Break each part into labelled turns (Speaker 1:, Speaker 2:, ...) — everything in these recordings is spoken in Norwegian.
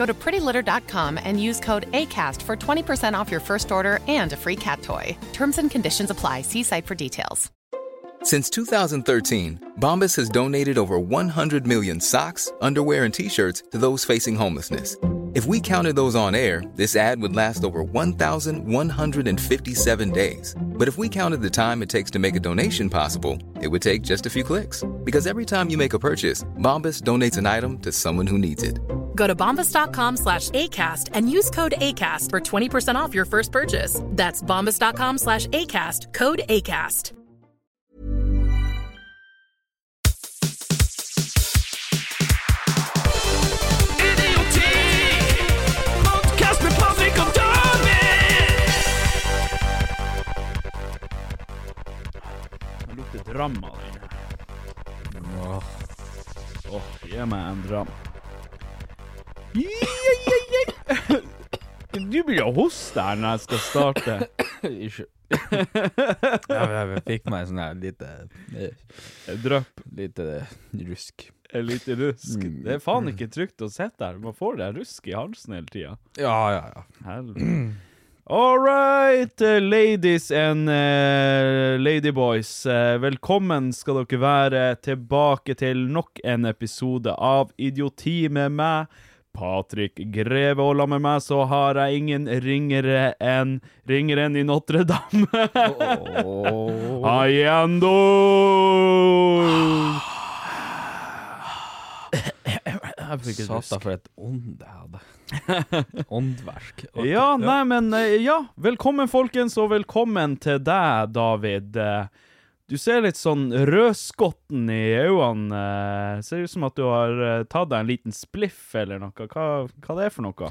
Speaker 1: Go to prettylitter.com and use code ACAST for 20% off your first order and a free cat toy. Terms and conditions apply. See site for details.
Speaker 2: Since 2013, Bombas has donated over 100 million socks, underwear, and t shirts to those facing homelessness. If we counted those on air, this ad would last over 1,157 days. But if we counted the time it takes to make a donation possible, it would take just a few clicks. Because every time you make a purchase, Bombas donates an item to someone who needs it.
Speaker 1: Go to bombas.com slash ACAST and use code ACAST for 20% off your first purchase. That's bombas.com slash ACAST, code ACAST.
Speaker 3: Det lukter drama der inne. Åh, gi meg en dram. Jei, jei, jei. Du blir å hoste her når jeg skal starte.
Speaker 4: Ja, jeg, jeg fikk meg sånn her lite eh,
Speaker 3: Jeg Drypp.
Speaker 4: Lite rusk.
Speaker 3: En liten rusk. Det er faen ikke trygt å sitte her. Man får det rusk i halsen hele tida.
Speaker 4: Ja, ja, ja.
Speaker 3: Helvete. All right, eh, ladies and eh, ladyboys. eh, velkommen skal dere være tilbake til nok en episode av Idioti med meg. Patrick Greve, og la med meg så har jeg ingen ringere enn ringeren i Notre-Dame. Allende!
Speaker 4: Satan, for et ånd jeg hadde. Åndverk.
Speaker 3: Ja, nei, men eh, ja. Velkommen, folkens, og velkommen til deg, David. Eh, Du ser litt sånn rødskotten i øynene. eh, Ser ut som at du har eh, tatt deg en liten spliff eller noe. Hva, hva det er for noe?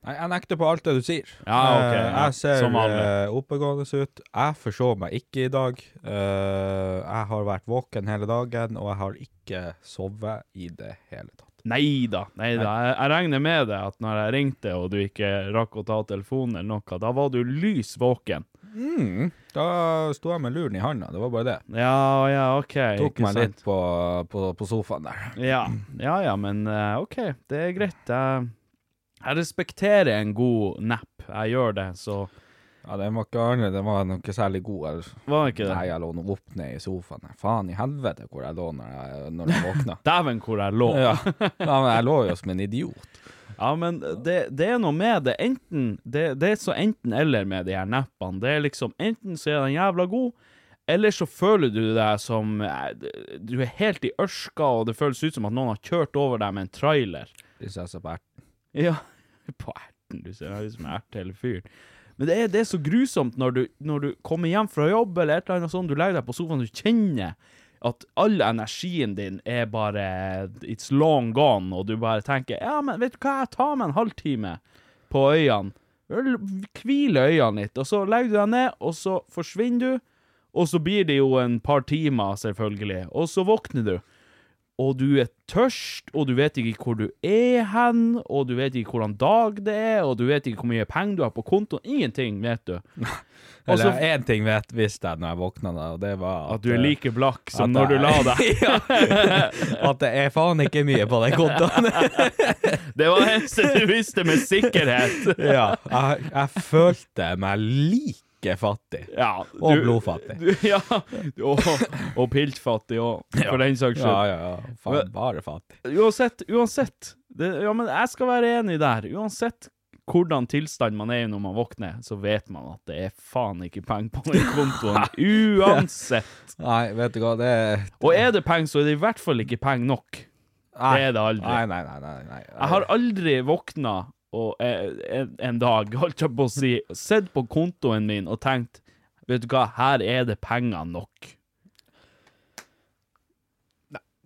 Speaker 4: Nei, jeg nekter på alt det du sier.
Speaker 3: Ja, ok,
Speaker 4: Eh,
Speaker 3: ja.
Speaker 4: Jeg ser
Speaker 3: Som vanlig.
Speaker 4: eh, oppegående ut. Jeg forsov meg ikke i dag. Eh, jeg har vært våken hele dagen, og jeg har ikke sovet i det hele tatt.
Speaker 3: Nei da. Nei da. Jeg, jeg regner med det at når jeg ringte, og du ikke rakk å ta telefonen eller noe, da var du lys våken.
Speaker 4: Da sto jeg med luren i handa, det var bare det.
Speaker 3: Ja, ja, OK.
Speaker 4: Tok
Speaker 3: ikke
Speaker 4: meg
Speaker 3: sant.
Speaker 4: litt på, på, på sofaen der.
Speaker 3: Ja, ja, ja men eh, OK, det er greit. Jeg, jeg respekterer en god napp. Jeg gjør det, så
Speaker 4: Ja, den var ikke annerledes, den var noe særlig god. Eller.
Speaker 3: Var det ikke det?
Speaker 4: Nei, jeg lå nå opp ned i sofaen. her. Faen i helvete hvor jeg lå når jeg, når jeg våkna.
Speaker 3: Dæven hvor jeg lå.
Speaker 4: ja. ja, men jeg lå jo som en idiot.
Speaker 3: Ja, men det, det er noe med det. Enten det, det er så enten-eller med de her nappene. Det er liksom enten så er den jævla god, eller så føler du deg som eh, Du er helt i ørska, og det føles ut som at noen har kjørt over deg med en trailer.
Speaker 4: Prinsesse på erten.
Speaker 3: Ja, på erten, du ser. Jeg er liksom ert hele fyren. Men det er, det er så grusomt når du, når du kommer hjem fra jobb eller et eller annet sånt, du legger deg på sofaen, du kjenner at all energien din er bare It's long gone, og du bare tenker Ja, men vet du hva, jeg tar meg en halvtime på øynene. L- Hvile øynene litt, og så legger du deg ned, og så forsvinner du. Og så blir det jo en par timer, selvfølgelig, og så våkner du og du er tørst, og du vet ikke hvor du er hen, og du vet ikke hvordan dag det er, og du vet ikke hvor mye penger du har på kontoen. Ingenting vet du.
Speaker 4: Eller
Speaker 3: Altså-
Speaker 4: én ting vet, visste jeg når jeg våkna, da, og det var
Speaker 3: At du er
Speaker 4: eh,
Speaker 3: like blakk som
Speaker 4: at
Speaker 3: når du
Speaker 4: jeg-
Speaker 3: la deg.
Speaker 4: ja, at det er faen ikke mye på den kontoen.
Speaker 3: Det var det eneste du visste med sikkerhet.
Speaker 4: ja, jeg, jeg følte meg like fattig.
Speaker 3: Ja,
Speaker 4: Og
Speaker 3: du-
Speaker 4: blodfattig.
Speaker 3: Du, ja, og, og piltfattig òg, for den saks
Speaker 4: Ja,
Speaker 3: skyld.
Speaker 4: ja, ja. Faen, bare fattig.
Speaker 3: Uansett, uansett det, Ja, men jeg skal være enig der. Uansett hvordan tilstand man er i når man våkner, så vet man at det er faen ikke penger på den kontoen uansett.
Speaker 4: Nei, vet du hva, det er
Speaker 3: Og er det penger, så er det i hvert fall ikke penger nok. Det er det aldri.
Speaker 4: Nei, nei, nei. nei, nei.
Speaker 3: Jeg har aldri våkna og, eh, en, en dag, holdt jeg på å si, sett på kontoen min og tenkt Vet du hva, her er det penger nok.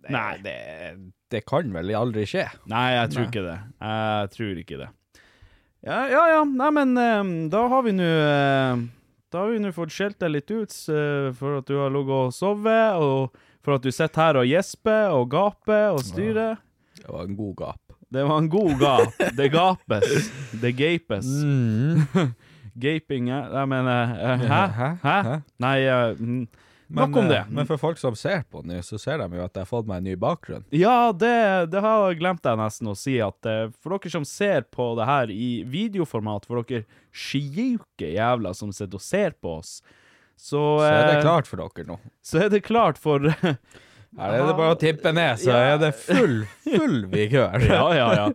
Speaker 3: Nei,
Speaker 4: det, det kan vel aldri skje.
Speaker 3: Nei, jeg tror ikke det. Jeg tror ikke det. Ja, ja. ja. Nei, men eh, da har vi nå eh, Da har vi nå fått skjelt deg litt ut eh, for at du har ligget og sovet, og for at du sitter her og gjesper og gaper og styrer.
Speaker 4: Det var en god gap.
Speaker 3: Det var en god gap. Det gapes. Det gapes. Gaping eh, Jeg mener eh, Hæ? Mm. Hæ?
Speaker 4: Hæ? Hæ?
Speaker 3: Nei eh, mm.
Speaker 4: Men,
Speaker 3: Nok om det.
Speaker 4: eh, Men for folk som ser på nå, så ser de jo at jeg har fått meg en ny bakgrunn.
Speaker 3: Ja, det, det har jeg glemt jeg nesten å si, at eh, for dere som ser på det her i videoformat, for dere sjuke jævla som sitter og ser på oss, så,
Speaker 4: Så er det
Speaker 3: eh,
Speaker 4: klart for dere nå.
Speaker 3: så er det klart for
Speaker 4: Her er det bare å tippe ned, så
Speaker 3: Ja.
Speaker 4: er det full, full vigør.
Speaker 3: Ja, ja, ja.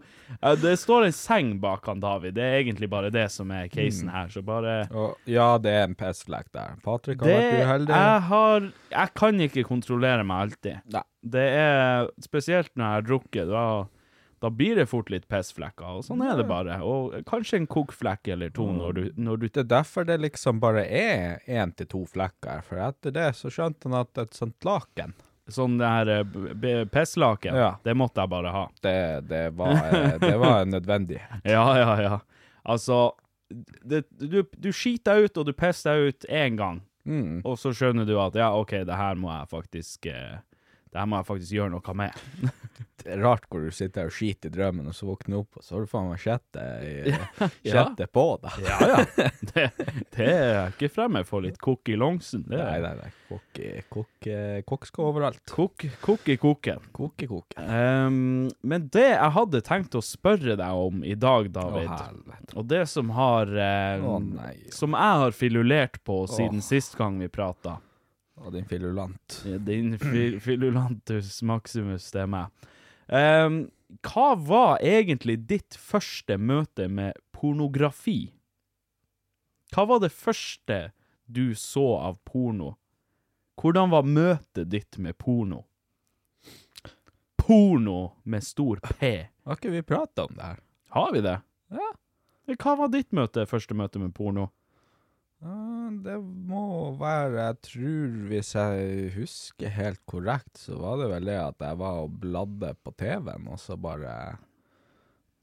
Speaker 3: Eh, Det står en seng bak han, David. Det er egentlig bare det som er
Speaker 4: Mm.
Speaker 3: casen her, så bare
Speaker 4: Og ja, det er en pestlek der. Patrick har vært
Speaker 3: Det
Speaker 4: uheldig.
Speaker 3: jeg har Jeg kan ikke kontrollere meg alltid.
Speaker 4: Nei.
Speaker 3: Det er Spesielt når jeg har drukket. Da, da blir det fort litt pissflekker, og sånn er det bare. Og kanskje en kokflekk eller to
Speaker 4: Mm.
Speaker 3: når du, når du
Speaker 4: Det er derfor det liksom bare er én til to flekker, for etter det så skjønte han at et sånt laken
Speaker 3: Sånn det her eh, b- b- pisslaken,
Speaker 4: Ja.
Speaker 3: det måtte jeg bare ha.
Speaker 4: det, det, var, eh, det var nødvendig.
Speaker 3: Ja, ja, ja. Altså det, du, du skiter deg ut, og du pisser deg ut én gang,
Speaker 4: Mm.
Speaker 3: og så skjønner du at ja, OK, det her må jeg faktisk eh, Det her må jeg faktisk gjøre noe med.
Speaker 4: Det er rart hvor du sitter og skiter i drømmen, og så våkner du opp, og så har du faen meg sjette, i-
Speaker 3: ja.
Speaker 4: sjette på deg.
Speaker 3: Ja, ja. Det, det er jeg ikke fremmed for litt kokk i longsen. Det
Speaker 4: Nei,
Speaker 3: er
Speaker 4: nei, nei. Kokk, i- kokk, eh, kokk skal overalt.
Speaker 3: kokk, kokk i koken.
Speaker 4: Koke, koke.
Speaker 3: Ehm, men det jeg hadde tenkt å spørre deg om i dag,
Speaker 4: Å,
Speaker 3: David,
Speaker 4: helvete.
Speaker 3: og det som har ehm,
Speaker 4: Å, nei.
Speaker 3: Som jeg har filulert på siden
Speaker 4: Åh.
Speaker 3: sist gang vi prata.
Speaker 4: Å, din filulant.
Speaker 3: Eh, Din fi filulantus maximus, det er meg. Ehm, hva var egentlig ditt første møte med pornografi? Hva var det første du så av porno? Hvordan var møtet ditt med porno? Porno med stor P.
Speaker 4: Har ikke vi prata om det her?
Speaker 3: Har vi det? Ja. Hva var ditt møte, første møte med porno?
Speaker 4: Ja, Det må være Jeg tror, hvis jeg husker helt korrekt, så var det vel det at jeg var og bladde på TV-en, og så bare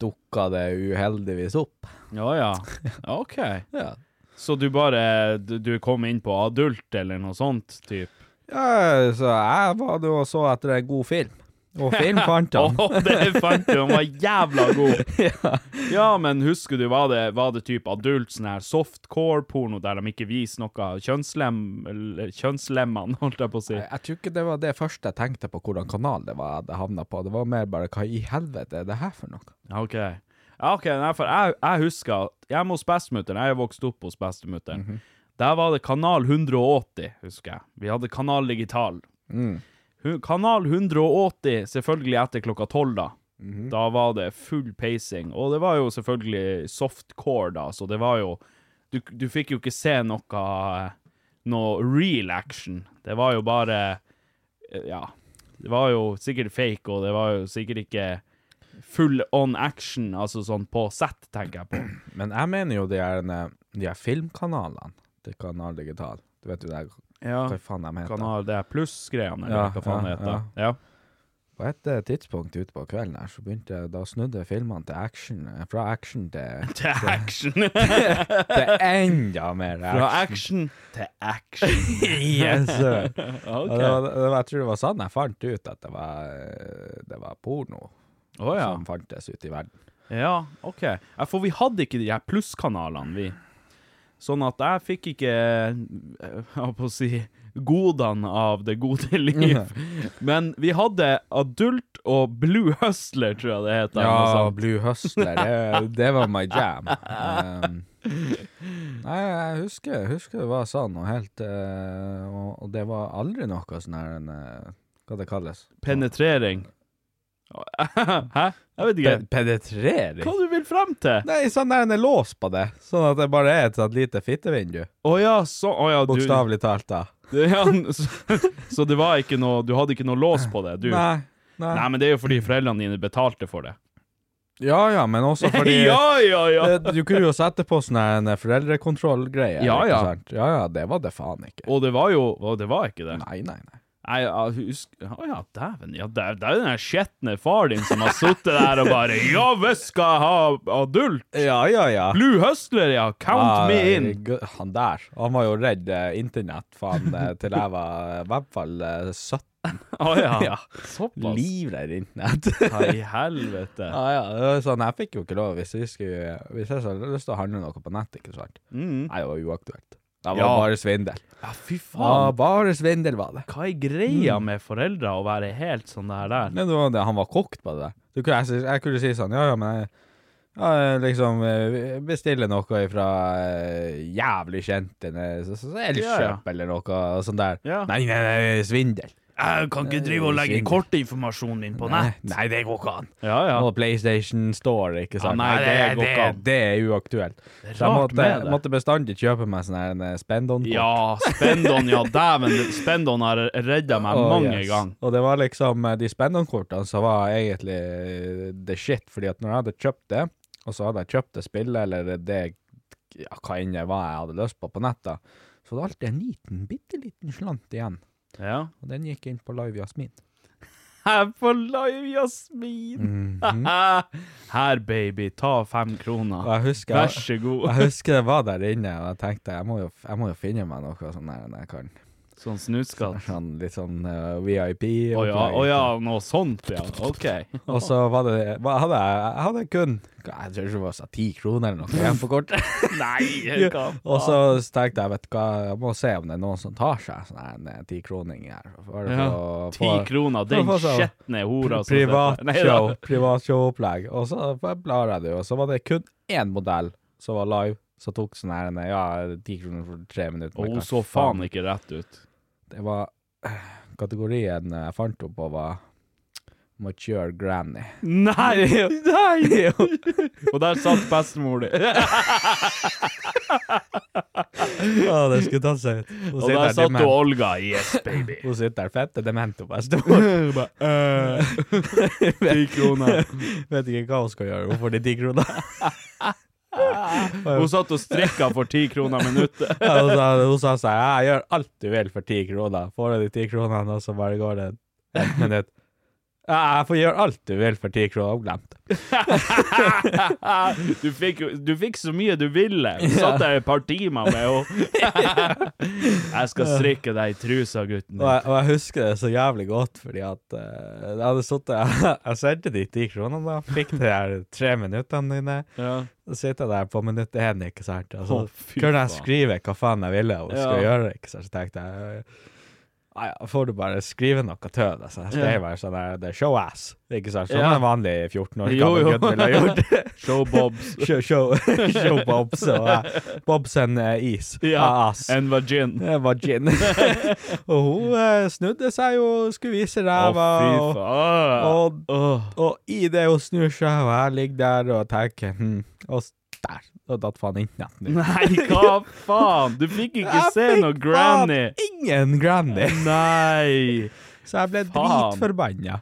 Speaker 4: dukka det uheldigvis opp.
Speaker 3: Ja ja. OK.
Speaker 4: Ja.
Speaker 3: Så du bare du, du kom inn på adult eller noe sånt? Typ.
Speaker 4: så jeg var det og så etter en god film. Og film fant han.
Speaker 3: Åh, det fant du, han var jævla god. Ja, men husker du, var det, var det typ adult sånn her softcore-porno der de ikke viser noe av kjønnslem, eller kjønnslemmene, holdt jeg på å si?
Speaker 4: Jeg, jeg tror ikke det var det første jeg tenkte på hvordan kanal det var jeg havna på. Det var mer bare hva i helvete er det her for noe?
Speaker 3: Ok. Ja, ok, nei, for jeg, jeg husker at hjemme hos bestemutteren, jeg er vokst opp hos bestemutteren, der var det kanal 180, husker jeg. Vi hadde kanal digital. Hu- Kanal 180, selvfølgelig etter klokka 12 da. Da var det full pacing, og det var jo selvfølgelig softcore da, så det var jo, du, du fikk jo ikke se noe, noe real action. Det var jo bare, eh, ja, det var jo sikkert fake, og det var jo sikkert ikke full on action, altså sånn på sett, tenker jeg på.
Speaker 4: Men jeg mener jo de her, de her filmkanalene til Kanal Digital. Du vet jo det her,
Speaker 3: Ja.
Speaker 4: hva faen de heter?
Speaker 3: Kanal, det er pluss-greiene, eller
Speaker 4: Ja,
Speaker 3: hva faen
Speaker 4: ja,
Speaker 3: det heter. Ja.
Speaker 4: På et eh, tidspunkt ute på kvelden her, så begynte jeg, da snudde jeg filmene til action, eh, fra action til,
Speaker 3: Til action!
Speaker 4: til enda mer
Speaker 3: Fra
Speaker 4: action.
Speaker 3: action til action.
Speaker 4: Yes, sir. Og
Speaker 3: Ok.
Speaker 4: det var, det var, jeg tror det var sånn jeg fant ut at det var, eh, det var porno
Speaker 3: Å ja.
Speaker 4: som fantes ute i verden.
Speaker 3: Ja, OK. Ja, For vi hadde ikke de her plusskanalene, vi. Sånn at jeg fikk ikke eh, Hva på å si godene av det gode liv. Men vi hadde Adult og Blue Hustler, tror jeg det heter. eller noe
Speaker 4: Ja,
Speaker 3: sånt.
Speaker 4: Blue Hustler, det, det var my jam. Um, nei, jeg husker, husker det var sånn, og helt, eh, og, og det var aldri noe sånn her, en, eh, hva det kalles?
Speaker 3: Penetrering. Hæ? Jeg vet ikke.
Speaker 4: Pe- Penetrering?
Speaker 3: Hva du vil frem til?
Speaker 4: Nei, sånn der en er lås på det. Sånn at det bare er et sånt lite fittevindu.
Speaker 3: Å ja, så Å ja, du
Speaker 4: Bokstavelig talt, da.
Speaker 3: Det- ja, så, så det var ikke noe Du hadde ikke noe lås på det, du?
Speaker 4: Nei. Nei.
Speaker 3: Nei, men det er jo fordi foreldrene dine betalte for det.
Speaker 4: Ja ja, men også fordi
Speaker 3: ja, ja, ja!
Speaker 4: Eh, Du kunne jo sette på sånn her en foreldrekontrollgreie.
Speaker 3: Ja,
Speaker 4: ikke
Speaker 3: ja.
Speaker 4: sant? ja ja. Det var det faen ikke.
Speaker 3: Og det var jo Og det var ikke det.
Speaker 4: Nei, nei, nei.
Speaker 3: Nei, ja, husk Å ja, dæven. Ja, det, er- det er jo den der skjetne far din som har sittet der og bare Ja visst skal jeg ha adult!
Speaker 4: Ja ja ja.
Speaker 3: Blue Hustler, ja! Count me in!
Speaker 4: Herregud, Ah, Han der. Han var jo redd eh, internett, faen, eh, til jeg var eh, i hvert fall eh, 17.
Speaker 3: Å ja.
Speaker 4: Ja.
Speaker 3: Såpass.
Speaker 4: Livredd internett.
Speaker 3: Ja, i helvete.
Speaker 4: Ja, ja. det var Sånn, jeg fikk jo ikke lov hvis jeg skulle Hvis jeg hadde lyst til å handle noe på nett, ikke sant.
Speaker 3: Mm.
Speaker 4: Nei, det var uaktuelt. Det var
Speaker 3: Ja.
Speaker 4: bare svindel.
Speaker 3: Ja, fy
Speaker 4: Ja, Mm.
Speaker 3: faen.
Speaker 4: bare svindel var det.
Speaker 3: Hva er greia med foreldre å være helt sånn der der?
Speaker 4: Nei, det var det. Han var kokt på det. der. Du kunne, jeg, si- jeg kunne si sånn, ja, ja, men jeg, ja, jeg liksom eh, bestiller noe fra eh, jævlig kjent eller så- så- så
Speaker 3: Ja, ja.
Speaker 4: Elkjøp eller noe sånt der.
Speaker 3: Ja.
Speaker 4: Nei, nei, nei, svindel.
Speaker 3: Jeg kan ikke drive og legge kortinformasjonen min på
Speaker 4: Nei, nei, det går ikke an.
Speaker 3: Ja, ja.
Speaker 4: Og PlayStation Store, ikke sant.
Speaker 3: Ja, nei, det går
Speaker 4: det,
Speaker 3: ikke an.
Speaker 4: Det er uaktuelt.
Speaker 3: Det er
Speaker 4: Så jeg
Speaker 3: rart
Speaker 4: måtte,
Speaker 3: med det.
Speaker 4: måtte bestandig kjøpe meg sånn her en, eh, spend-on-kort.
Speaker 3: Ja, Spendon, ja dæven. Spendon har redda meg
Speaker 4: Å,
Speaker 3: mange
Speaker 4: yes.
Speaker 3: ganger.
Speaker 4: Og det var liksom eh, de spennende-kortene som var egentlig eh, the shit, fordi at når jeg hadde kjøpt det, og så hadde jeg kjøpt det spillet, eller det ja, hva enn det var jeg hadde lyst på på nettet, så var det alltid en liten, bitte liten slant igjen.
Speaker 3: Ja.
Speaker 4: Og den gikk inn på Live Jasmin.
Speaker 3: Her på Live Jasmin. Her, baby, ta fem
Speaker 4: Mhm. Og
Speaker 3: kroner.
Speaker 4: jeg husker,
Speaker 3: Vær så god.
Speaker 4: jeg husker jeg var der inne, og jeg tenkte jeg må jo, jeg må jo finne meg noe sånn der jeg kan.
Speaker 3: Sånn snuskatt.
Speaker 4: Sånn, litt sånn eh, VIP.
Speaker 3: Å ja, å ja, noe sånt, ja. OK.
Speaker 4: Og så var det, hva- hadde jeg, jeg hadde kun, jeg tror det var sånn 10 kroner eller noe igjen på kortet.
Speaker 3: Nei, hva
Speaker 4: Og
Speaker 3: faen?
Speaker 4: så tenkte jeg, vet du hva, jeg må se om det er noen som tar seg sånn her, en tikroning her. Bare
Speaker 3: Ja,
Speaker 4: for å
Speaker 3: Ti
Speaker 4: få-
Speaker 3: kroner,
Speaker 4: for å
Speaker 3: den
Speaker 4: få sånn
Speaker 3: skjetne hora som sitter- Nei da.
Speaker 4: Privatshow, privatshow-opplegg. Og så blar jeg det, og så var det kun én modell som var live, som tok sånn her, en, ja, ti kroner for tre minutter.
Speaker 3: Og
Speaker 4: men
Speaker 3: hun
Speaker 4: hva
Speaker 3: så faen ikke rett ut.
Speaker 4: Det var eh, kategorien eh, jeg fant opp på var mature granny.
Speaker 3: Nei! Nei! Og der satt bestemor di.
Speaker 4: Ja, det skulle tatt seg ut. Hun
Speaker 3: Og der satt hun Olga. Yes, baby.
Speaker 4: Hun sitter der fette dement og bare står "Øh,
Speaker 3: Ti kroner.
Speaker 4: Vet ikke hva hun skal gjøre. Hun får de ti kronene.
Speaker 3: Hun satt og strikka for ti kroner minuttet.
Speaker 4: Ja, hun, sa, hun sa sånn «Ja, Jeg gjør alt du vil for ti kroner. Får du de ti kronene, og så bare går det et minutt. Ja, jeg får gjøre alt du vil for ti kroner. Hun glemte det.
Speaker 3: Du fikk, jo- du fikk så mye du ville. Du satt der et par timer med henne. Jeg skal strikke deg i trusa, gutten.
Speaker 4: Og, jeg- og jeg husker det så jævlig godt, fordi at eh, jeg hadde sittet Jeg sendte de ti kronene, da. Fikk de her tre minuttene dine.
Speaker 3: Ja.
Speaker 4: Så sitter jeg der på minutt én, ikke sant. Og så
Speaker 3: Å, fy
Speaker 4: kunne jeg
Speaker 3: faen.
Speaker 4: skrive hva faen jeg ville og skulle
Speaker 3: Ja.
Speaker 4: gjøre, ikke sant. Så tenkte jeg «Ja, ja, får du bare skrive noe tøv, altså. Jeg skrev bare sånn der det er show ass, ikke sant. Som
Speaker 3: Ja.
Speaker 4: en vanlig 14 år
Speaker 3: Jo,
Speaker 4: gammel
Speaker 3: jo.
Speaker 4: gutt ville ha gjort.
Speaker 3: Show bobs.
Speaker 4: show, show, show Bobs og eh, Bobs and eh, is. Ah,
Speaker 3: Ja,
Speaker 4: ass.
Speaker 3: en vagin.
Speaker 4: Det var gin. og hun eh, snudde seg og skulle vise
Speaker 3: Å,
Speaker 4: ræva.
Speaker 3: fy
Speaker 4: og-
Speaker 3: faen.
Speaker 4: og, og i det hun snur seg, og jeg ligger der og tenker hm, Og s- der, og datt faen internett ned.
Speaker 3: Nei, hva faen? Du fikk ikke se noe granny.
Speaker 4: ingen granny!
Speaker 3: Nei.
Speaker 4: Så jeg ble
Speaker 3: Faen.
Speaker 4: dritforbanna.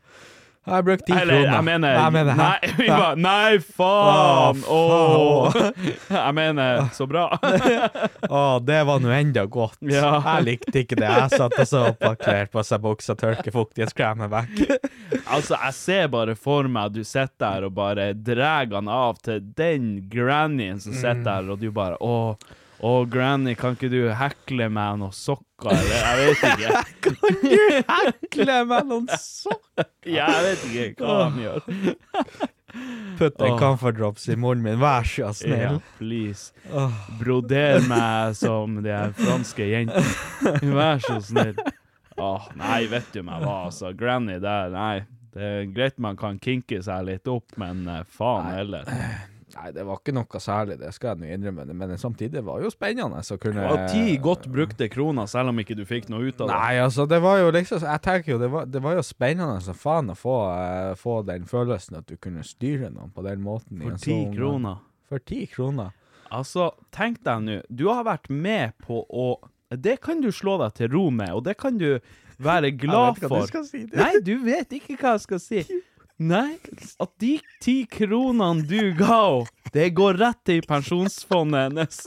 Speaker 4: Jeg brukte ti
Speaker 3: Eller,
Speaker 4: kroner.
Speaker 3: jeg mener,
Speaker 4: hæ?
Speaker 3: Nei, vi bare, nei, faen!
Speaker 4: Å,
Speaker 3: Åh.
Speaker 4: faen.
Speaker 3: Jeg mener, så bra.
Speaker 4: Å, det var nå enda godt.
Speaker 3: Ja.
Speaker 4: Jeg likte ikke det. Jeg satt og så på klær på seg buksa, tørke fuktighetskremen vekk.
Speaker 3: Altså, jeg ser bare for meg at du sitter der og bare drar han av til den grannyen som sitter der, og du bare Å, å granny, kan ikke du hekle meg noen sokker, eller? Jeg vet ikke.
Speaker 4: Kle meg noen sokker.
Speaker 3: Ja, jeg vet ikke hva han gjør.
Speaker 4: Putt en
Speaker 3: Åh.
Speaker 4: comfort drops i munnen min, vær så snill.
Speaker 3: Ja, please. Broder meg som de her franske jentene. Vær så snill. Åh, nei, vet du meg hva, altså. Granny der, nei. Det er greit man kan kinke seg litt opp, men eh, faen heller.
Speaker 4: Nei, det var ikke noe særlig, det skal jeg nå innrømme, men samtidig var det jo spennende å kunne
Speaker 3: Det var ti godt brukte kroner, selv om ikke du fikk noe ut av det.
Speaker 4: Eh, Nei, altså, det var jo liksom Jeg tenker jo, det var, det var jo spennende som faen å få, eh, få den følelsen at du kunne styre noen på den måten. i en
Speaker 3: For ti
Speaker 4: sånn-
Speaker 3: kroner.
Speaker 4: For ti kroner.
Speaker 3: Altså, tenk deg nå, du har vært med på å Det kan du slå deg til ro med, og det kan du være glad
Speaker 4: Jeg vet ikke hva
Speaker 3: for.
Speaker 4: du skal si.
Speaker 3: Nei, du vet ikke hva jeg skal si. Nei, at de ti kronene du ga henne, det går rett til pensjonsfondet hennes.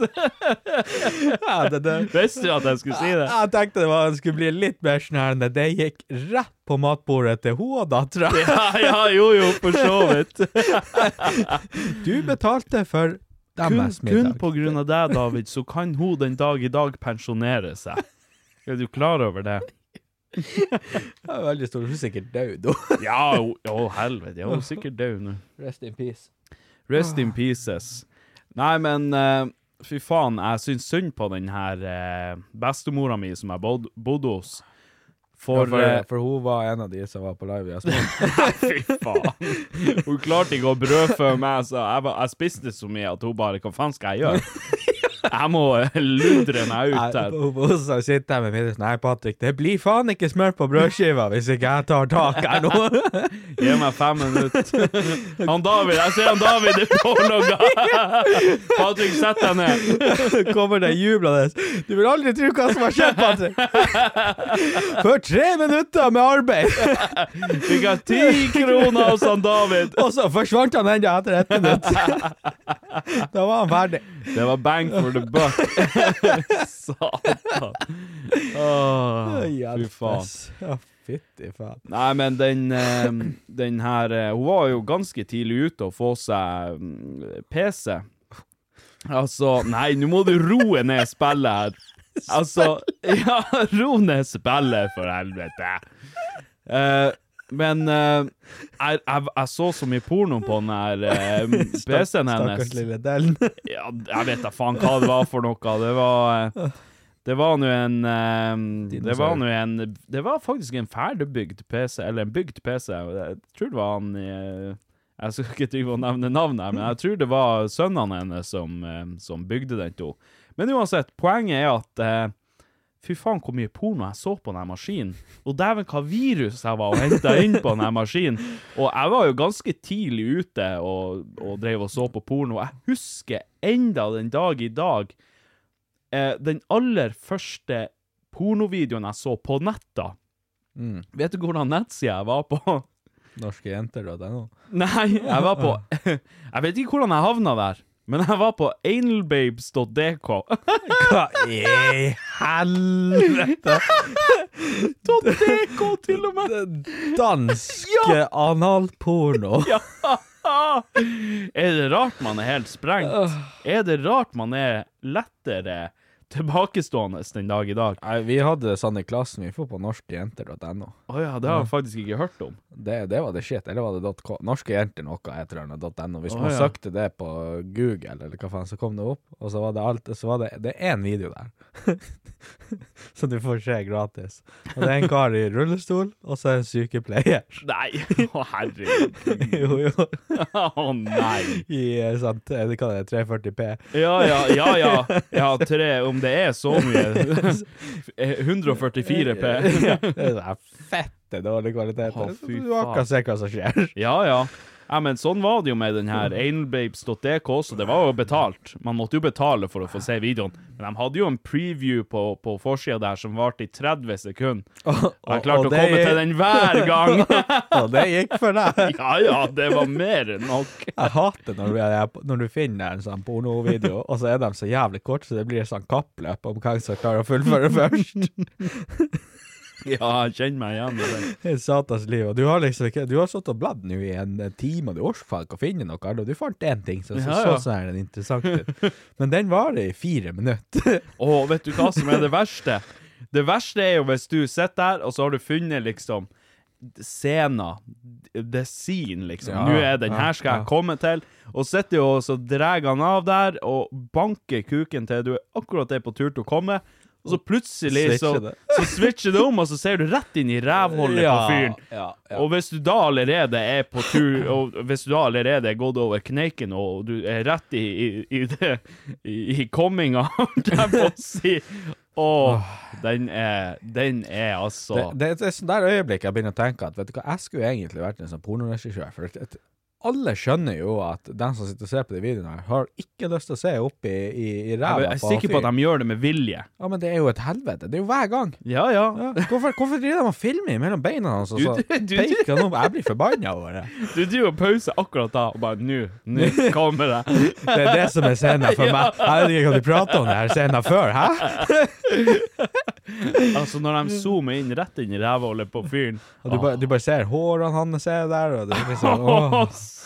Speaker 4: Ja, det, det.
Speaker 3: Visste du at jeg skulle si det?
Speaker 4: Jeg tenkte det var, skulle bli litt mer snærende. Det gikk rett på matbordet til hun og dattera.
Speaker 3: Ja, ja, jo, jo, for så vidt.
Speaker 4: Du betalte for
Speaker 3: Kun,
Speaker 4: deres
Speaker 3: kun
Speaker 4: middag.
Speaker 3: på grunn av deg, David, så kan hun den dag i dag pensjonere seg. Er du klar over det?
Speaker 4: Jeg er veldig stor. Hun er sikkert død, hun.
Speaker 3: Ja, å helvete. Hun er sikkert død nå.
Speaker 4: Rest in peace.
Speaker 3: Rest in pieces. Nei, men eh, fy faen, jeg syns synd på den her eh, bestemora mi som jeg bod- bodde hos. For,
Speaker 4: For,
Speaker 3: eh,
Speaker 4: for hun var en av de som var på live i Aspmyr.
Speaker 3: Fy faen. Hun klarte ikke å brødfø meg, så jeg, ba- jeg spiste så mye at hun bare Hva faen skal jeg gjøre? Jeg må eh, ludre meg
Speaker 4: Nei,
Speaker 3: ut her.
Speaker 4: på- på onsdag sitter jeg med middags. Nei, Patrick, det blir faen ikke smør på brødskiva hvis ikke jeg tar tak her nå.
Speaker 3: Gi meg fem minutter. Han David, jeg ser han David er pålogga! Patrick, sett deg ned.
Speaker 4: Kommer det jublende. Du vil aldri tro hva som har skjedd, Patrick. For tre minutter med arbeid,
Speaker 3: Fikk jeg ti kroner hos han David?
Speaker 4: og så forsvant han enda etter ett minutt. Da var han ferdig.
Speaker 3: Det var bang for the buck. Satan. Åh, fy faen.
Speaker 4: Ja, fytti faen.
Speaker 3: Nei, men den, eh, den her eh, Hun var jo ganske tidlig ute å få seg mm, PC. Altså Nei, nå må du roe ned spillet her. Altså Ja, ro ned spillet, for helvete. Eh, men eh, jeg, jeg, jeg så så mye porno på den her eh, PC-en hennes.
Speaker 4: Stakkars lille Dellen.
Speaker 3: Ja, jeg vet da faen hva det var for noe. Det var eh, Det var nå en eh, Det var nå en Det var faktisk en ferdigbygd PC, eller en bygd PC. og Jeg tror det var han eh, Jeg skal ikke drive og nevne navnet, her, men jeg tror det var sønnene hennes som, eh, som bygde den til henne. Men uansett, poenget er at eh, Fy faen, hvor mye porno jeg så på den her maskinen. Og dæven, hva virus jeg var og henta inn på den her maskinen. Og jeg var jo ganske tidlig ute og, og drev og så på porno. Jeg husker enda den dag i dag eh, den aller første pornovideoen jeg så på netta.
Speaker 4: Mm.
Speaker 3: Vet du hvordan nettsida jeg var på?
Speaker 4: Norske jenter og det nå.
Speaker 3: Nei, jeg var på Jeg vet ikke hvordan jeg havna der, men jeg var på analbabes.dk.
Speaker 4: Hva i helvete?
Speaker 3: .dk, til og med!
Speaker 4: Dansk analporno.
Speaker 3: Ja! Er det rart man er helt sprengt? Er det rart man er lettere tilbakestående den dag i dag?
Speaker 4: Nei, vi hadde sånn i klassen, vi får på norskejenter.no.
Speaker 3: Å ja, det har jeg faktisk ikke hørt om.
Speaker 4: Det, det var det shit, eller var det .k? Norske jenter noe, et eller annet .no. Hvis
Speaker 3: Å,
Speaker 4: man
Speaker 3: ja.
Speaker 4: søkte det på Google, eller hva faen, så kom det opp, og så var det alt, så var det, det er én video der. så du får se gratis. Og det er en kar i rullestol, og så er det en sykepleier.
Speaker 3: Nei, å herregud.
Speaker 4: jo, jo.
Speaker 3: Å nei.
Speaker 4: I eh, sånn, t- hva det er, 340p.
Speaker 3: Ja, ja, ja, ja. Ja, tre, om det er så mye. Eh, 144p.
Speaker 4: ja, det er sånn fette dårlig kvalitet.
Speaker 3: Å, fy
Speaker 4: du har
Speaker 3: faen.
Speaker 4: ikke se hva som skjer.
Speaker 3: Ja, ja. Ja, men sånn var det jo med den her anelbabes.dk også. Det var jo betalt. Man måtte jo betale for å få se videoen. Men de hadde jo en preview på, på forsida der som varte i 30 sekunder. Og jeg klarte å komme til den hver gang.
Speaker 4: Og det gikk for deg.
Speaker 3: Ja, ja, det var mer enn nok.
Speaker 4: Jeg hater når du, er, når du finner en sånn pornovideo, og så er de så jævlig korte, så det blir sånn kappløp om hvem som klarer å fullføre først.
Speaker 3: Ja, jeg kjenner meg igjen i den.
Speaker 4: Det er satans liv. Og du har liksom ikke Du har sittet og bladd nå i en
Speaker 5: eh,
Speaker 4: time, og du orker faen ikke å finne noe, og du fant én ting som så,
Speaker 3: Ja,
Speaker 4: så
Speaker 3: ja.
Speaker 4: sånn her interessant ut, men den varer i fire minutter.
Speaker 3: Å, vet du hva som er det verste? Det verste er jo hvis du sitter der, og så har du funnet liksom scena, the scene, liksom.
Speaker 4: Ja,
Speaker 3: Nå er den
Speaker 4: ja,
Speaker 3: her skal jeg
Speaker 4: ja.
Speaker 3: komme til. Og sitter jo og så drar han av der, og banker kuken til du akkurat er på tur til å komme. Og og så plutselig så,
Speaker 5: Switcher det.
Speaker 3: så switcher det om, og så ser du rett inn i rævhullet på fyren.
Speaker 5: Ja, ja.
Speaker 3: Og hvis du da allerede er på tur, og hvis du da allerede er gått over kneiken, og du er rett i, i, i det I, i comminga, holdt jeg på å si Å, den er Den er altså
Speaker 5: Ah. Det, det, det er sånn der øyeblikk jeg begynner å tenke at vet du hva, jeg skulle egentlig vært en sånn pornoregissør. For at, at alle skjønner jo at den som sitter og ser på de videoene her, har ikke lyst til å se opp i, i, i
Speaker 3: Jeg
Speaker 5: ræva
Speaker 3: er
Speaker 5: på han
Speaker 3: sikker på at
Speaker 5: fyren.
Speaker 3: de gjør det med vilje.
Speaker 5: Ja, men det er jo et helvete. Det er jo hver gang.
Speaker 3: Ja, ja.
Speaker 5: Ja. Altså, Hvorfor, hvorfor driver de og filmer mellom beina hans? Og
Speaker 3: Du-
Speaker 5: så
Speaker 3: du- du-
Speaker 5: peker han opp? Jeg blir forbanna over det.
Speaker 3: Du driver og pauser akkurat da, og bare Nå, nå kommer det.
Speaker 5: Det er det som er scenen for meg. Jeg vet ikke hva de prater om det her scenen før, hæ?
Speaker 3: Altså, når de zoomer inn rett inn i rævhullet på fyren
Speaker 5: Og du, bare, du bare ser hårene hans er der, og det blir sånn åh.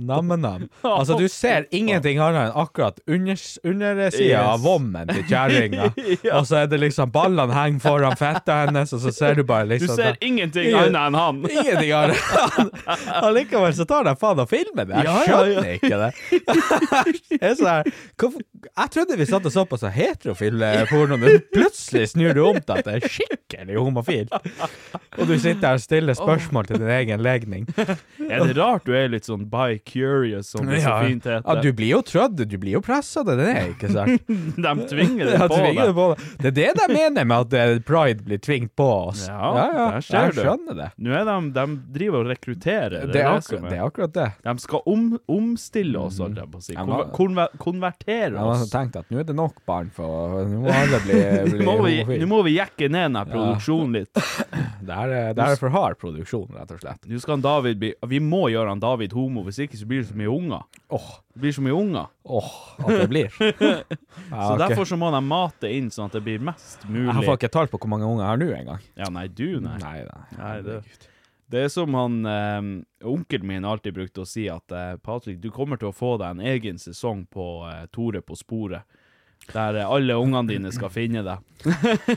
Speaker 5: Nam-nam. Altså, du ser ingenting annet enn akkurat unders- undersida
Speaker 3: Yes.
Speaker 5: av vommen til kjerringa.
Speaker 3: Ja.
Speaker 5: Og så er det liksom ballene henger foran fetta hennes, og så ser du bare
Speaker 3: Du
Speaker 5: liksom
Speaker 3: ser
Speaker 5: det-
Speaker 3: ingenting annet enn han.
Speaker 5: Ingenting av det. Allikevel så tar de faen og filmer det.
Speaker 3: Ja,
Speaker 5: Jeg
Speaker 3: ja, ja.
Speaker 5: skjønner ikke det. Jeg, er sånn her, hvorfor, jeg trodde vi satt og så på så heterofil eh, porno, men plutselig snur du om til at det er skikkelig homofil. Og du sitter her og stiller spørsmål til din egen legning.
Speaker 3: Er det rart du er litt sånn bi-curious, som det så
Speaker 5: Ja.
Speaker 3: fint heter?
Speaker 5: Ja, du blir jo trødd, du blir jo pressa til det, ikke sant?
Speaker 3: De tvinger
Speaker 5: Ja,
Speaker 3: deg på
Speaker 5: tvinger
Speaker 3: det.
Speaker 5: du på det. Det er det de mener med at eh, pride blir tvingt på oss.
Speaker 3: Ja, der ser
Speaker 5: jeg
Speaker 3: du.
Speaker 5: skjønner det.
Speaker 3: Nå er de, de driver og rekrutterer. Det er
Speaker 5: Det er,
Speaker 3: det som
Speaker 5: akkurat, det er akkurat det.
Speaker 3: De skal om, omstille oss, holdt jeg på å si.
Speaker 5: Ja,
Speaker 3: Konver
Speaker 5: men-
Speaker 3: konver konvertere
Speaker 5: Jeg har
Speaker 3: oss.
Speaker 5: tenkt at nå er det nok barn, for nå må alle bli, bli
Speaker 3: Nå må, vi,
Speaker 5: homofile.
Speaker 3: nå må vi jekke ned denne produksjonen litt.
Speaker 5: Det er, det er for hard produksjon, rett og slett.
Speaker 3: Nå skal han David bli Vi må gjøre han David homo, hvis ikke så blir det så mye unger.
Speaker 5: Åh,
Speaker 3: Det blir så mye unger.
Speaker 5: åh, at det blir. Ja,
Speaker 3: Så
Speaker 5: ok.
Speaker 3: derfor så må de mate inn sånn at det blir mest mulig.
Speaker 5: Jeg får ikke tall på hvor mange unger jeg har nå engang.
Speaker 3: Ja, nei, du, nei.
Speaker 5: da.
Speaker 3: Nei, det- Det er som han eh, onkelen min alltid brukte å si, at eh, Patrick, du kommer til å få deg en egen sesong på eh, Tore på sporet. Der eh, alle ungene dine skal finne deg.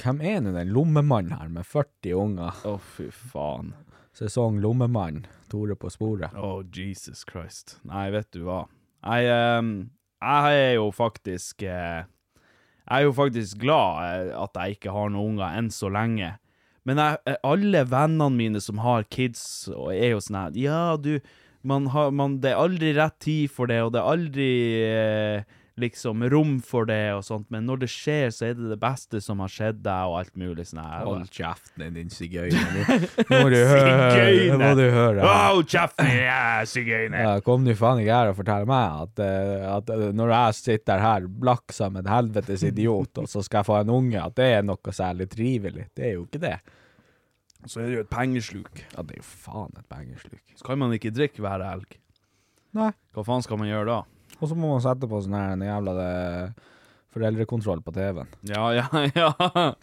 Speaker 5: Hvem er nå den lommemannen her med 40 unger?
Speaker 3: Å, fy faen.
Speaker 5: Sesong lommemann, Tore på sporet.
Speaker 3: Å, Jesus Christ. Nei, vet du hva. Jeg, ehm, jeg er jo faktisk eh, Jeg er jo faktisk glad eh, at jeg ikke har noen unger enn så lenge. Men jeg, eh, alle vennene mine som har kids, og er jo sånn her Ja, du man har, man, Det er aldri rett tid for det, og det er aldri eh, liksom rom for det, og sånt. Men når det skjer, så er det det beste som har skjedd deg, og alt mulig sånn her.
Speaker 5: Hold kjeften din, sigøyne. Nå må du høre,
Speaker 3: Sigøyne.
Speaker 5: nå må du høre.
Speaker 3: Wow, kjeften! Ja, sigøyner!
Speaker 5: Ja, kom nå faen ikke her og fortell meg at, eh, at eh, når jeg sitter her blakk som en helvetes idiot, og så skal jeg få en unge, at det er noe særlig trivelig. Det er jo ikke det.
Speaker 3: Så er det jo et pengesluk.
Speaker 5: Ja, det er jo faen et pengesluk.
Speaker 3: Så kan man ikke drikke hver helg.
Speaker 5: Nei.
Speaker 3: Hva faen skal man gjøre da?
Speaker 5: Og så må man sette på sånn her en jævla det, foreldrekontroll på TV-en.
Speaker 3: Ja, ja, ja.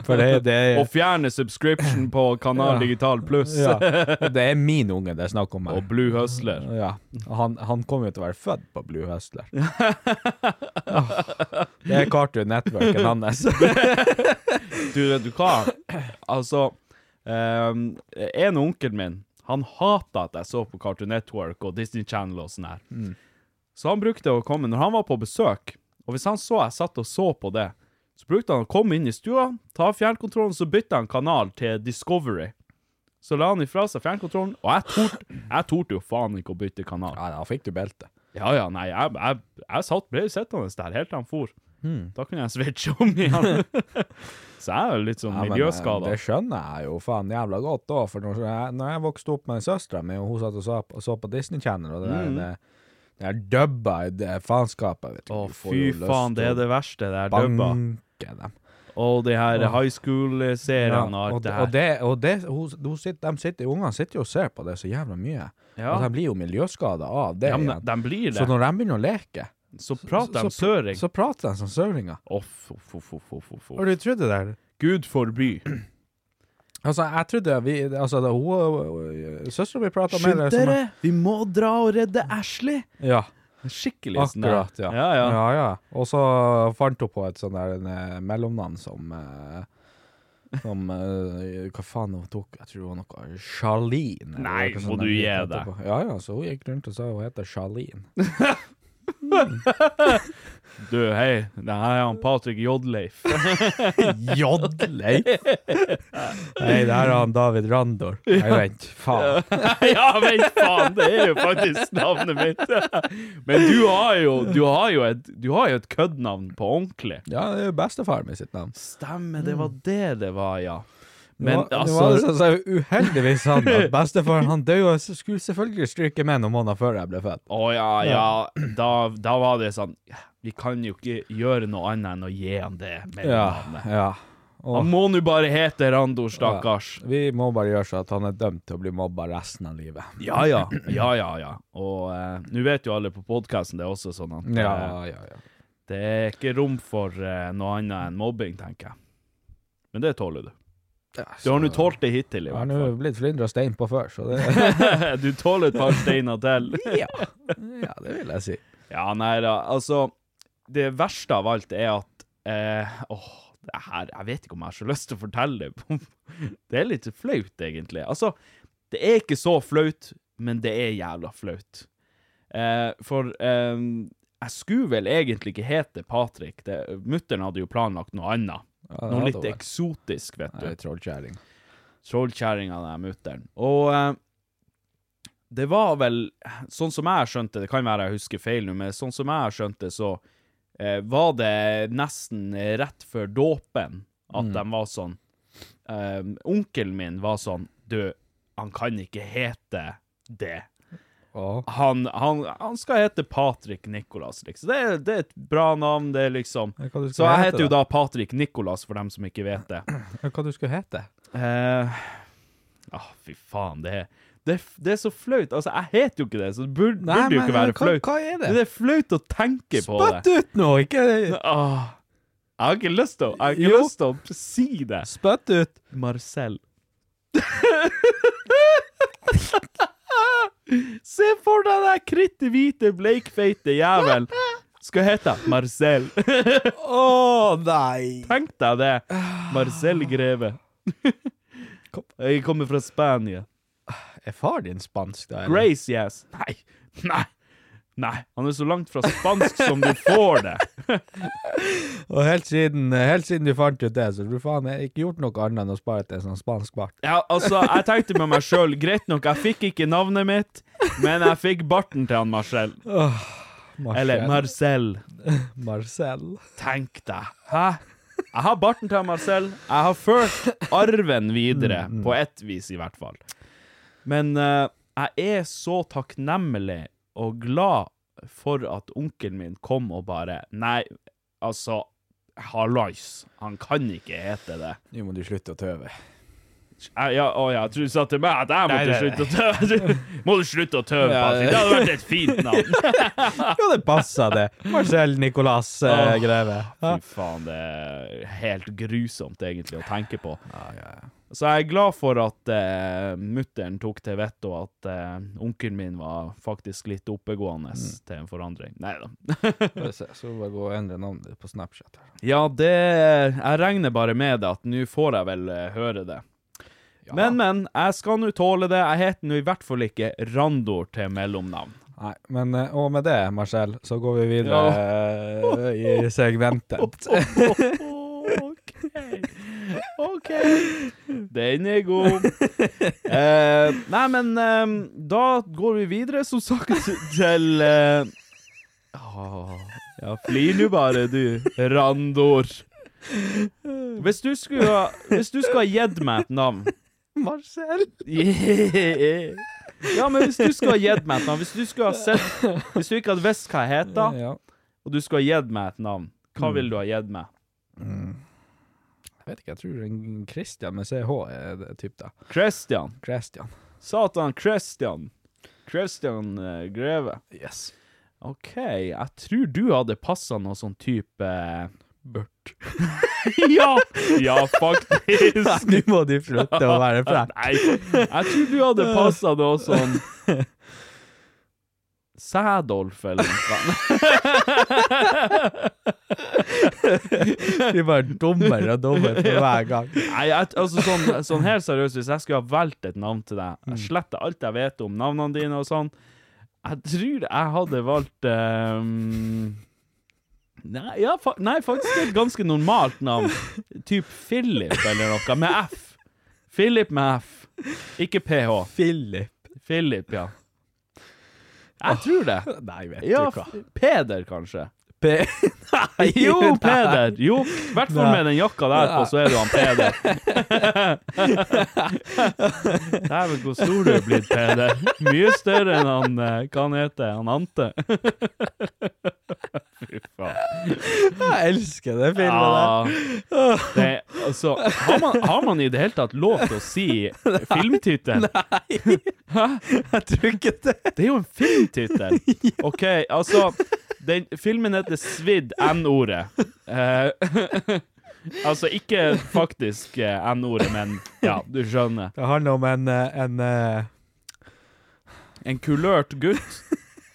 Speaker 5: For det, det,
Speaker 3: Å fjerne subscription på Kanal
Speaker 5: Ja.
Speaker 3: Digital Pluss
Speaker 5: ja, det er min unge det er snakk om
Speaker 3: og
Speaker 5: her.
Speaker 3: Blue Hustler.
Speaker 5: Ja, han, han kommer jo til å være født på Blue Hustler. Åh, Det er Cartoon Networken hans.
Speaker 3: Du vet du hva? Altså, um, en onkel min, han hatet at jeg så på Cartoon Network og Disney Channel og sånn her. Så han brukte å komme, når han var på besøk, og hvis han så jeg satt og så på det, så brukte han å komme inn i stua, ta fjernkontrollen, så bytte han kanal til Discovery. Så la han ifra seg fjernkontrollen, og jeg torde jeg torde jo faen ikke å bytte kanal.
Speaker 5: Ja, da fikk du belte.
Speaker 3: Ja, ja, nei, jeg, jeg, jeg satt ble sittende der helt til han for.
Speaker 5: Hmm.
Speaker 3: Da kunne jeg switche om igjen. så jeg er jo litt sånn
Speaker 5: Ja, men, eh,
Speaker 3: miljøskada.
Speaker 5: Det skjønner jeg jo faen jævla godt da, for når jeg, når jeg vokste opp med søstera mi, og hun satt og så, og så på Disney Channel, og det
Speaker 3: Mm.
Speaker 5: der, det, det der dubba i det faenskapet, vet du.
Speaker 3: Å,
Speaker 5: Du får
Speaker 3: fy
Speaker 5: jo lyst
Speaker 3: faen, det
Speaker 5: til
Speaker 3: er det verste, det
Speaker 5: å
Speaker 3: er dubba.
Speaker 5: Banke dem.
Speaker 3: Og de her
Speaker 5: Åh.
Speaker 3: high school-seriene og
Speaker 5: og,
Speaker 3: alt det
Speaker 5: og
Speaker 3: her.
Speaker 5: det, og det hun, hun sitter, de sitter, Ungene sitter jo og ser på det så jævla mye,
Speaker 3: Ja.
Speaker 5: og de blir jo miljøskada av det.
Speaker 3: Ja, men
Speaker 5: igjen.
Speaker 3: de blir
Speaker 5: så
Speaker 3: det.
Speaker 5: når de begynner å leke,
Speaker 3: Så prater de søring.
Speaker 5: så prater de som søringer.
Speaker 3: Off, off, off, off, off, off,
Speaker 5: Har
Speaker 3: off.
Speaker 5: du trodd det der?
Speaker 3: Gud forby.
Speaker 5: Altså, jeg trodde vi Altså, det- hun øh, Søstera mi prata med
Speaker 3: Skynd dere! Vi må dra og redde Ashley!
Speaker 5: Ja.
Speaker 3: Skikkelig sånn der.
Speaker 5: Akkurat, ja.
Speaker 3: Ja, ja.
Speaker 5: Og så fant hun på et sånn der en, eh, mellomnavn som eh, Som eh, Hva faen hun tok? Jeg tror det var noe Charlene. eller
Speaker 3: Nei,
Speaker 5: noe
Speaker 3: må
Speaker 5: sånt
Speaker 3: du
Speaker 5: der
Speaker 3: gi
Speaker 5: etterpå.
Speaker 3: deg.
Speaker 5: Ja ja, så hun gikk rundt og sa hun heter Charlene.
Speaker 3: Du, hei, det her er han Patrick Jodleif.
Speaker 4: Jodleif? Nei, det her er han David Randor. Nei, vent. Faen.
Speaker 3: ja, men faen, det er jo faktisk navnet mitt. Men du har jo, du har jo et, du har jo et køddnavn på ordentlig.
Speaker 4: Ja, det er jo bestefaren min sitt navn.
Speaker 3: Stemmer, det var det det var, ja.
Speaker 4: Men
Speaker 3: Men
Speaker 4: det var
Speaker 3: altså
Speaker 4: altså så uheldigvis han at bestefaren han døde, og så skulle selvfølgelig stryke med noen måneder før jeg ble født.
Speaker 3: Å ja, ja. Da, da var det sånn Vi kan jo ikke gjøre noe annet enn å gi han det mellomnavnet.
Speaker 4: ja.
Speaker 3: Han må nå bare hete Randor, stakkars.
Speaker 4: Vi må bare gjøre så at han er dømt til å bli mobba resten av livet.
Speaker 3: Ja, ja. Ja, ja, ja. Og eh, nå vet jo alle på podkasten det er også sånn at
Speaker 4: Ja,
Speaker 3: eh,
Speaker 4: ja, ja.
Speaker 3: det er ikke rom for eh, noe annet enn mobbing, tenker jeg. Men det tåler du. Du har nå tålt det hittil, i
Speaker 4: Jeg har
Speaker 3: hvert
Speaker 4: nå
Speaker 3: fall.
Speaker 4: blitt flyndra stein på før, så det
Speaker 3: Du tåler et par steiner til.
Speaker 4: ja. ja, det vil jeg si.
Speaker 3: Ja, nei da, altså Det verste av alt er at eh, Åh, det her Jeg vet ikke om jeg har så lyst til å fortelle det. det er litt flaut, egentlig. Altså, det er ikke så flaut, men det er jævla flaut. Eh, for eh, jeg skulle vel egentlig ikke hete Patrick. Mutter'n hadde jo planlagt noe annet.
Speaker 4: Ja,
Speaker 3: Noe
Speaker 4: det
Speaker 3: litt
Speaker 4: var-
Speaker 3: eksotisk, vet
Speaker 4: Nei,
Speaker 3: du.
Speaker 4: det er trollkjerring.
Speaker 3: Trollkjerringa, den mutter'n. Og eh, det var vel Sånn som jeg skjønte det, kan være jeg husker feil nå, men sånn som jeg skjønte så eh, var det nesten rett før dåpen at
Speaker 4: Mm.
Speaker 3: de var sånn eh, Onkelen min var sånn Du, han kan ikke hete det.
Speaker 4: Å.
Speaker 3: Han, han, han skal hete Patrick Nicholas, liksom. Det er, det er et bra navn, det er liksom
Speaker 4: Ja, hva du
Speaker 3: Så
Speaker 4: skal
Speaker 3: jeg
Speaker 4: hete
Speaker 3: heter jo
Speaker 4: da?
Speaker 3: da Patrick Nicholas, for dem som ikke vet det.
Speaker 4: Hva du skulle hete?
Speaker 3: Eh, ah, fy faen, det er, det, er- det er så flaut. Altså, jeg heter jo ikke det, så det burde,
Speaker 4: Nei,
Speaker 3: burde jo
Speaker 4: men
Speaker 3: ikke være
Speaker 4: hva-
Speaker 3: flaut.
Speaker 4: hva er det?
Speaker 3: Men det er flaut å tenke på
Speaker 4: Spytt
Speaker 3: det.
Speaker 4: ut nå, ikke
Speaker 3: Ah, jeg har ikke lyst til å, jeg har ikke
Speaker 4: Jo.
Speaker 3: lyst til å si det.
Speaker 4: Spytt ut!
Speaker 3: Marcel. Se for deg den kritte hvite, bleikfeite jævel. Skal hete Marcel.
Speaker 4: Å nei!
Speaker 3: Tenk deg det. Marcel Greve. Jeg kommer fra Spania.
Speaker 4: Er far din spansk, da? eller?
Speaker 3: Grace, yes. Nei, nei, nei. Han er så langt fra spansk som du får det.
Speaker 4: Og helt siden, helt siden du fant ut det, så du faen jeg har ikke gjort noe annet enn å spare til en sånn spansk bart.
Speaker 3: Ja, altså, jeg tenkte med meg sjøl, greit nok, jeg fikk ikke navnet mitt, men jeg fikk barten til han Marcel. Eller Marcel.
Speaker 4: Marcel.
Speaker 3: Tenk deg. Hæ? Jeg har barten til han Marcel. Jeg har ført arven videre,
Speaker 4: Mm,
Speaker 3: på ett vis i hvert fall. Men eh, jeg er så takknemlig og glad for at onkelen min kom og bare Nei, altså, hallais. Han kan ikke hete det.
Speaker 4: Nå må du slutte å tøve.
Speaker 3: Jeg, ja, å ja, jeg trodde du sa til meg at jeg måtte
Speaker 4: Nei, nei,
Speaker 3: slutte å tøve. Må du slutte å tøve,
Speaker 4: Ja,
Speaker 3: Patrick? Det hadde vært et fint navn.
Speaker 4: Ja, det passa, det. Marcel Nicolas eh,
Speaker 3: Åh.
Speaker 4: Greve.
Speaker 3: Fy faen, det er helt grusomt egentlig å tenke på. Så jeg er glad for at uh, mutteren tok til vettet, og at eh, onkelen min var faktisk litt oppegående til en forandring. Nei da.
Speaker 4: Skal vi se, Skal vi bare gå og endre navnet ditt på Snapchat. her.
Speaker 3: Ja, det Jeg regner bare med det, at nå får jeg vel eh, høre det. Men, men. Jeg skal nå tåle det. Jeg heter nå i hvert fall ikke Randor til mellomnavn.
Speaker 4: Nei, men, eh, og med det, Marcel, så går vi videre eh, i segmentet.
Speaker 3: OK. OK. Den er god. Eh, nei, men eh, da går vi videre, som sagt, til eh, åh, Ja, flir nå bare, du, Randor. Hvis du skulle ha, hvis du skulle ha gitt meg et navn
Speaker 4: Marcel!
Speaker 3: Ja, men hvis du skulle ha gitt meg et navn Hvis du skulle ha sett Hvis du ikke hadde visst hva jeg heter,
Speaker 4: Ja. Mm.
Speaker 3: og du skulle ha gitt meg et navn, hva ville du ha gitt meg?
Speaker 4: Jeg vet ikke, jeg tror en Christian med CH er det typ da.
Speaker 3: Christian.
Speaker 4: Christian.
Speaker 3: Satan Christian. Christian eh, Greve.
Speaker 4: Yes.
Speaker 3: OK, jeg tror du hadde passa noe sånn type Burt. ja! Ja, faktisk.
Speaker 4: Nå må du slutte å være frekk.
Speaker 3: Nei, jeg tror du hadde passa noe sånn Sædolf, eller noe sånt.
Speaker 4: Du er bare dummere og dummere for hver gang.
Speaker 3: Nei, jeg, altså sånn, sånn helt seriøst, hvis jeg skulle ha valgt et navn til deg
Speaker 4: Mm.
Speaker 3: Jeg sletter alt jeg vet om navnene dine og sånn. Jeg tror jeg hadde valgt eh, ehm, Nei, ja, fa nei, faktisk et ganske normalt navn. Typ Philip eller noe, med F. Philip med F. Ikke PH.
Speaker 4: Philip.
Speaker 3: Philip, ja. Jeg tror det.
Speaker 4: Nei, vet
Speaker 3: Ja,
Speaker 4: du hva.
Speaker 3: f- Peder, kanskje.
Speaker 4: P nei,
Speaker 3: Jo,
Speaker 4: nei.
Speaker 3: Peder! Jo, i hvert fall med den jakka der på, så er du han Peder. Dæven, hvor stor du er blitt, Peder. Mye større enn han eh, Hva han heter han? Ante? Fy faen.
Speaker 4: Jeg elsker det filmet
Speaker 3: Ja.
Speaker 4: der.
Speaker 3: Det, altså, har man, har man i det hele tatt lov til å si filmtittel?
Speaker 4: Jeg tror ikke det.
Speaker 3: Det er jo en filmtittel! OK, altså den, Filmen heter Svidd N-ordet. Eh, altså ikke faktisk eh, N-ordet, men ja, du skjønner.
Speaker 4: Det handler om en, eh, en eh,
Speaker 3: En kulørt gutt.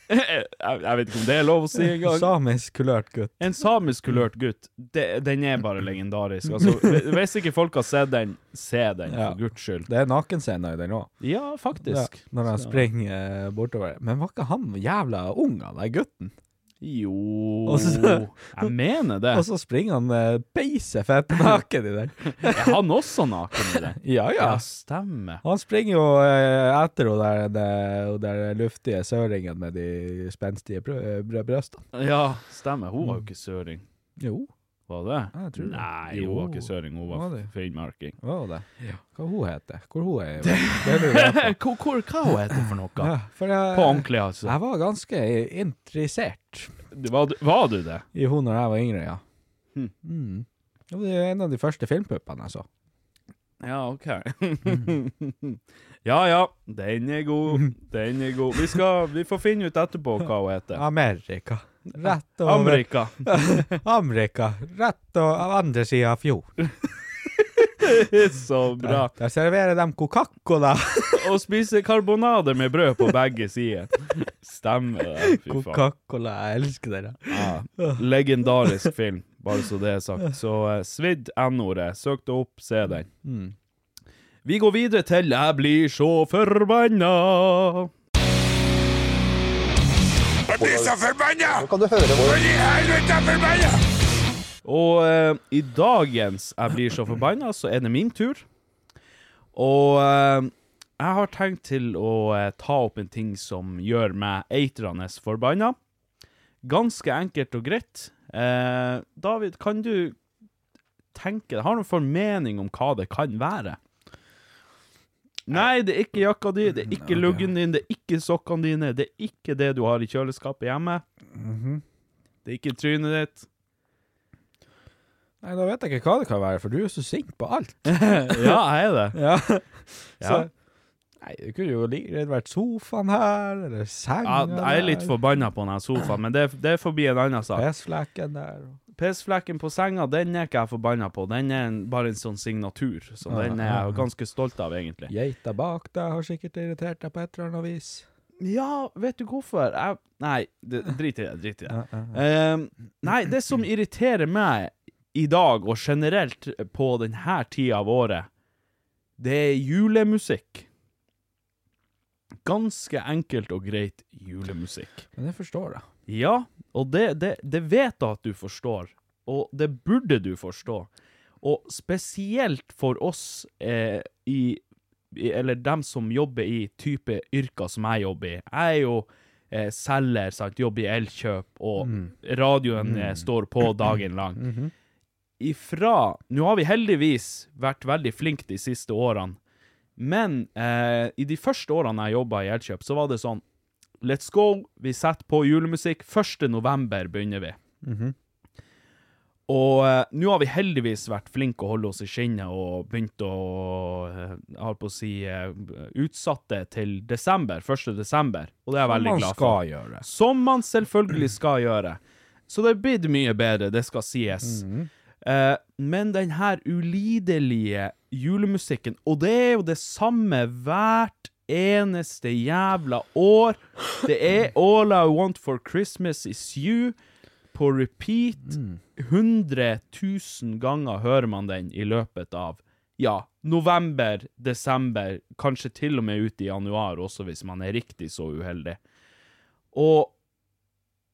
Speaker 3: jeg, jeg vet ikke om det er lov å si engang.
Speaker 4: samisk kulørt gutt.
Speaker 3: En samisk kulørt gutt, det, den er bare legendarisk. Altså, hvis ikke folk har sett den, se den,
Speaker 4: Ja.
Speaker 3: for guds skyld.
Speaker 4: Det er nakenscener i den òg.
Speaker 3: Ja, faktisk.
Speaker 4: Når han
Speaker 3: Så-
Speaker 4: springer eh, bortover. Men var ikke han jævla ung, han der gutten?
Speaker 3: Jo
Speaker 4: Og så-
Speaker 3: Jeg mener det.
Speaker 4: Og så springer han eh, beise fett naken i den.
Speaker 3: Er han også naken i det?
Speaker 4: Ja, ja.
Speaker 3: Ja, stemmer.
Speaker 4: Han springer jo eh, etter hun der, det- hun der luftige søringen med de spenstige brø brø brøstene.
Speaker 3: Ja, stemmer. Hun var jo ikke søring.
Speaker 4: Jo,
Speaker 3: Var det?
Speaker 4: Jeg tror det.
Speaker 3: Nei, hun var ikke
Speaker 4: Jo.
Speaker 3: søring. Hun
Speaker 4: Var
Speaker 3: var
Speaker 4: det?
Speaker 3: finnmarking.
Speaker 4: hva var det? Hva hun heter Hvor hun er? Det lurer jeg på.
Speaker 3: Hva, hva, hva hun heter for noe?
Speaker 4: Ja, for jeg,
Speaker 3: På ordentlig, altså.
Speaker 4: Jeg var ganske interessert
Speaker 3: Du- Var, du- var du det?
Speaker 4: i henne når jeg var yngre, ja.
Speaker 3: Hmm.
Speaker 4: Mm. Det var en av de første filmpuppene jeg så. Mm.
Speaker 3: Ja, OK. ja ja, den er god. Den er god. Vi, skal, vi får finne ut etterpå hva hun heter.
Speaker 4: Amerika. Rett over
Speaker 3: Amerika.
Speaker 4: Amerika. Rett over andre sida av fjorden.
Speaker 3: Så bra.
Speaker 4: Der serverer de Coca-Cola.
Speaker 3: Og spise karbonade med brød på begge sider. Stemmer det. Fy faen.
Speaker 4: Coca-Cola, jeg elsker dere.
Speaker 3: Legendarisk film, bare så det er sagt. Så eh, svidd N-ordet. Søk det opp, se den. Vi går videre til Jeg blir så forbanna. Og eh, i dagens Jeg blir så forbanna, så er det min tur. Og eh, jeg har tenkt til å eh, ta opp en ting som gjør meg eitrende forbanna. Ganske enkelt og greit. Eh, David, kan du tenke Har du noen formening om hva det kan være? Nei, det er ikke jakka di, det er ikke luggen din, det er ikke sokkene dine, det er ikke det du har i kjøleskapet hjemme. Mhm. Det er ikke trynet ditt.
Speaker 4: Nei, da vet jeg ikke hva det kan være, for du er så sint på alt.
Speaker 3: Ja, jeg er det.
Speaker 4: Ja. Så,
Speaker 3: Ja.
Speaker 4: nei, det kunne jo like greit vært sofaen her, eller senga
Speaker 3: Ja, jeg er litt forbanna på denne sofaen, men det, det er forbi en annen sak.
Speaker 4: Pissflekken der.
Speaker 3: Pissflekken på senga, den er ikke jeg forbanna på. Den er en, bare en sånn signatur, så den er jeg ganske stolt av, egentlig.
Speaker 4: Geita bak deg har sikkert irritert deg på et eller annet vis.
Speaker 3: Ja, vet du hvorfor? Jeg Nei, det, drit i det. Drit i det.
Speaker 4: ja,
Speaker 3: Ehm, nei, det som irriterer meg i dag, og generelt på denne tida av året, det er julemusikk. Ganske enkelt og greit julemusikk.
Speaker 4: Men det forstår jeg.
Speaker 3: Ja, og det, det, det vet jeg at du forstår, og det burde du forstå. Og spesielt for oss eh, i, i Eller dem som jobber i type yrker som jeg jobber i. Jeg er jo eh, selger, sant, jobber i Elkjøp, og radioen eh, står på dagen lang. Ifra Nå har vi heldigvis vært veldig flinke de siste årene, men eh, i de første årene jeg jobba i Elkjøp, så var det sånn Let's go. Vi setter på julemusikk. 1. november begynner vi. Og eh, nå har vi heldigvis vært flinke å holde oss i skinnet og begynt å eh, Jeg holdt på å si eh, utsatte til desember. 1. desember. Og det er jeg veldig glad for.
Speaker 4: skal gjøre.
Speaker 3: Som man selvfølgelig skal gjøre. Så det er blitt mye bedre, det skal sies.
Speaker 4: Mhm.
Speaker 3: Eh, men den her ulidelige julemusikken, og det er jo det samme hvert eneste jævla år. Det er All I Want for Christmas Is You på repeat. 100 000 ganger hører man den i løpet av ja, november, desember, kanskje til og med ut i januar også, hvis man er riktig så uheldig. Og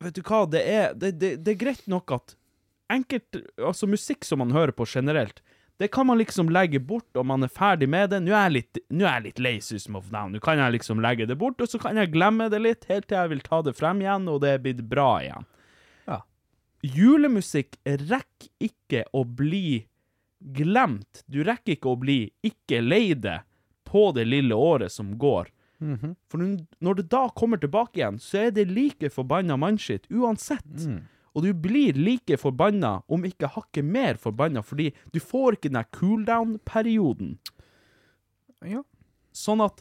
Speaker 3: Vet du hva, det er, det, det, det er greit nok at enkelt Altså, musikk som man hører på generelt, det kan man liksom legge bort om man er ferdig med det. Nå er jeg litt, nå er jeg litt lei System of a Down. Nå kan jeg liksom legge det bort, og så kan jeg glemme det litt, helt til jeg vil ta det frem igjen, og det er blitt bra igjen.
Speaker 4: Ja.
Speaker 3: Julemusikk rekker ikke å bli glemt. Du rekker ikke å bli ikke lei det på det lille året som går. For n- når det da kommer tilbake igjen, så er det like forbanna mannskitt uansett. Og du blir like forbanna, om ikke hakket mer forbanna, fordi du får ikke den der cooldown-perioden.
Speaker 4: Ja.
Speaker 3: Sånn at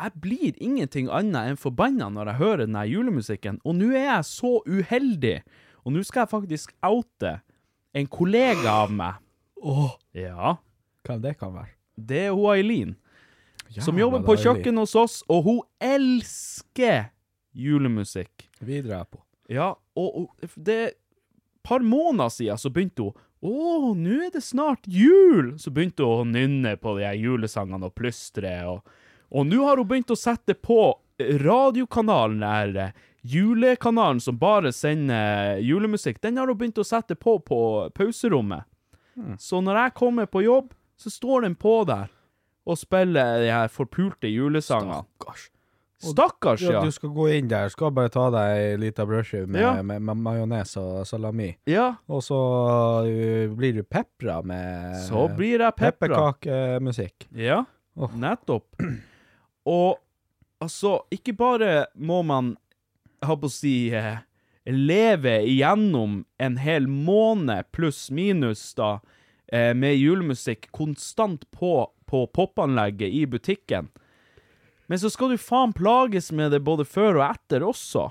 Speaker 3: jeg blir ingenting annet enn forbanna når jeg hører denne julemusikken. Og nå er jeg så uheldig, og nå skal jeg faktisk oute en kollega av meg. Åh. Ja.
Speaker 4: Hva det kan være?
Speaker 3: Det er hun Eileen, som
Speaker 4: Jævla
Speaker 3: jobber på
Speaker 4: deilig.
Speaker 3: kjøkkenet hos oss, og hun elsker julemusikk.
Speaker 4: Vi drar på.
Speaker 3: Ja, og, og det er et par måneder siden så begynte hun Å, nå er det snart jul! Så begynte hun å nynne på de her julesangene og plystre. Og, og nå har hun begynt å sette på radiokanalen der eh, julekanalen som bare sender eh, julemusikk. Den har hun begynt å sette på på pauserommet.
Speaker 4: Hmm.
Speaker 3: Så når jeg kommer på jobb, så står den på der og spiller de her forpulte julesangene.
Speaker 4: Stakkars.
Speaker 3: Stakkars,
Speaker 4: Ja,
Speaker 3: ja.
Speaker 4: du skal gå inn der, skal bare ta deg ei lita brødskive med,
Speaker 3: Ja.
Speaker 4: med, med majones og salami.
Speaker 3: Ja,
Speaker 4: Og så ø, blir du pepra med
Speaker 3: så blir jeg pepra.
Speaker 4: pepperkakemusikk.
Speaker 3: Ja,
Speaker 4: Åh.
Speaker 3: nettopp. Og altså, ikke bare må man, jeg holdt på å si, eh, leve igjennom en hel måned pluss minus da, eh, med julemusikk konstant på, på popanlegget i butikken. Men så skal du faen plages med det både før og etter også.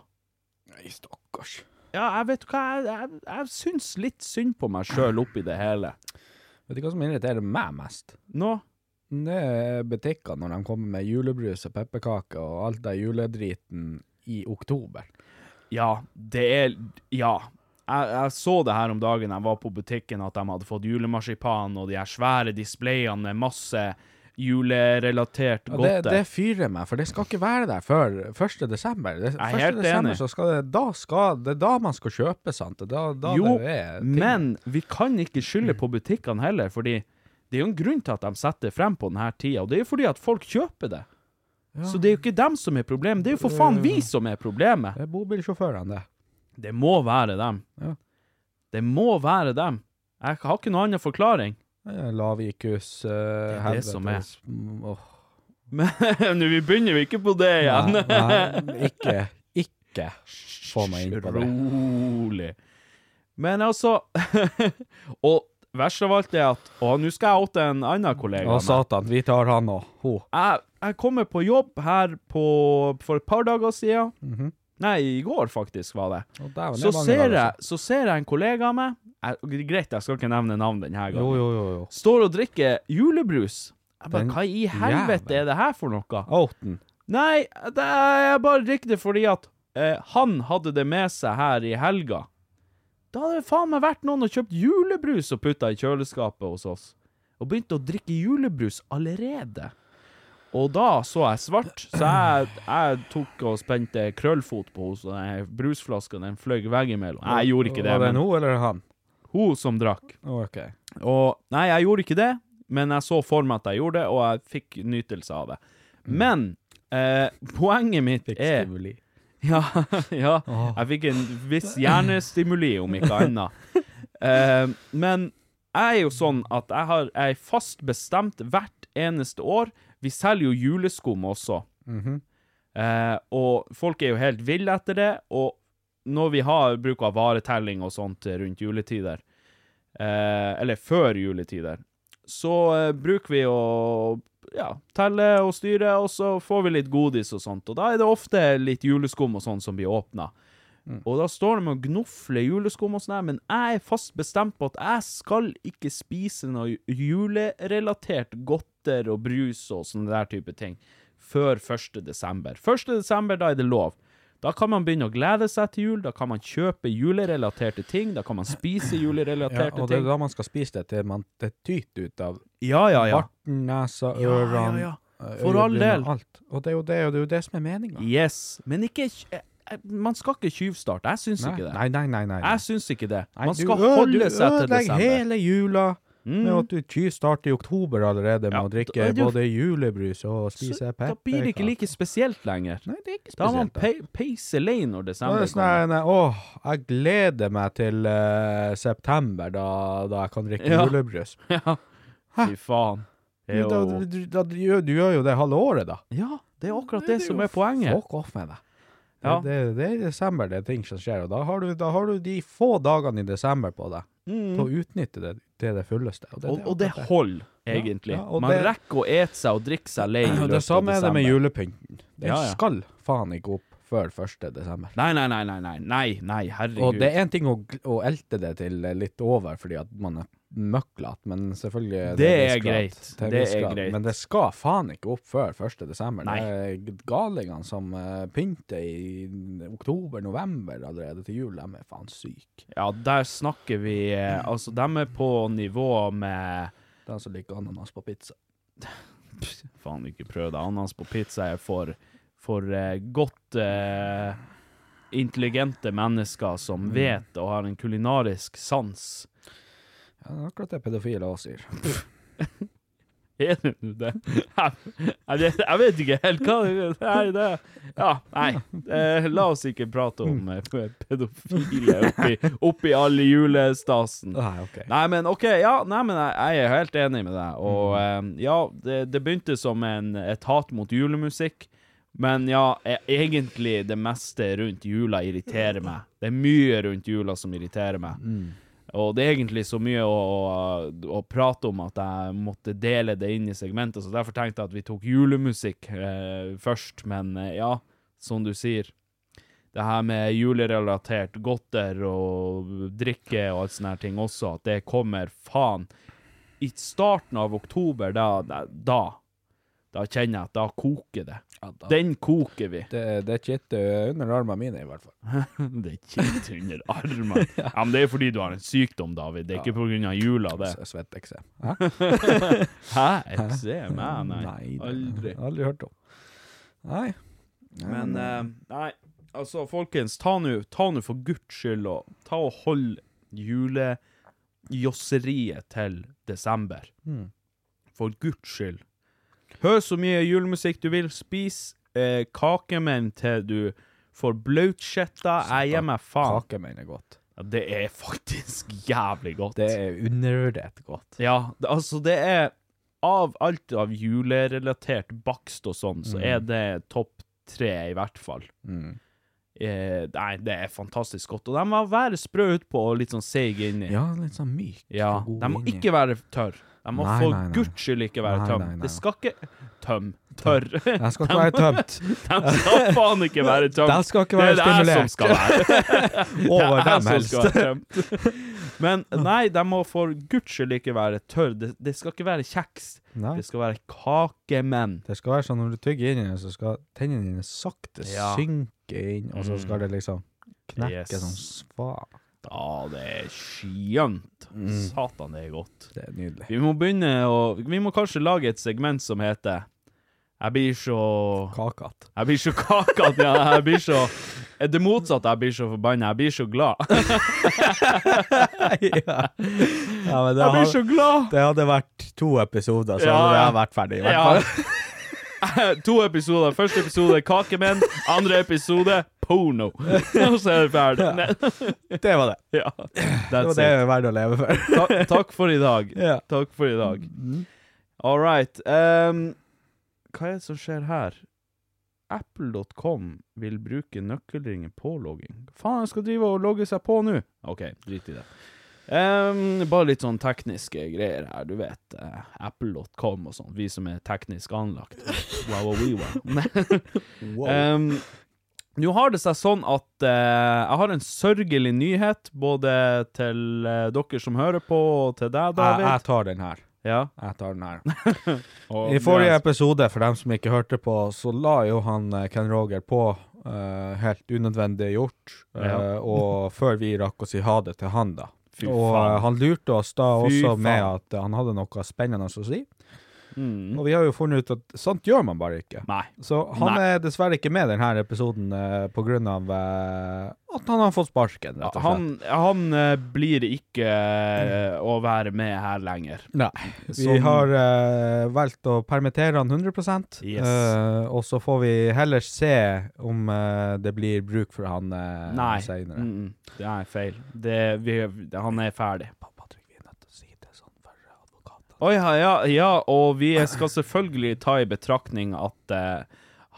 Speaker 4: Nei, stakkars.
Speaker 3: Ja, jeg vet hva, jeg, jeg, jeg syns litt synd på meg sjøl oppi det hele.
Speaker 4: Vet du hva som irriterer meg mest?
Speaker 3: Nå,
Speaker 4: Det er butikker når de kommer med julebrus og pepperkaker og alt det juledriten i oktober.
Speaker 3: Ja, det er Ja. Jeg, jeg så det her om dagen jeg var på butikken, at de hadde fått julemarsipan og de her svære displayene med masse julerelatert
Speaker 4: Og det,
Speaker 3: godte.
Speaker 4: det fyrer meg, for det skal ikke være der før 1. desember. Det, 1.
Speaker 3: er helt
Speaker 4: desember
Speaker 3: enig.
Speaker 4: så skal det, da skal, det er da man skal kjøpe, sant? Det er Da, da
Speaker 3: jo,
Speaker 4: det er ting. Mm.
Speaker 3: men vi kan ikke skylde på butikkene heller, fordi det er jo en grunn til at de setter frem på denne tida, og det er jo fordi at folk kjøper det. Så det er jo ikke dem som er problemet, det er jo for faen vi som er problemet.
Speaker 4: Det er bobilsjåførene, det.
Speaker 3: Det må være dem.
Speaker 4: Ja.
Speaker 3: Det må være dem. Jeg har ikke noen annen forklaring.
Speaker 4: det er lav IQ-s uh,
Speaker 3: er det som er.
Speaker 4: Åh,
Speaker 3: Men nå, vi begynner jo ikke på det igjen.
Speaker 4: nei, nei, ikke, ikke få meg inn på det.
Speaker 3: Rolig. Men altså Og verst av alt er at Og nå skal jeg åte en annen kollega.
Speaker 4: Å,
Speaker 3: av meg.
Speaker 4: satan, vi tar han og ho.
Speaker 3: jeg, jeg kommer på jobb her på, for et par dager siden. Nei, i går faktisk var det.
Speaker 4: Mhm. Å, dæven, det er
Speaker 3: Så
Speaker 4: mange
Speaker 3: ser,
Speaker 4: dager
Speaker 3: jeg, så ser jeg en kollega av meg jeg, Greit, jeg skal ikke nevne navn denne gangen.
Speaker 4: siden. Jo, jo, jo. jo.
Speaker 3: Står og drikker julebrus. Jeg bare,
Speaker 4: Den
Speaker 3: Hva i helvete
Speaker 4: jævel.
Speaker 3: er det her for noe?
Speaker 4: Outen.
Speaker 3: Nei, det er, jeg bare drikker det fordi at eh, han hadde det med seg her i helga. Da hadde det faen meg vært noen og kjøpt julebrus og putta i kjøleskapet hos oss. Og begynte å drikke julebrus allerede. Og da så jeg svart, så jeg, jeg tok og spente krøllfot på henne, så den brusflaska den fløy veggimellom. Nei, Jeg gjorde ikke det,
Speaker 4: Var det
Speaker 3: men
Speaker 4: nå eller han?
Speaker 3: hun som drakk.
Speaker 4: Å, Ok.
Speaker 3: Og nei, jeg gjorde ikke det, men jeg så for meg at jeg gjorde det, og jeg fikk nytelse av det. Men eh, poenget mitt
Speaker 4: Mm. Fikk
Speaker 3: er
Speaker 4: stimuli.
Speaker 3: ja, ja. Jeg fikk en viss hjernestimuli, om ikke annet. Eh, men jeg er jo sånn at jeg har jeg er fast bestemt hvert eneste år. Vi selger jo juleskum også.
Speaker 4: Mhm.
Speaker 3: Eh, og folk er jo helt ville etter det. Og når vi har bruk av varetelling og sånt rundt juletider, eh, eller før juletider, så eh, bruker vi å ja, telle og styre, og så får vi litt godis og sånt. Og da er det ofte litt juleskum og sånt som blir åpna.
Speaker 4: Mm.
Speaker 3: Og da står de og gnofler juleskum og sånn her, men jeg er fast bestemt på at jeg skal ikke spise noe julerelatert godter og brus og sånne der type ting før 1. desember. 1. desember, da er det lov. Da kan man begynne å glede seg til jul, da kan man kjøpe julerelaterte ting, da kan man spise
Speaker 4: Ja,
Speaker 3: julerelaterte
Speaker 4: og det er
Speaker 3: ting.
Speaker 4: da man skal spise det til man det tyter ut av
Speaker 3: Ja, ja, ja.
Speaker 4: barten, nesa,
Speaker 3: Ja, ja,
Speaker 4: ørene
Speaker 3: ja.
Speaker 4: eh,
Speaker 3: For all
Speaker 4: øyebrynene,
Speaker 3: del.
Speaker 4: Alt. Og det er jo det, og det, er jo det som er meninga.
Speaker 3: Yes, men ikke kj- jeg- Man skal ikke tjuvstarte. Jeg syns
Speaker 4: Nei,
Speaker 3: ikke det.
Speaker 4: nei, nei. nei, nei.
Speaker 3: Jeg syns ikke det.
Speaker 4: Nei,
Speaker 3: Man
Speaker 4: du
Speaker 3: skal
Speaker 4: ø-
Speaker 3: holde seg til
Speaker 4: Du ødelegger
Speaker 3: desember.
Speaker 4: hele jula med
Speaker 3: Mm.
Speaker 4: at du tyvstarter i oktober allerede med
Speaker 3: Ja,
Speaker 4: å
Speaker 3: da
Speaker 4: drikke
Speaker 3: er det jo-
Speaker 4: både julebrus og spise
Speaker 3: Så
Speaker 4: pepperkaker.
Speaker 3: da blir det ikke like spesielt lenger.
Speaker 4: Nei, det er ikke
Speaker 3: Da har man pe
Speaker 4: spesielt.
Speaker 3: pace lei når
Speaker 4: Da er
Speaker 3: desember
Speaker 4: det sånn her, nei, åh, jeg gleder meg til eh, september, da, da jeg kan drikke
Speaker 3: Ja.
Speaker 4: julebrus.
Speaker 3: Ja. Fy faen. Det er
Speaker 4: Men Da,
Speaker 3: jo-
Speaker 4: du, da, du, gjør- du gjør jo det halve året, da.
Speaker 3: Ja, det er akkurat
Speaker 4: Det er
Speaker 3: det som
Speaker 4: jo
Speaker 3: er poenget.
Speaker 4: Fuck off med deg.
Speaker 3: Ja.
Speaker 4: Det, det, det er i desember det er ting som skjer, og da har du, da har du de få dagene i desember på deg til å utnytte det til det fulleste. Og det,
Speaker 3: Og, og det holder, egentlig.
Speaker 4: ja, og
Speaker 3: Man
Speaker 4: det-
Speaker 3: rekker å ete seg og drikke seg lei i løpet av
Speaker 4: Og det samme er det med
Speaker 3: desember.
Speaker 4: julepynten. Den
Speaker 3: Ja, ja.
Speaker 4: skal faen ikke opp før 1. desember.
Speaker 3: Nei, nei, nei, nei, nei, nei, nei herregud.
Speaker 4: Og det er en ting å, gl- å elte det til eh, litt over fordi at man er møkklete, men selvfølgelig
Speaker 3: Det
Speaker 4: til en
Speaker 3: er
Speaker 4: viss grad-
Speaker 3: greit.
Speaker 4: til en
Speaker 3: Det
Speaker 4: viss
Speaker 3: er
Speaker 4: grad.
Speaker 3: greit.
Speaker 4: Men det skal faen ikke opp før 1. desember.
Speaker 3: Nei.
Speaker 4: Det er galingene som eh, pynter i oktober-november allerede til jul, de er faen syke.
Speaker 3: Ja, der snakker vi eh, Altså, de er på nivå med
Speaker 4: De som liker ananas på pizza.
Speaker 3: Faen, ikke prøv det. Ananas på pizza er for, for eh, godt eh, intelligente mennesker som vet og har en kulinarisk sans.
Speaker 4: Ja, det er akkurat det pedofile også sier.
Speaker 3: Er det nå det? Jeg, jeg, vet, jeg vet ikke helt hva det er. Det. Ja, nei. Eh, la oss ikke prate om eh, pedofile oppi, oppi all julestasen.
Speaker 4: Nei, ok.
Speaker 3: Nei, men ok, ja, nei, men jeg, jeg er helt enig med deg. Og
Speaker 4: Mm.
Speaker 3: eh, ja, det, det begynte som en, et hat mot julemusikk. Men ja, e- egentlig det meste rundt jula irriterer meg. Det er mye rundt jula som irriterer meg.
Speaker 4: Mm.
Speaker 3: Og det er egentlig så mye å, å, å prate om at jeg måtte dele det inn i segmenter, så derfor tenkte jeg at vi tok julemusikk eh, først. Men eh, ja, som du sier, det her med julerelatert godter og drikke og alt sånne her ting også, at det kommer faen i starten av oktober, da, da, da, da kjenner jeg at da koker det. Den koker vi.
Speaker 4: Det, det er ikke eh, under armene mine, i hvert fall.
Speaker 3: Det er kjipt under armene. Ja, men det er fordi du har en sykdom, David. Det er ikke på grunn av jula, det.
Speaker 4: S- Svetteksem. Hæ?
Speaker 3: Hæ? Eksem? Nei, nei.
Speaker 4: det-
Speaker 3: Aldri.
Speaker 4: Aldri hørt om. Nei. Nei,
Speaker 3: Men eh, nei, altså folkens, ta nå ta nå for guds skyld og ta og hold julejosseriet til desember.
Speaker 4: Hmm.
Speaker 3: For guds skyld. Hør så mye julemusikk du vil. Spis eh, kakemenn til du får blautskjetta. Jeg gir meg faen.
Speaker 4: Kakemenn er godt.
Speaker 3: Ja, det er faktisk jævlig godt.
Speaker 4: Det er undervurdert godt.
Speaker 3: Ja, det, altså det er Av alt av julerelatert bakst og sånn, så
Speaker 4: Mm.
Speaker 3: er det topp tre, i hvert fall. Eh, nei, det er fantastisk godt. Og de må være sprø utpå og litt sånn seig inni.
Speaker 4: Ja, litt sånn myk.
Speaker 3: Ja,
Speaker 4: god
Speaker 3: de må
Speaker 4: inni.
Speaker 3: ikke være tørr. De må
Speaker 4: Nei,
Speaker 3: for
Speaker 4: nei, nei.
Speaker 3: guds skyld ikke være
Speaker 4: Nei,
Speaker 3: tøm.
Speaker 4: nei, nei.
Speaker 3: Det skal ikke Tøm. Tørr.
Speaker 4: Den skal ikke være tømt.
Speaker 3: de skal faen ikke være tømt.
Speaker 4: Den skal ikke
Speaker 3: Det
Speaker 4: være
Speaker 3: er det jeg som
Speaker 4: stimulert.
Speaker 3: skal være
Speaker 4: Over
Speaker 3: jeg
Speaker 4: dem
Speaker 3: som
Speaker 4: helst.
Speaker 3: skal være tømt. Men nei, de må for guds skyld ikke være tørr. Det, det skal ikke være kjeks.
Speaker 4: Nei.
Speaker 3: Det skal være kakemenn.
Speaker 4: Det skal være sånn når du tygger inn i den, så skal tennene dine sakte
Speaker 3: Ja. Mm.
Speaker 4: synke inn, og så skal det liksom knekke
Speaker 3: Yes.
Speaker 4: sånn svakt.
Speaker 3: Ja, det er skjønt. Satan, det er godt.
Speaker 4: Mm. Det er nydelig.
Speaker 3: Vi må begynne å Vi må kanskje lage et segment som heter Jeg blir så
Speaker 4: Kakat.
Speaker 3: Jeg blir så kaka at jeg, jeg blir så Det motsatte. Jeg blir så forbanna. Jeg blir så glad.
Speaker 4: ja. ja, men det,
Speaker 3: Jeg blir
Speaker 4: har,
Speaker 3: så glad!
Speaker 4: det hadde vært to episoder, så
Speaker 3: Ja,
Speaker 4: hadde
Speaker 3: ja.
Speaker 4: jeg vært ferdig. i hvert
Speaker 3: Ja.
Speaker 4: fall.
Speaker 3: To episoder. Første episode kakemenn, andre episode porno. Og så er det ferdig. Nei,
Speaker 4: Det var det.
Speaker 3: Ja.
Speaker 4: Det var
Speaker 3: That's
Speaker 4: det
Speaker 3: it.
Speaker 4: er verdt å leve for.
Speaker 3: Ta takk for i dag.
Speaker 4: Ja.
Speaker 3: Takk for i dag. All right. ehm, hva er det som skjer her? Apple.com vil bruke nøkkelringer på logging. Faen, jeg skal drive og logge seg på nå! OK, drit i det. Ehm, bare litt sånn tekniske greier her, du vet. eh, Apple.com og sånn. Vi som er teknisk anlagt. Wow, wow, wow, wow.
Speaker 4: Eh,
Speaker 3: Ehm, Nå har det seg sånn at eh, jeg har en sørgelig nyhet, både til eh, dere som hører på, og til deg,
Speaker 4: Jeg,
Speaker 3: David.
Speaker 4: jeg tar den her.
Speaker 3: ja.
Speaker 4: Jeg tar den her.
Speaker 3: Og
Speaker 4: I forrige
Speaker 3: Johannes-
Speaker 4: episode, for dem som ikke hørte på, så la jo han eh, Ken Roger på eh, helt unødvendig gjort, eh,
Speaker 3: Ja.
Speaker 4: og før vi rakk å si ha det til han, da.
Speaker 3: Fy
Speaker 4: og eh,
Speaker 3: faen.
Speaker 4: han lurte oss da
Speaker 3: Fy
Speaker 4: også med
Speaker 3: faen.
Speaker 4: at eh, han hadde noe spennende å si.
Speaker 3: Mm.
Speaker 4: Og vi har jo funnet ut at sånt gjør man bare ikke.
Speaker 3: Nei.
Speaker 4: Så han
Speaker 3: Nei.
Speaker 4: er dessverre ikke med i denne episoden eh, på grunn av eh, at han har fått sparken, rett og slett.
Speaker 3: Han, han eh, blir ikke eh, å være med her lenger. Sånn-
Speaker 4: Nei. Vi
Speaker 3: Som-
Speaker 4: har eh, valgt å permittere han 100
Speaker 3: Yes.
Speaker 4: eh, og så får vi heller se om eh, det blir bruk for han uh,
Speaker 3: Nei.
Speaker 4: senere.
Speaker 3: Mm, mm. det er feil. Det, vi, han er ferdig. sånn Å ja, ja, ja, og vi skal selvfølgelig ta i betraktning at eh,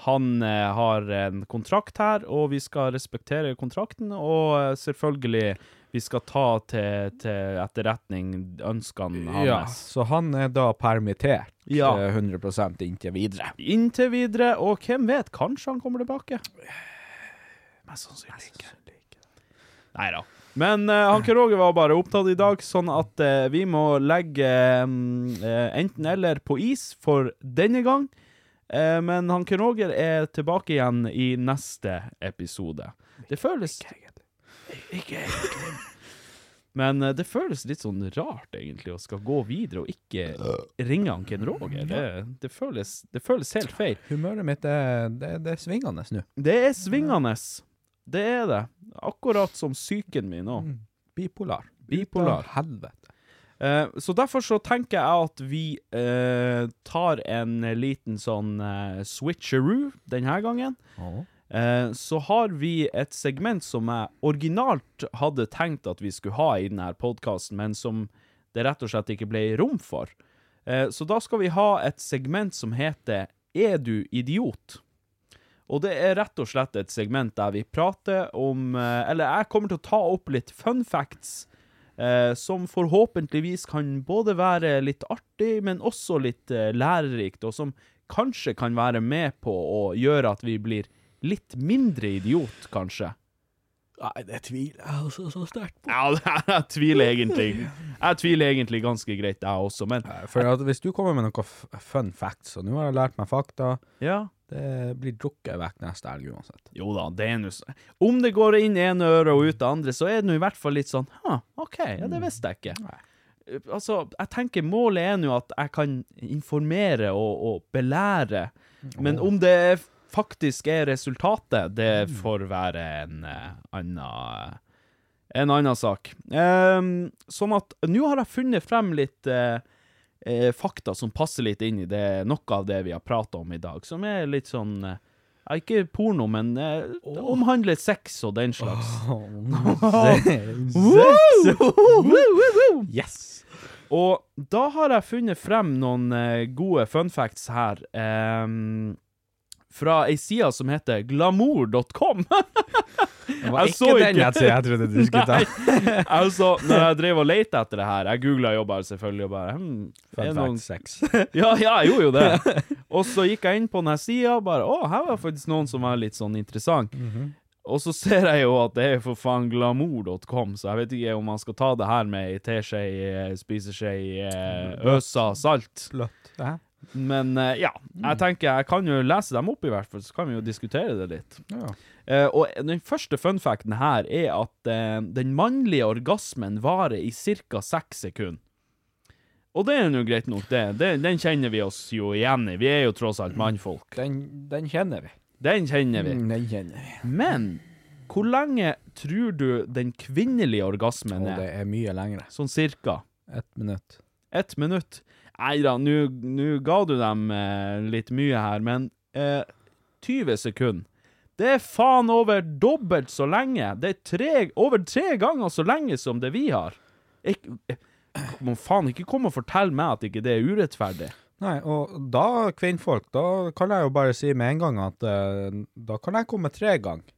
Speaker 3: han eh, har en kontrakt her, og vi skal respektere kontrakten, og eh, selvfølgelig vi skal ta til, til etterretning ønskene
Speaker 4: Ja,
Speaker 3: hans.
Speaker 4: så han er da permittert
Speaker 3: Ja.
Speaker 4: eh, 100 inntil videre.
Speaker 3: Inntil videre, og hvem vet, kanskje han kommer tilbake? Mest sannsynlig ikke. Nei da. Men eh, han Roger var bare opptatt i dag, sånn at eh, vi må legge mm, enten-eller på is for denne gang. Eh, men han Roger er tilbake igjen i neste episode. Det føles Ikke egentlig. Men eh, det føles litt sånn rart, egentlig, å skal gå videre og ikke ringe han Ken Roger. Det, det, føles, det føles helt feil.
Speaker 4: Humøret mitt er, det, det er svingende nå.
Speaker 3: Det er svingende. Det er det. Akkurat som psyken min òg.
Speaker 4: Bipolar.
Speaker 3: Bipolar.
Speaker 4: Ut av Helvete.
Speaker 3: Eh, så derfor så tenker jeg at vi eh, tar en liten sånn eh, switcheroo denne gangen. Eh, så har vi et segment som jeg originalt hadde tenkt at vi skulle ha i denne podkasten, men som det rett og slett ikke ble rom for. Eh, så da skal vi ha et segment som heter Er du idiot? Og det er rett og slett et segment der vi prater om eh, Eller jeg kommer til å ta opp litt fun facts. Eh, som forhåpentligvis kan både være litt artig, men også litt eh, lærerikt, og som kanskje kan være med på å gjøre at vi blir litt mindre idiot, kanskje.
Speaker 4: Nei, det tviler jeg altså så sterkt på.
Speaker 3: Ja, jeg tviler egentlig. Jeg tviler egentlig ganske greit, jeg også, men
Speaker 4: Eh, For at hvis du kommer med noen f- fun facts, og nå har jeg lært meg fakta,
Speaker 3: ja.
Speaker 4: det blir drukket vekk neste helg uansett.
Speaker 3: Jo da, det er nå så- Om det går inn i ene øret og ut det andre, så er det nå i hvert fall litt sånn Hæ, OK, ja, det visste jeg ikke. Eh, Altså, jeg tenker målet er nå at jeg kan informere og, og belære, men om det er- faktisk er resultatet, det får være en uh, annen en annen sak. Ehm, sånn at nå har jeg funnet frem litt eh, eh, fakta som passer litt inn i det, noe av det vi har prata om i dag, som er litt sånn eh, ja, ikke porno, men eh, det omhandler sex og den slags.
Speaker 4: Yes!
Speaker 3: Og da har jeg funnet frem noen eh, gode fun facts her. ehm, fra ei side som heter glamour.com.
Speaker 4: Det var
Speaker 3: Jeg
Speaker 4: ikke
Speaker 3: så
Speaker 4: den
Speaker 3: ikke.
Speaker 4: jeg, tror jeg trodde du skulle ta.
Speaker 3: altså, når jeg drev og lette etter det her Jeg googla jo bare, selvfølgelig, og bare hmm, er
Speaker 4: Fun
Speaker 3: det noen
Speaker 4: fact sex.
Speaker 3: Ja, ja, jeg gjorde jo det. Og så gikk jeg inn på denne sida og bare Å, her var faktisk noen som var litt sånn interessant. Og så ser jeg jo at det er for faen glamour.com, så jeg vet ikke om man skal ta det her med ei teskje, eh, spiseskje, eh, øsa, salt.
Speaker 4: Bløtt. Hæ?
Speaker 3: Men eh, ja,
Speaker 4: Mm.
Speaker 3: jeg tenker jeg kan jo lese dem opp i hvert fall, så kan vi jo diskutere det litt.
Speaker 4: Ja.
Speaker 3: Eh, og den første funfacten her er at eh, den mannlige orgasmen varer i ca. seks sekunder. Og det er jo greit nok, det. det. Den kjenner vi oss jo igjen i. Vi er jo tross alt mannfolk.
Speaker 4: Den, den kjenner vi.
Speaker 3: Den kjenner vi.
Speaker 4: Den kjenner vi.
Speaker 3: Men hvor lenge tror du den kvinnelige orgasmen
Speaker 4: Og
Speaker 3: er?
Speaker 4: det er mye lengre.
Speaker 3: Sånn cirka?
Speaker 4: Ett minutt.
Speaker 3: Ett minutt. Nei da, nå nå ga du dem eh, litt mye her, men eh, 20 sekunder. Det er faen over dobbelt så lenge. Det er tre, over tre ganger så lenge som det vi har. Ik eh, må faen ikke komme og fortelle meg at ikke det er urettferdig.
Speaker 4: Nei, og da, kvinnfolk, da kan jeg jo bare si med en gang at eh, da kan jeg komme tre ganger.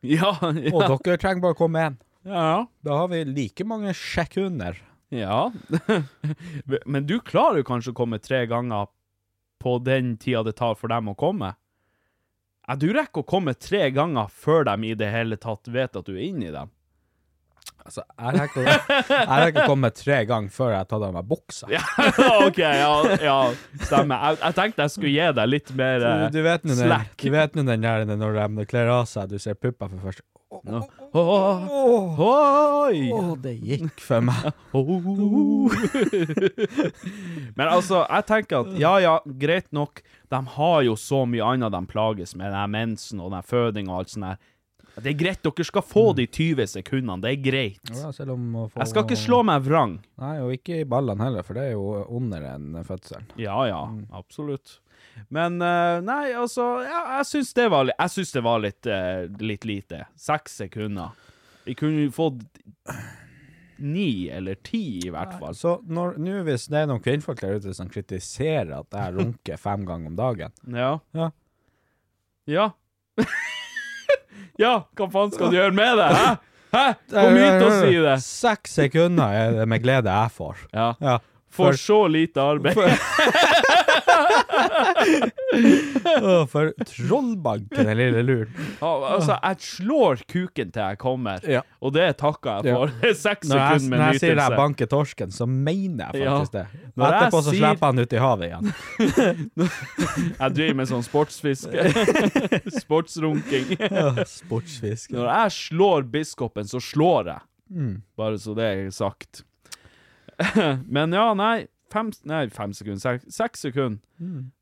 Speaker 3: Ja,
Speaker 4: Og
Speaker 3: ja.
Speaker 4: dere trenger bare å komme med én.
Speaker 3: ja.
Speaker 4: Da har vi like mange sekunder.
Speaker 3: Ja. Men du klarer jo kanskje å komme tre ganger på den tida det tar for dem å komme? Ja, du rekker å komme tre ganger før de i det hele tatt vet at du er inni dem.
Speaker 4: Altså, jeg rekker å- jeg rekker å komme tre ganger før jeg har tatt av meg buksa.
Speaker 3: Ja, OK, ja, ja stemmer. Jeg, jeg tenkte jeg skulle gi deg litt mer
Speaker 4: Du,
Speaker 3: eh,
Speaker 4: du vet nå den,
Speaker 3: slack.
Speaker 4: du vet nå den der når de kler av seg, du ser pupper for første
Speaker 3: Ja. Åh, Oi!
Speaker 4: Å, det gikk for meg.
Speaker 3: Oh. Men altså, jeg tenker at ja, ja, greit nok. De har jo så mye annet de plages med, den her mensen og den her føding og alt sånt der. Det er greit, dere skal få de 20 sekundene. Det er greit.
Speaker 4: Ja, selv om å få-
Speaker 3: Jeg skal ikke slå meg vrang.
Speaker 4: Nei, og ikke i ballene heller, for det er jo under en fødsel.
Speaker 3: Ja, ja, absolutt. Men eh, nei, altså, ja, jeg syns det var, li jeg syns det var litt, eh, litt lite. Seks sekunder. Vi kunne jo fått ni eller ti, i hvert fall.
Speaker 4: Så når, nå hvis det er noen kvinnfolk der ute som kritiserer at jeg runker fem ganger om dagen
Speaker 3: Ja.
Speaker 4: Ja.
Speaker 3: Ja. ja, hva faen skal du gjøre med det? Hæ? Hæ? Kom hit og si det!
Speaker 4: Seks sekunder er det med glede jeg får.
Speaker 3: Ja.
Speaker 4: Ja.
Speaker 3: For så lite arbeid.
Speaker 4: Å, for trollbanken, den lille luren.
Speaker 3: Altså, jeg slår kuken til jeg kommer,
Speaker 4: Ja.
Speaker 3: og det takker jeg
Speaker 4: Ja.
Speaker 3: for. Det er Seks
Speaker 4: Når jeg,
Speaker 3: sekunder
Speaker 4: når
Speaker 3: med
Speaker 4: jeg sier jeg
Speaker 3: nytelse.
Speaker 4: banker torsken, så mener jeg faktisk
Speaker 3: Ja.
Speaker 4: det.
Speaker 3: Når jeg
Speaker 4: Etterpå så
Speaker 3: sier-
Speaker 4: slipper han ut i havet igjen.
Speaker 3: Jeg driver med sånn sportsfiske. Sportsrunking.
Speaker 4: Ja, Sportsfisk.
Speaker 3: Når jeg slår biskopen, så slår jeg. Bare så det er sagt. Men ja, nei. Fem, nei, fem sekunder. Seks, seks sekunder.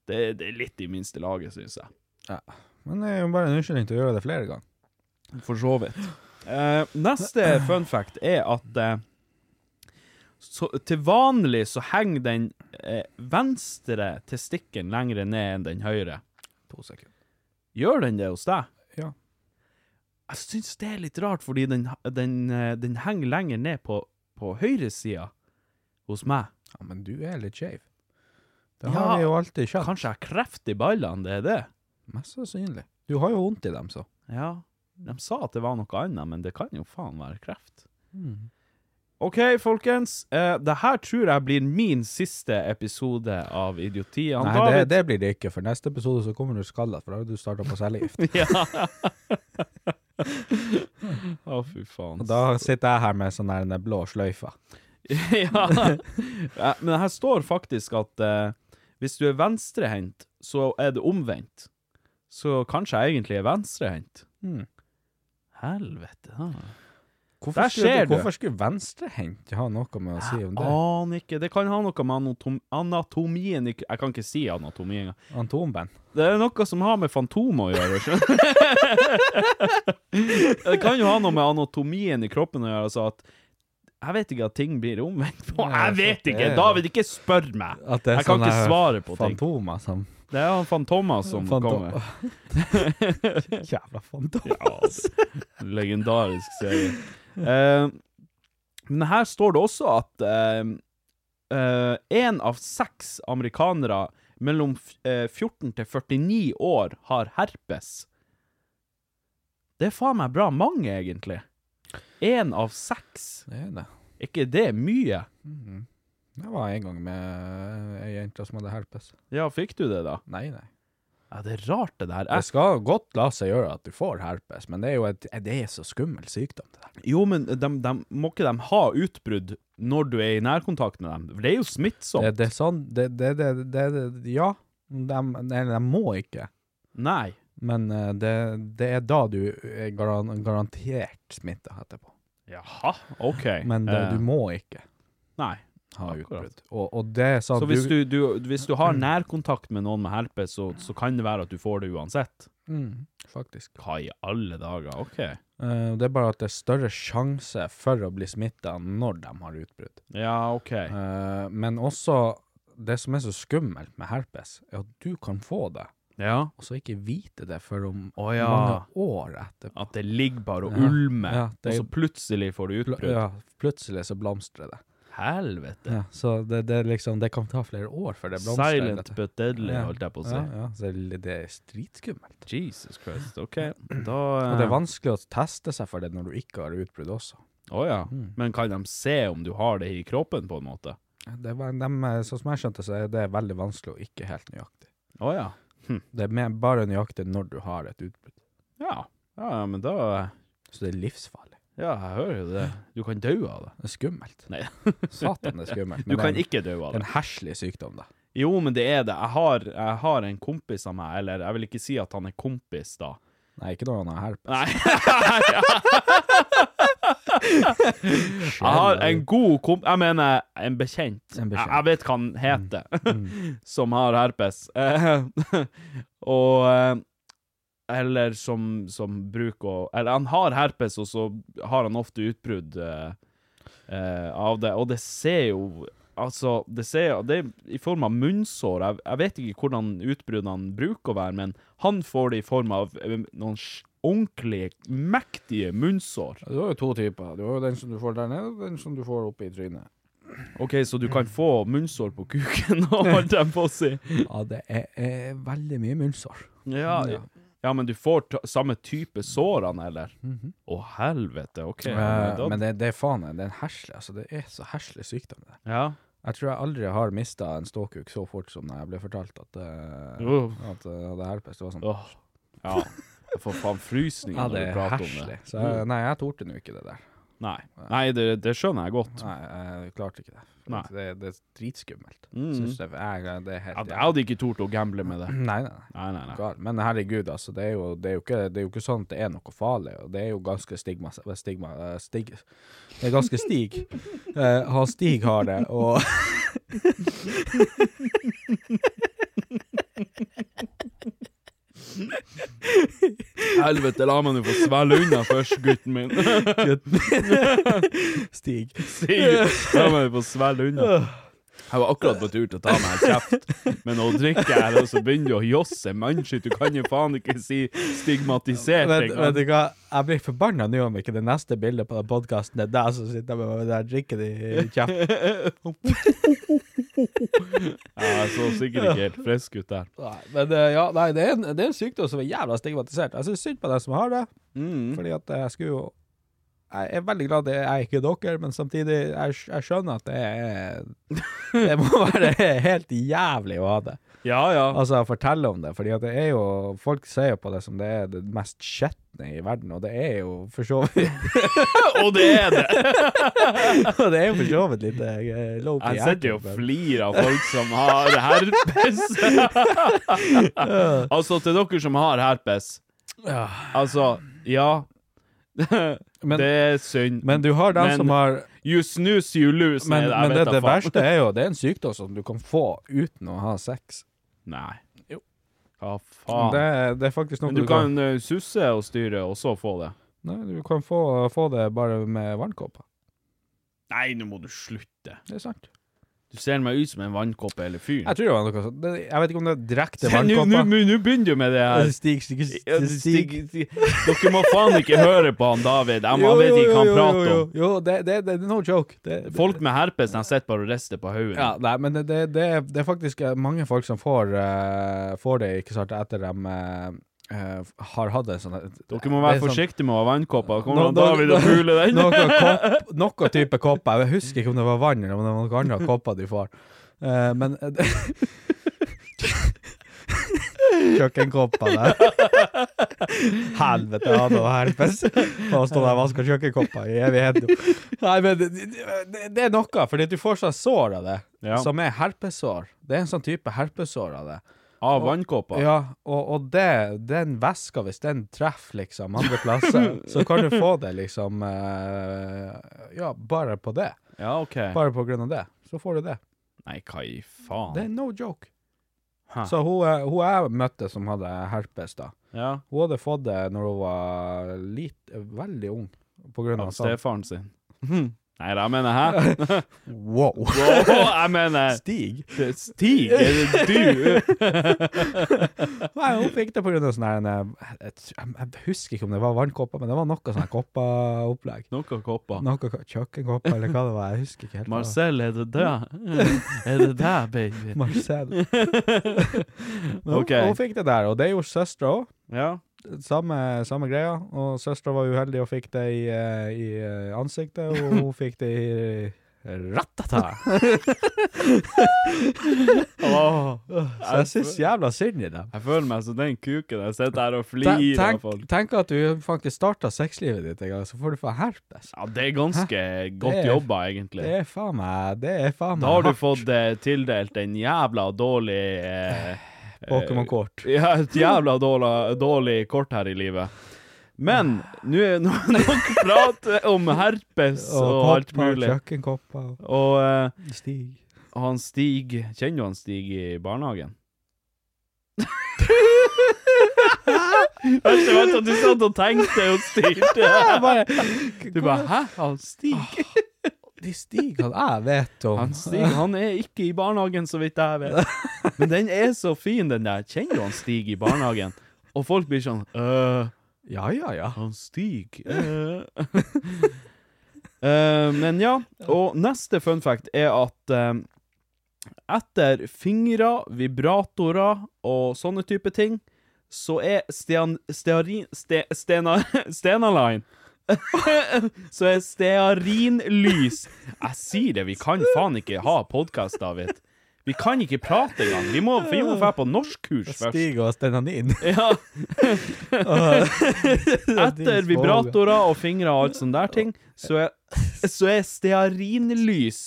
Speaker 3: Det, det er litt i minste laget, syns jeg.
Speaker 4: Men det er jo bare en unnskyldning til å gjøre det flere ganger.
Speaker 3: For så vidt. Eh, neste fun fact er at eh, så, til vanlig så henger den eh, venstre testikken lenger ned enn den høyre.
Speaker 4: To sekunder.
Speaker 3: Gjør den det hos deg?
Speaker 4: Ja.
Speaker 3: Jeg syns det er litt rart, fordi den, den, eh, den henger lenger ned på, på høyresida hos meg.
Speaker 4: Ja, men du er litt skeiv. Det
Speaker 3: Ja.
Speaker 4: har vi jo alltid kjent.
Speaker 3: Kanskje jeg har kreft i ballene, det er det?
Speaker 4: Mest sannsynlig. Du har jo vondt i dem, så.
Speaker 3: Ja. De sa at det var noe annet, men det kan jo faen være kreft.
Speaker 4: Mm.
Speaker 3: OK, folkens. Eh, det her tror jeg blir min siste episode av Idioti. Han
Speaker 4: Nei, det,
Speaker 3: David-
Speaker 4: det blir det ikke, for neste episode så kommer du skalla, for da har du starta på cellegift.
Speaker 3: Ja. Å, fy faen.
Speaker 4: Og da sitter jeg her med sånn der den blå sløyfa.
Speaker 3: ja. Ja, Men her står faktisk at eh, hvis du er venstrehendt, så er det omvendt. Så kanskje jeg egentlig er venstrehendt.
Speaker 4: Hmm.
Speaker 3: Helvete, da.
Speaker 4: Hvorfor
Speaker 3: Der
Speaker 4: skulle-
Speaker 3: ser du.
Speaker 4: Hvorfor skulle venstrehendt ha noe med å si om det?
Speaker 3: Aner ikke. Det kan ha noe med anatom anatomien i- Jeg kan ikke si anatomi engang.
Speaker 4: Antonben.
Speaker 3: Det er noe som har med fantom å gjøre. skjønner du? det kan jo ha noe med anatomien i kroppen å gjøre. Altså at jeg vet ikke at ting blir omvendt på
Speaker 4: Nei, altså,
Speaker 3: Jeg vet
Speaker 4: det er
Speaker 3: ikke!
Speaker 4: jo-
Speaker 3: David, ikke spør meg!
Speaker 4: At det er sånn
Speaker 3: Jeg kan
Speaker 4: sånne
Speaker 3: ikke svare på ting.
Speaker 4: Fantomer som
Speaker 3: Det er han Fantomas som
Speaker 4: Fantom-
Speaker 3: kommer.
Speaker 4: Jævla fantomer.
Speaker 3: Legendarisk serie. Eh, men her står det også at én av seks amerikanere mellom f- eh, 14 til 49 år har herpes. Det er faen meg bra mange, egentlig. Én av seks.
Speaker 4: Det er det.
Speaker 3: Er ikke det mye?
Speaker 4: Jeg var en gang med ei jente som hadde herpes.
Speaker 3: Ja, fikk du det, da?
Speaker 4: Nei, nei.
Speaker 3: Ja, det er rart, det der.
Speaker 4: Det
Speaker 3: Jeg
Speaker 4: skal godt la seg gjøre at du får herpes, men det er jo et, det er så skummel sykdom, det der.
Speaker 3: Jo, men de, de, må ikke de ha utbrudd når du er i nærkontakt med dem? For det er jo smittsomt.
Speaker 4: Det, det er sånn det, det, det, det, det Ja. De, nei, de må ikke.
Speaker 3: Nei.
Speaker 4: Men eh, det, det er da du er garan, garantert smitta etterpå.
Speaker 3: Jaha, OK.
Speaker 4: Men det,
Speaker 3: Eh,
Speaker 4: du må ikke
Speaker 3: Nei.
Speaker 4: ha
Speaker 3: akkurat.
Speaker 4: utbrudd. Og, og det er sånn
Speaker 3: Så hvis du, du, hvis du har nærkontakt med noen med herpes, så, så kan det være at du får det uansett?
Speaker 4: Mm, faktisk.
Speaker 3: Hva i alle dager? OK.
Speaker 4: Eh, det er bare at det er større sjanse for å bli smitta når de har utbrudd.
Speaker 3: Ja, OK.
Speaker 4: Eh, men også det som er så skummelt med herpes, er at du kan få det,
Speaker 3: Ja.
Speaker 4: og så ikke vite det før om
Speaker 3: Å, ja.
Speaker 4: mange år etterpå.
Speaker 3: At det ligger bare og
Speaker 4: Ja.
Speaker 3: ulmer,
Speaker 4: Ja, det-
Speaker 3: og så plutselig får du
Speaker 4: Pl
Speaker 3: utbrudd.
Speaker 4: ja, plutselig så blomstrer det.
Speaker 3: Helvete.
Speaker 4: Ja, så det, det, er liksom, det kan ta flere år før det blomstrer.
Speaker 3: Silent
Speaker 4: dette.
Speaker 3: but deadly,
Speaker 4: Ja,
Speaker 3: holdt jeg på å si.
Speaker 4: Ja, ja, så det det er stritskummelt.
Speaker 3: Jesus Christ. OK, da
Speaker 4: Og det er vanskelig å teste seg for det når du ikke har utbrudd også.
Speaker 3: Å ja. Men kan de se om du har det i kroppen, på en måte?
Speaker 4: Det var, dem, eh, sånn som jeg skjønte, så er det veldig vanskelig og ikke helt nøyaktig.
Speaker 3: Å ja. Hm.
Speaker 4: Det er mer bare nøyaktig når du har et utbrudd.
Speaker 3: ja. Ja, ja, men da
Speaker 4: Så det er livsfarlig.
Speaker 3: Ja, jeg hører jo det. Du kan dø av det.
Speaker 4: Det er skummelt.
Speaker 3: Nei.
Speaker 4: Satan, det er skummelt.
Speaker 3: Du
Speaker 4: Men
Speaker 3: kan
Speaker 4: det er en-
Speaker 3: ikke dø
Speaker 4: det
Speaker 3: av
Speaker 4: er
Speaker 3: det.
Speaker 4: en herselig sykdom, da.
Speaker 3: Jo, men det er det. Jeg har, jeg har en kompis av meg, eller jeg vil ikke si at han er kompis, da.
Speaker 4: Nei, ikke når han har herpes.
Speaker 3: Nei. Jeg har en god komp... Jeg mener en bekjent.
Speaker 4: En
Speaker 3: Jeg,
Speaker 4: bekjent. Mm.
Speaker 3: jeg vet hva han heter, som har herpes. Eh, og eh, Eller som, som bruker å Eller han har herpes, og så har han ofte utbrudd eh, eh, av det. Og det ser jo Altså, det ser jo Det er i form av munnsår. Jeg, jeg vet ikke hvordan utbruddene bruker å være, men han får det i form av eh, noen sj- ordentlige, mektige munnsår.
Speaker 4: Du har jo to typer. Du har jo den som du får der nede, og den som du får oppe i trynet.
Speaker 3: OK, så du kan få munnsår på kuken, holdt jeg på å si.
Speaker 4: Ja, det er, er veldig mye munnsår.
Speaker 3: Ja, ja. men du får ta- samme type sårene, eller? Å, helvete, OK. ja,
Speaker 4: Eh,
Speaker 3: da-
Speaker 4: Mhm. men det, det er faen, det er en herselig, altså. Det er så herselig sykdom, det.
Speaker 3: ja.
Speaker 4: Jeg tror jeg aldri har mista en ståkuk så fort som da jeg ble fortalt at, eh,
Speaker 3: Uff.
Speaker 4: at jeg hadde herpes. Det var sånn
Speaker 3: Åh. ja. Jeg får faen frysninger
Speaker 4: Ja,
Speaker 3: når du
Speaker 4: det er
Speaker 3: prater om
Speaker 4: herselig.
Speaker 3: det.
Speaker 4: Så jeg, nei, jeg torde nå ikke det der.
Speaker 3: Nei, Nei det, det skjønner jeg godt.
Speaker 4: Nei, jeg klarte ikke det. For
Speaker 3: Nei.
Speaker 4: at Det, det er dritskummelt.
Speaker 3: Mm.
Speaker 4: Synes jeg, jeg, det er helt
Speaker 3: At jeg hadde ikke tort å gamble med det.
Speaker 4: Nei, nei, nei.
Speaker 3: Nei, nei, nei.
Speaker 4: Gal. Men herregud, altså, det er, jo, det, er jo ikke, det er jo ikke sånn at det er noe farlig. Og det er jo ganske stigma, stigma eh, stig, Det er ganske Stig. Eh, han Stig har det, og
Speaker 3: Helvete, la meg nå få svelge unna først, gutten min.
Speaker 4: Stig
Speaker 3: Sier, la meg nå få svelge unna. Jeg var akkurat på tur til å ta meg en kjeft, men nå drikker jeg, og så begynner du å josse mannskitt. Du kan jo faen ikke si stigmatisert.
Speaker 4: Vet,
Speaker 3: ikke sant?
Speaker 4: vet du hva, jeg blir forbanna nå om ikke det neste bildet på den podkasten er deg som sitter med den der drikken i kjeften.
Speaker 3: Jeg så sikkert ikke helt frisk ut der.
Speaker 4: Nei, Men eh, ja, nei, det er, en, det er en sykdom som er jævla stigmatisert. Jeg syns synd på dem som har det,
Speaker 3: Mm.
Speaker 4: fordi at eh, jeg skulle jo Jeg er veldig glad det er ikke dere, men samtidig, jeg, skj- jeg skjønner at det er Det må være helt jævlig å ha det.
Speaker 3: Ja, ja.
Speaker 4: Altså, fortelle om det, fordi at det er jo Folk ser jo på det som det er det mest skjetne i verden, og det er jo for så vidt
Speaker 3: Og det er det!
Speaker 4: Og det er jo for så vidt litt eh, low
Speaker 3: Jeg sitter jo og flirer av folk som har herpes. altså, til dere som har herpes. Altså, ja.
Speaker 4: Men-
Speaker 3: det er synd.
Speaker 4: Men du har dem
Speaker 3: Men-
Speaker 4: som har
Speaker 3: you snooze, you lose.
Speaker 4: Men,
Speaker 3: Nei, jeg
Speaker 4: men det,
Speaker 3: vet da
Speaker 4: det
Speaker 3: faen.
Speaker 4: verste er jo det er en sykdom som du kan få uten å ha sex.
Speaker 3: Nei.
Speaker 4: Jo.
Speaker 3: Hva faen?
Speaker 4: Det, det er faktisk noe
Speaker 3: Men du kan eh, susse og styre, og så få det.
Speaker 4: Nei, du kan få, få det bare med vannkåpa.
Speaker 3: Nei, nå må du slutte.
Speaker 4: Det er sant.
Speaker 3: Du ser meg ut som en vannkoppe eller fyr.
Speaker 4: Jeg tror det var noe sånt. Det- Jeg vet ikke om det er direkte
Speaker 3: Se, Nå nå-
Speaker 4: vannkåpa.
Speaker 3: nå begynner du med det her.
Speaker 4: Stig, Stig, Stig,
Speaker 3: Ja, det- Stig- Stig- Dere må faen ikke høre på han David. Han han vet ikke hva han prater om.
Speaker 4: Jo, det, det, det er no joke. Det, det-
Speaker 3: Folk med herpes de sitter bare og rister på hodet.
Speaker 4: Ja, nei, men det, det, det, er, det er faktisk eh, mange folk som får, eh, får det ikke sant, etter de eh, eh, har hatt en sånn
Speaker 3: Dere må være
Speaker 4: det er sånn-
Speaker 3: forsiktige med å ha vannkopper. Kommer
Speaker 4: Nå-
Speaker 3: han
Speaker 4: nå-
Speaker 3: David og
Speaker 4: nå-
Speaker 3: puler den?
Speaker 4: Noe, kopp, noe type kopper. Jeg husker ikke om det var vann eller om det var noen andre kopper du får. Eh, men Kjøkkenkopper der. Helvete, jeg hadde herpes. Og stå der og vaske kjøkkenkopper i evigheten. Nei, men det, det, det er noe, fordi du får sånn sår av det,
Speaker 3: Ja.
Speaker 4: som er herpesår. Det er en sånn type herpesår av det.
Speaker 3: Av vannkopper?
Speaker 4: Ja, og, og det, den væska, hvis den treffer liksom andre plasser, så kan du få det liksom eh, Ja, bare på det.
Speaker 3: Ja, OK.
Speaker 4: Bare på grunn av det. Så får du det.
Speaker 3: Nei, hva i
Speaker 4: Det er
Speaker 3: faen?
Speaker 4: no joke.
Speaker 3: Hæ.
Speaker 4: Så hun, eh, hun jeg møtte som hadde herpes, da,
Speaker 3: Ja.
Speaker 4: Hun hadde fått det når hun var lit, veldig ung. På grunn av
Speaker 3: Av
Speaker 4: sånn.
Speaker 3: stefaren sin.
Speaker 4: Hmm.
Speaker 3: Nei, da mener jeg hæ?
Speaker 4: Wow!
Speaker 3: Wow, jeg mener
Speaker 4: Stig?
Speaker 3: Det- Stig? Er det du?
Speaker 4: Nei, hun fikk det på grunn av sånn her en, eh, jeg, tror- jeg, jeg husker ikke om det var vannkopper, men det var noe sånn koppeopplegg.
Speaker 3: Noe kopper.
Speaker 4: Noe ka- kjøkkenkopper, eller hva det var. Jeg husker ikke helt. hva det var.
Speaker 3: Marcel, er det deg? Er det deg, baby?
Speaker 4: Marcel. Men hun-
Speaker 3: Ok.
Speaker 4: Hun fikk det der, og det gjorde søstera òg.
Speaker 3: Ja.
Speaker 4: Samme, samme greia. Og søstera var uheldig og fikk det i, eh, i eh, ansiktet, og hun fikk det i Ratata!
Speaker 3: Åh.
Speaker 4: Så jeg syns jævla synd i dem.
Speaker 3: Jeg føler meg som den kuken jeg sitter her og
Speaker 4: Ten-
Speaker 3: flirer av
Speaker 4: Tenk,
Speaker 3: folk.
Speaker 4: tenk at du faktisk starta sexlivet ditt en gang, så får du få herpes.
Speaker 3: Ja, det er ganske godt
Speaker 4: Det er-
Speaker 3: jobba, egentlig.
Speaker 4: Det er faen meg Det er faen meg
Speaker 3: da har du
Speaker 4: hardt.
Speaker 3: fått eh, tildelt en jævla dårlig eh,
Speaker 4: Pokémon-kort.
Speaker 3: Ja, et jævla dårlig, dårlig kort her i livet. Men nå er nå er nok prat om
Speaker 4: eh,
Speaker 3: herpes og, alt mulig.
Speaker 4: Kjøkkenkopper og
Speaker 3: Og eh,
Speaker 4: stig.
Speaker 3: han Stig Kjenner du han Stig i barnehagen? Jeg vet at du satt og tenkte og styrte. Du bare Hæ? Han Stig?
Speaker 4: De Stig han jeg vet om.
Speaker 3: Han Stig han er ikke i barnehagen, så vidt jeg vet. Men den er så fin, den der. Kjenner du han Stig i barnehagen? Og folk blir sånn øh,
Speaker 4: Ja, ja, ja.
Speaker 3: Han Stig øh. Eh, Men ja. Og neste fun fact er at eh, etter fingre, vibratorer og sånne type ting, så er stean, stearin... Ste, stena, stenaline Så er stearinlys Jeg sier det, vi kan faen ikke ha podkast, David. Vi kan ikke prate engang. Vi må vi må dra på norskkurs først.
Speaker 4: Stig og Stenanin.
Speaker 3: Ja.
Speaker 4: Din
Speaker 3: Etter
Speaker 4: svåger.
Speaker 3: vibratorer og fingre og alt sånne der ting, så er, så er stearinlys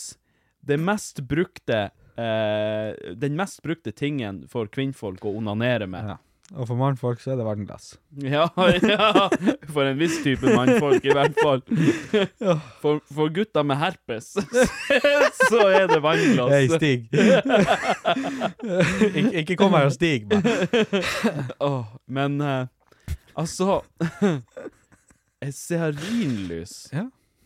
Speaker 3: det mest brukte eh, den mest brukte tingen for kvinnfolk å onanere med.
Speaker 4: Ja. Og for mannfolk så er det vannglass.
Speaker 3: Ja, ja. For en viss type mannfolk, i hvert fall. For, for gutter med herpes, så er det
Speaker 4: Hei,
Speaker 3: vannglass.
Speaker 4: Stig! Ik ikke kom her og stig, men
Speaker 3: Åh, men eh, altså Stearinlys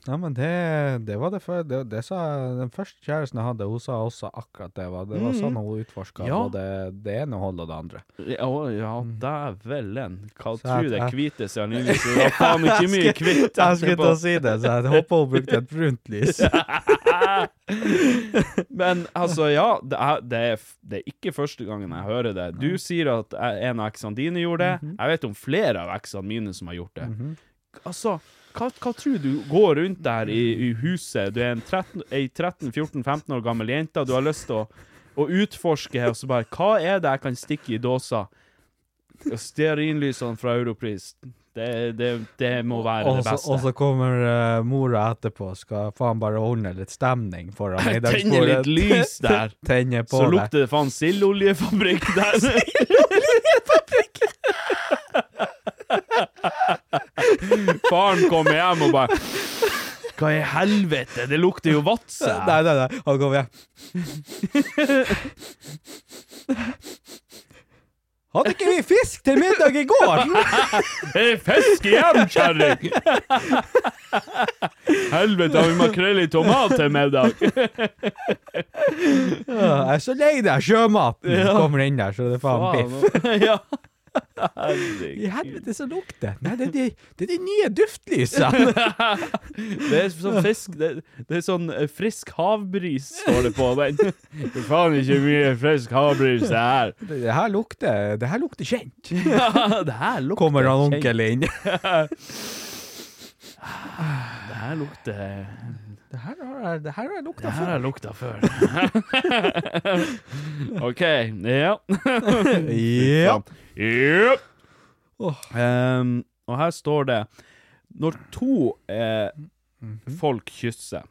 Speaker 4: Ja, men det, det var det før. Det, det sa den første kjæresten jeg hadde, hun sa også akkurat det. Var, det var sånn hun utforska
Speaker 3: Ja.
Speaker 4: både det ene holdet og det andre.
Speaker 3: Ja, ja
Speaker 4: Mm.
Speaker 3: dævelen. Hva
Speaker 4: Så
Speaker 3: tror
Speaker 4: jeg-
Speaker 3: du det
Speaker 4: jeg-
Speaker 3: hvite stearinlyset Det var faen ikke mye kvitt
Speaker 4: eh. Jeg skulle til
Speaker 3: etterpå.
Speaker 4: å si det, så jeg håper hun brukte et brunt lys.
Speaker 3: Men altså, ja. Det er, det, er, f- det er ikke første gangen jeg hører det. Du sier at eh, en av eksene dine gjorde
Speaker 4: Mhm.
Speaker 3: det. Jeg vet om flere av eksene mine som har gjort det. Altså, hva, hva tror du går rundt der i, i huset? Du er en 13 ei 13-14-15 år gammel jente, og du har lyst til å, å utforske, og så bare Hva er det jeg kan stikke i dåsa? Stearinlysene fra Europris. Det, det, det må være
Speaker 4: Og
Speaker 3: det
Speaker 4: så-
Speaker 3: beste.
Speaker 4: Og så kommer eh, mora etterpå og skal faen bare ordne litt stemning foran middagsbordet.
Speaker 3: Tenner litt lys der.
Speaker 4: Tenner på
Speaker 3: Så
Speaker 4: det.
Speaker 3: lukter det faen sildoljefabrikk der. Faren kommer hjem og bare Hva i helvete, det lukter jo Vadsø.
Speaker 4: Nei, nei, nei. Han kommer hjem. Hadde ikke vi fisk til middag i går?
Speaker 3: Er det fisk igjen, kjerring? Helvete, har vi makrell i tomat til middag?
Speaker 4: Jeg er så lei deg, sjømaten. Kommer inn der, så det er faen biff.
Speaker 3: altså. Ja.
Speaker 4: I helvete, så lukter det. Nei, det er de, det er de nye duftlysene.
Speaker 3: Det er sånn fisk Det, det er sånn eh, frisk havbris står det på den. Det er faen ikke mye frisk havbris det her.
Speaker 4: Det her lukter, det her lukter kjent.
Speaker 3: det her lukter
Speaker 4: Kommer han
Speaker 3: kjent.
Speaker 4: onkel inn.
Speaker 3: Det her lukter
Speaker 4: Det her har jeg- det her har jeg
Speaker 3: Det
Speaker 4: lukta
Speaker 3: her
Speaker 4: før.
Speaker 3: har jeg lukta før. OK. Ja.
Speaker 4: Ja.
Speaker 3: Yep. Ehm, og her står det Når to eh, folk kysser,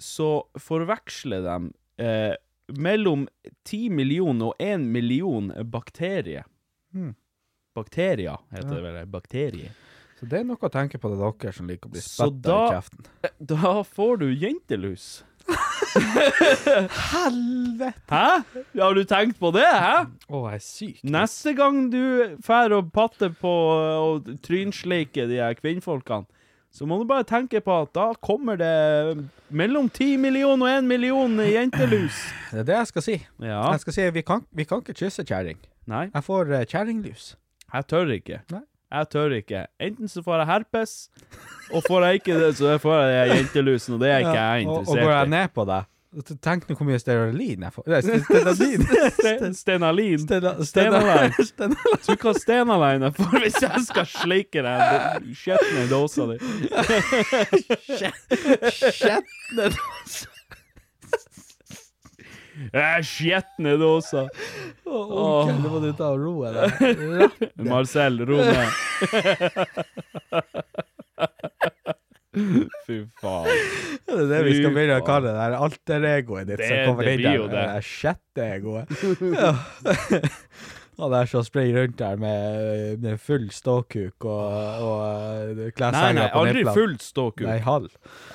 Speaker 3: så forveksler de eh, mellom 10 millioner og 1 million bakterier. Bakterier, heter det vel. Bakterier.
Speaker 4: Så det er noe å tenke på til dere som liker å bli
Speaker 3: Så
Speaker 4: spytta i
Speaker 3: da-
Speaker 4: kjeften.
Speaker 3: Da får du jentelus.
Speaker 4: Helvete!
Speaker 3: Hæ? Har du tenkt på det? Hæ?
Speaker 4: Å, jeg er syk.
Speaker 3: Neste gang du fær og patter på og trynsleike de her kvinnfolkene, så må du bare tenke på at da kommer det mellom 10 million og 1 million jentelus.
Speaker 4: Det er det jeg skal si.
Speaker 3: Ja.
Speaker 4: Jeg skal si vi kan, vi kan ikke kysse kjerring.
Speaker 3: Nei,
Speaker 4: Jeg får uh, kjerringlus.
Speaker 3: jeg tør ikke.
Speaker 4: Nei.
Speaker 3: Jeg tør ikke. Enten så får jeg herpes, og får jeg ikke det, så får jeg jentelusen, og det er ikke jeg
Speaker 4: og, og går jeg
Speaker 3: interessert i.
Speaker 4: ned på deg Tenk nå hvor mye stearin jeg får. Nei, stearin.
Speaker 3: Ste- Stenalin.
Speaker 4: Stena-
Speaker 3: Stenaline.
Speaker 4: Stena-
Speaker 3: Du hva stenaline jeg får hvis jeg skal sleike den skjetne dåsa di.
Speaker 4: Skjetne dåser.
Speaker 3: Eh, Skjetne dåsa.
Speaker 4: Onkel, nå må du ta og roe deg.
Speaker 3: Marcel, ro ned. Fy faen.
Speaker 4: Det er det vi skal begynne å kalle det der alteregoet ditt
Speaker 3: Det-
Speaker 4: som kommer
Speaker 3: det
Speaker 4: inn
Speaker 3: blir
Speaker 4: der.
Speaker 3: jo
Speaker 4: Det
Speaker 3: det.
Speaker 4: der sjette egoet. Ja. Han der som springer rundt der med, med full ståkuk og, og eh,
Speaker 3: Nei, nei,
Speaker 4: kleshenger på
Speaker 3: aldri
Speaker 4: nipplene.
Speaker 3: fullt
Speaker 4: Nei,
Speaker 3: ståkuk.
Speaker 4: halv.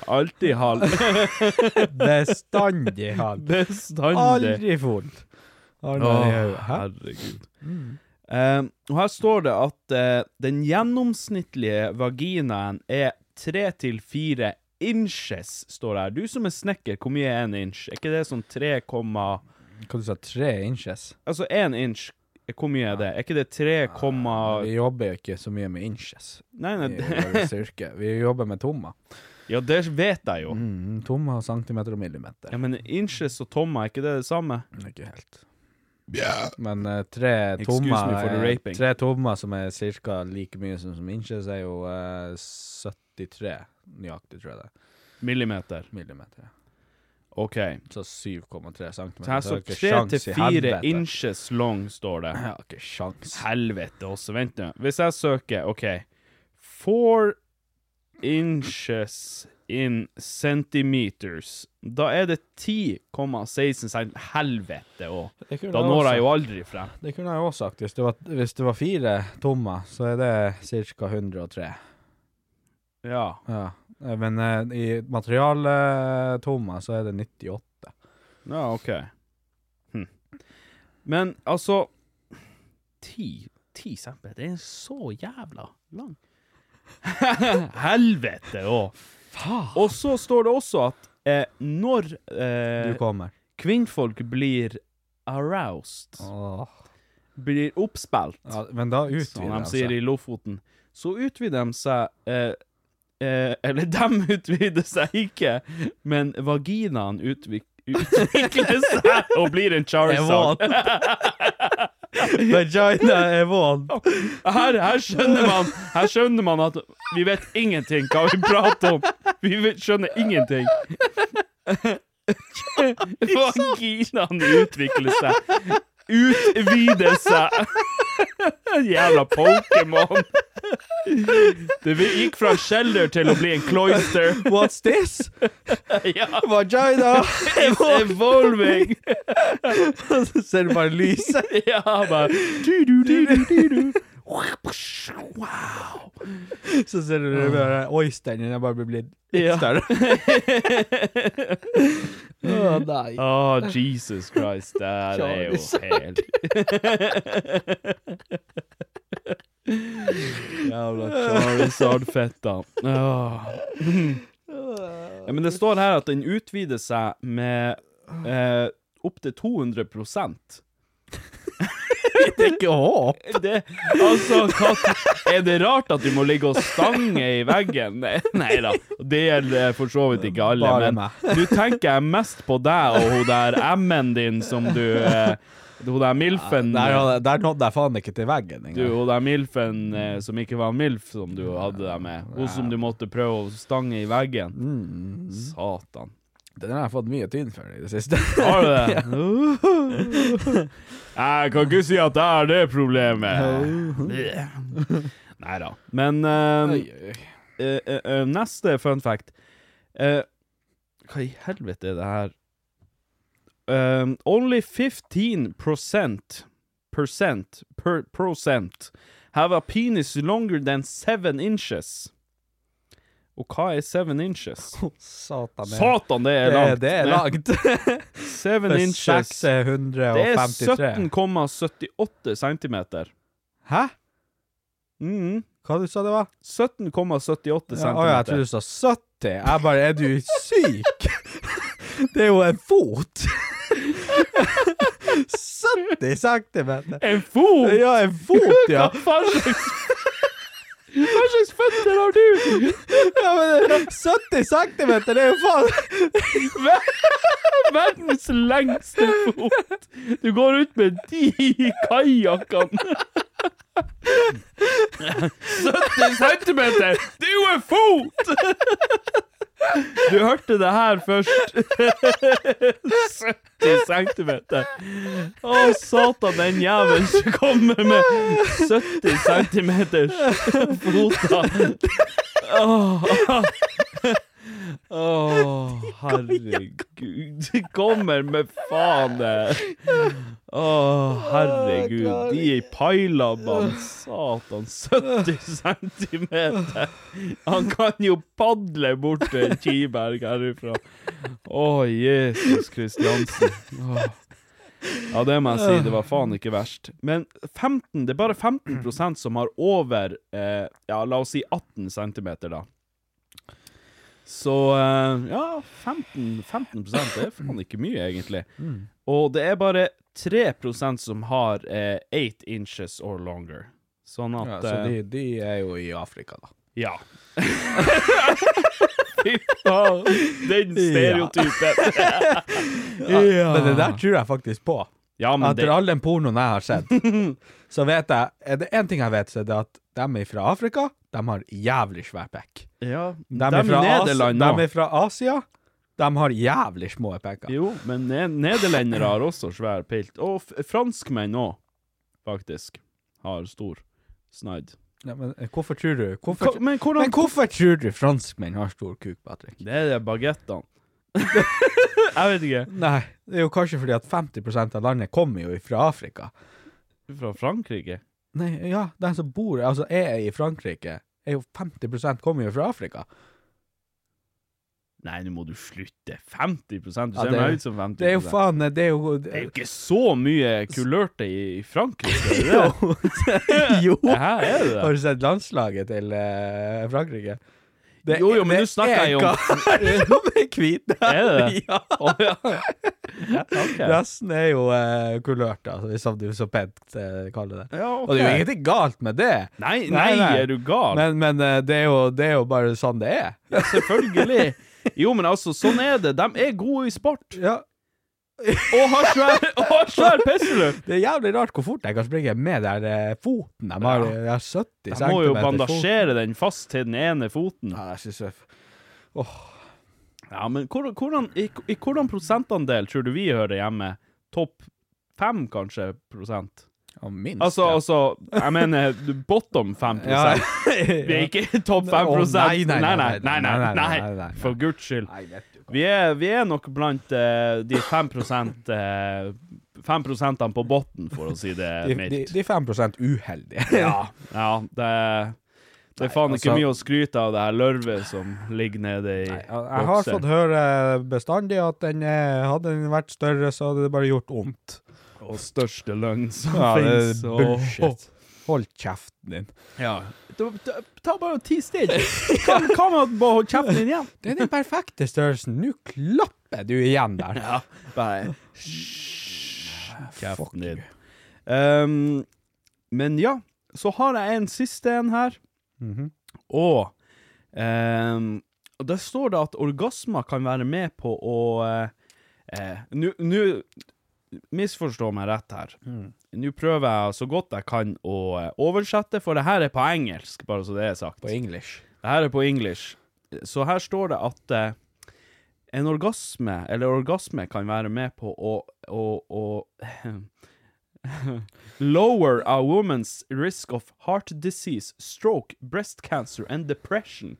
Speaker 3: Alltid halv.
Speaker 4: Bestandig halv.
Speaker 3: Bestandig.
Speaker 4: Aldri full. Armer
Speaker 3: Åh,
Speaker 4: i hodet. Hæ? Mm.
Speaker 3: herregud. Eh, og her står det at eh, den gjennomsnittlige vaginaen er tre til fire inches, står det her. Du som er snekker, hvor mye er en inch? Er ikke det sånn 3, komma-
Speaker 4: Hva du sa tre inches?
Speaker 3: altså én inch, eh, hvor mye er det? Er ikke det 3, komma-
Speaker 4: Vi jobber jo ikke så mye med inches
Speaker 3: nei,
Speaker 4: i
Speaker 3: nei, det-
Speaker 4: vårt yrke. Vi jobber med tommer.
Speaker 3: ja, det vet jeg jo.
Speaker 4: Mm, tommer, centimeter og millimeter.
Speaker 3: Ja, men inches og tommer, er ikke det det samme?
Speaker 4: Ikke helt. Men eh, tre
Speaker 3: Excuse
Speaker 4: tommer
Speaker 3: me for the
Speaker 4: eh,
Speaker 3: raping.
Speaker 4: Tre tommer som er ca. like mye som, som inches, er jo eh, 73 nøyaktig, tror jeg det er.
Speaker 3: Millimeter.
Speaker 4: Millimeter. ja.
Speaker 3: OK.
Speaker 4: Så 7,3 centimeter.
Speaker 3: Så her
Speaker 4: er
Speaker 3: står
Speaker 4: det ikke
Speaker 3: tre
Speaker 4: sjans
Speaker 3: til
Speaker 4: i
Speaker 3: fire
Speaker 4: helvete.
Speaker 3: inches long, står det.
Speaker 4: Jeg har ikke sjans.
Speaker 3: Helvete også, vent nå. Hvis jeg søker, OK Four inches in centimeters. Da er det 10,16 cent... Helvete òg.
Speaker 4: Det kunne
Speaker 3: Da
Speaker 4: jeg
Speaker 3: når
Speaker 4: også-
Speaker 3: jeg jo aldri frem.
Speaker 4: Det kunne jeg jo også sagt. Hvis det, var, hvis det var fire tommer, så er det ca. 103.
Speaker 3: Ja.
Speaker 4: Ja. Eh, Men eh, i materialtommer så er det 98.
Speaker 3: Ja, OK. Hm. Men altså Ti Ti centimeter, det er så jævla lang. Helvete òg. Og så står det også at eh, når
Speaker 4: Du
Speaker 3: eh,
Speaker 4: kommer.
Speaker 3: kvinnfolk blir aroused, blir oppspilt,
Speaker 4: Ja, men da
Speaker 3: som
Speaker 4: utvider
Speaker 3: de
Speaker 4: de
Speaker 3: sier
Speaker 4: seg.
Speaker 3: i Lofoten, så utvider de seg eh, eh, Eller dem utvider seg ikke, men vaginaen utvik utvikler seg og blir en charizard.
Speaker 4: Vagina er vån.
Speaker 3: Her, her, skjønner man, her skjønner man at vi vet ingenting hva vi prater om. Vi vet, skjønner ingenting. Vaginaen utvikler seg. Utvider seg. Jævla Pokémon. Det vi- gikk fra shelter til å bli en cloister.
Speaker 4: What's this?
Speaker 3: Ja,
Speaker 4: Vagina!
Speaker 3: it's evolving.
Speaker 4: Så ser du bare lyset.
Speaker 3: Ja, bare du, du, du, du, du, du. Wow. Ah.
Speaker 4: Så ser du det bare oysteren din er bare blir blitt litt
Speaker 3: Ja.
Speaker 4: større. Å nei.
Speaker 3: Å, Ah, Jesus Christ, det her er jo helt Jævla Charizard-fetta. Åh. Ja, men det står her at den utvider seg med eh, opptil 200
Speaker 4: Det er ikke håp.
Speaker 3: det, Altså, hva, er det rart at du må ligge og stange i veggen? Nei da, det gjelder for så vidt ikke alle,
Speaker 4: Bare
Speaker 3: men
Speaker 4: meg.
Speaker 3: du tenker jeg mest på deg og hun der M-en din som du eh, Hun der Milfen
Speaker 4: Der, hadde- der nådde jeg faen ikke til veggen
Speaker 3: du,
Speaker 4: engang.
Speaker 3: hun der Milfen eh, som ikke var Milf, som du hadde deg med. Hun som du måtte prøve å stange i veggen. Satan.
Speaker 4: Den har jeg fått mye tynn for i det siste.
Speaker 3: Har du det? Jeg kan ikke si at jeg har det problemet. Nei da. Men eh, eh, eh, eh, neste fun fact Eh, Hva i helvete er det her? Um, only 15 percent per percent have a penis longer than 7 inches. Og hva er seven inches?
Speaker 4: Satan, det-
Speaker 3: Satan, det er
Speaker 4: det,
Speaker 3: langt!
Speaker 4: det er
Speaker 3: ned.
Speaker 4: langt.
Speaker 3: Seven inches.
Speaker 4: 6 er eh, 153.
Speaker 3: Det er 17,78 centimeter.
Speaker 4: Hæ?
Speaker 3: Mhm.
Speaker 4: Hva du sa det var?
Speaker 3: 17,78
Speaker 4: Mm. Ja, å, ja, jeg trodde
Speaker 3: centimeter.
Speaker 4: du sa 70. Jeg bare Er du syk? det er jo en fot! 70 centimeter!
Speaker 3: En fot!
Speaker 4: Ja, en fot, ja.
Speaker 3: Hva faen slags Hva slags føtter har du?
Speaker 4: ja men 70 centimeter, det er jo faen
Speaker 3: Verdens lengste fot! Du går ut med de kajakkene. 70 centimeter! Det er jo en fot! Du hørte det her først. 70 centimeter. Å, satan, den jævelen som kommer med 70 centimeters foter. Åh, Åh, herregud. De kommer med faen det. Åh, herregud. De i pailabbene. Satan, 70 centimeter. Han kan jo padle bort til en Kiberg herifra. Åh, Jesus Kristiansen. Åh. Ja, det må jeg si. Det var faen ikke verst. Men 15, det er bare 15 som har over eh, Ja, la oss si 18 cm, da. Så eh, ja, 15, 15 det er faen ikke mye, egentlig. Og det er bare 3 som har eh, 8 inches or longer. Sånn at
Speaker 4: ja,
Speaker 3: eh,
Speaker 4: Så de, de er jo i Afrika, da.
Speaker 3: ja. Fy faen, den stereotypen. Ja.
Speaker 4: Men det der tror jeg faktisk på.
Speaker 3: Ja, men
Speaker 4: Etter
Speaker 3: det,
Speaker 4: all den pornoen jeg har sett, så vet jeg Er det én ting jeg vet, så er det at de er fra Afrika. De har jævlig svær bekk.
Speaker 3: ja,
Speaker 4: De er fra, Asi
Speaker 3: Nederland
Speaker 4: de
Speaker 3: nå.
Speaker 4: er fra Asia. De har jævlig små peker.
Speaker 3: Jo, men ne nederlendere har også svær pilt. Og f franskmenn òg, faktisk, har stor snaid.
Speaker 4: Ja, men eh, hvorfor tror du hvorfor,
Speaker 3: Hva- men hvordan-
Speaker 4: men hvorfor tror du franskmenn har stor kuk, Patrick?
Speaker 3: Det er de bagettene. jeg vet ikke.
Speaker 4: Nei, det er jo kanskje fordi at 50 av landet kommer jo fra Afrika.
Speaker 3: Fra Frankrike?
Speaker 4: Nei, ja, de som bor Altså er i Frankrike, er jo 50 kommer jo fra Afrika.
Speaker 3: Nei, nå må du slutte. 50 Du
Speaker 4: Ja,
Speaker 3: ser
Speaker 4: det er-
Speaker 3: meg ut som 50
Speaker 4: Det er jo faen Det er jo
Speaker 3: Det er jo ikke så mye kulørte i i Frankrike, er det det?
Speaker 4: Jo. jo.
Speaker 3: Det her er det.
Speaker 4: Har du sett landslaget til eh, Frankrike? Det
Speaker 3: Jo, jo,
Speaker 4: er-
Speaker 3: men
Speaker 4: det
Speaker 3: nå snakker
Speaker 4: er
Speaker 3: jeg jo om-
Speaker 4: kar som er hvit.
Speaker 3: Er det det?
Speaker 4: Ja.
Speaker 3: Å, ja. Ok.
Speaker 4: Resten er jo eh, kulørt, da, som du så pent eh, kaller det.
Speaker 3: Ja, ok.
Speaker 4: Og det er jo ingenting galt med det.
Speaker 3: Nei, nei, er du gal?
Speaker 4: Men, men eh, det, er jo, det er jo bare sånn det er.
Speaker 3: Selvfølgelig. Jo, men altså, sånn er det. De er gode i sport.
Speaker 4: Ja.
Speaker 3: Og har svær, og har svær pisseløp!
Speaker 4: Det er jævlig rart hvor fort jeg kan springe med den eh, foten. De har, de har 70
Speaker 3: De
Speaker 4: cm.
Speaker 3: må jo bandasjere den fast til den ene foten.
Speaker 4: Ja, jeg synes det er-
Speaker 3: Ja, men hvor, hvordan, i, I hvordan prosentandel tror du vi hører hjemme? Topp fem, kanskje, prosent?
Speaker 4: ja, minst.
Speaker 3: Altså,
Speaker 4: ja.
Speaker 3: altså Jeg mener bottom fem
Speaker 4: Ja.
Speaker 3: prosent. Vi er ikke topp fem
Speaker 4: Å,
Speaker 3: prosent.
Speaker 4: nei, nei,
Speaker 3: nei,
Speaker 4: nei,
Speaker 3: nei,
Speaker 4: nei, nei,
Speaker 3: nei,
Speaker 4: nei, nei.
Speaker 3: For guds skyld.
Speaker 4: Nei, vet du hva.
Speaker 3: Vi er, vi er nok blant eh, de fem prosent eh, Fem prosentene på bunnen, for å si det
Speaker 4: De,
Speaker 3: mildt.
Speaker 4: de, de er 5 uheldige.
Speaker 3: Ja, ja det, det er faen
Speaker 4: altså-
Speaker 3: ikke mye å skryte av det her lørvet som ligger nede i
Speaker 4: Jeg, jeg har fått høre bestandig at den eh, hadde den vært større, så hadde det bare gjort vondt.
Speaker 3: Og største løgn som
Speaker 4: Ja, det er
Speaker 3: finnes. og-
Speaker 4: bullshit. Hold kjeften din.
Speaker 3: Ja. Da- da- Ta bare ti stille. Hva hva med at bare holde kjeften din igjen?
Speaker 4: Det er den perfekte størrelsen. Nå klapper du igjen der.
Speaker 3: Ja, bare
Speaker 4: Fuck
Speaker 3: kjeften din.
Speaker 4: you.
Speaker 3: Ehm, men ja, så har jeg en siste en her. Og ehm, og der står det at orgasmer kan være med på å eh, eh, Nå nå- Misforstå meg rett her. Nå prøver jeg så godt jeg kan å eh, oversette, for det her er på engelsk, bare så det er sagt.
Speaker 4: På English.
Speaker 3: Det her er på English. Så her står det at eh, en orgasme, eller orgasme, kan være med på å, å, å Lower a woman's risk of heart disease, stroke, breast cancer and depression.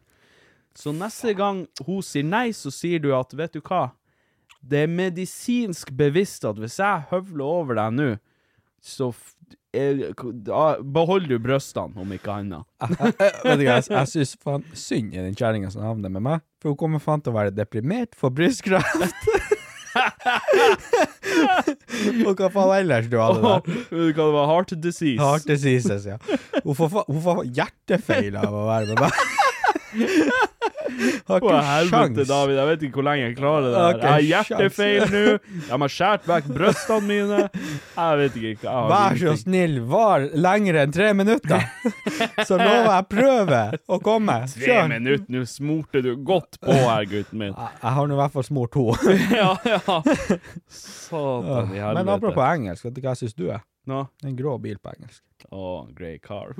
Speaker 3: Så neste gang hun sier nei, så sier du at vet du hva, det er medisinsk bevisst at hvis jeg høvler over deg nå, så f- er- da beholder du brystene, om ikke annet.
Speaker 4: jeg, jeg- vet du hva, jeg, jeg syns faen synd i den kjerringa som havner med meg, for hun kommer faen til å være deprimert for brystkreft. og hva faen ellers du hadde
Speaker 3: Vet
Speaker 4: der?
Speaker 3: du hva det var? Heart disease.
Speaker 4: Heart diseases, ja. Hun får, fa- hun får hjertefeil av å være med meg.
Speaker 3: Å,
Speaker 4: Har ikke
Speaker 3: helvete,
Speaker 4: sjans.
Speaker 3: David. Jeg vet ikke hvor lenge jeg klarer det
Speaker 4: Har
Speaker 3: der.
Speaker 4: ikke
Speaker 3: Jeg har hjertefeil
Speaker 4: sjans.
Speaker 3: nå. De har skåret vekk brystene mine. Jeg vet ikke. Jeg har
Speaker 4: Vær så
Speaker 3: ingenting.
Speaker 4: snill, var lengre enn tre minutter! Så lover jeg prøve å komme.
Speaker 3: Tre
Speaker 4: Kjør.
Speaker 3: minutter, nå smurte du godt på her, gutten min.
Speaker 4: Jeg jeg har nå i hvert fall smurt to.
Speaker 3: Ja, ja. Satan i helvete.
Speaker 4: Men apropos engelsk, vet du hva jeg syns du er?
Speaker 3: Nå.
Speaker 4: En grå bil på engelsk.
Speaker 3: Åh, grey car.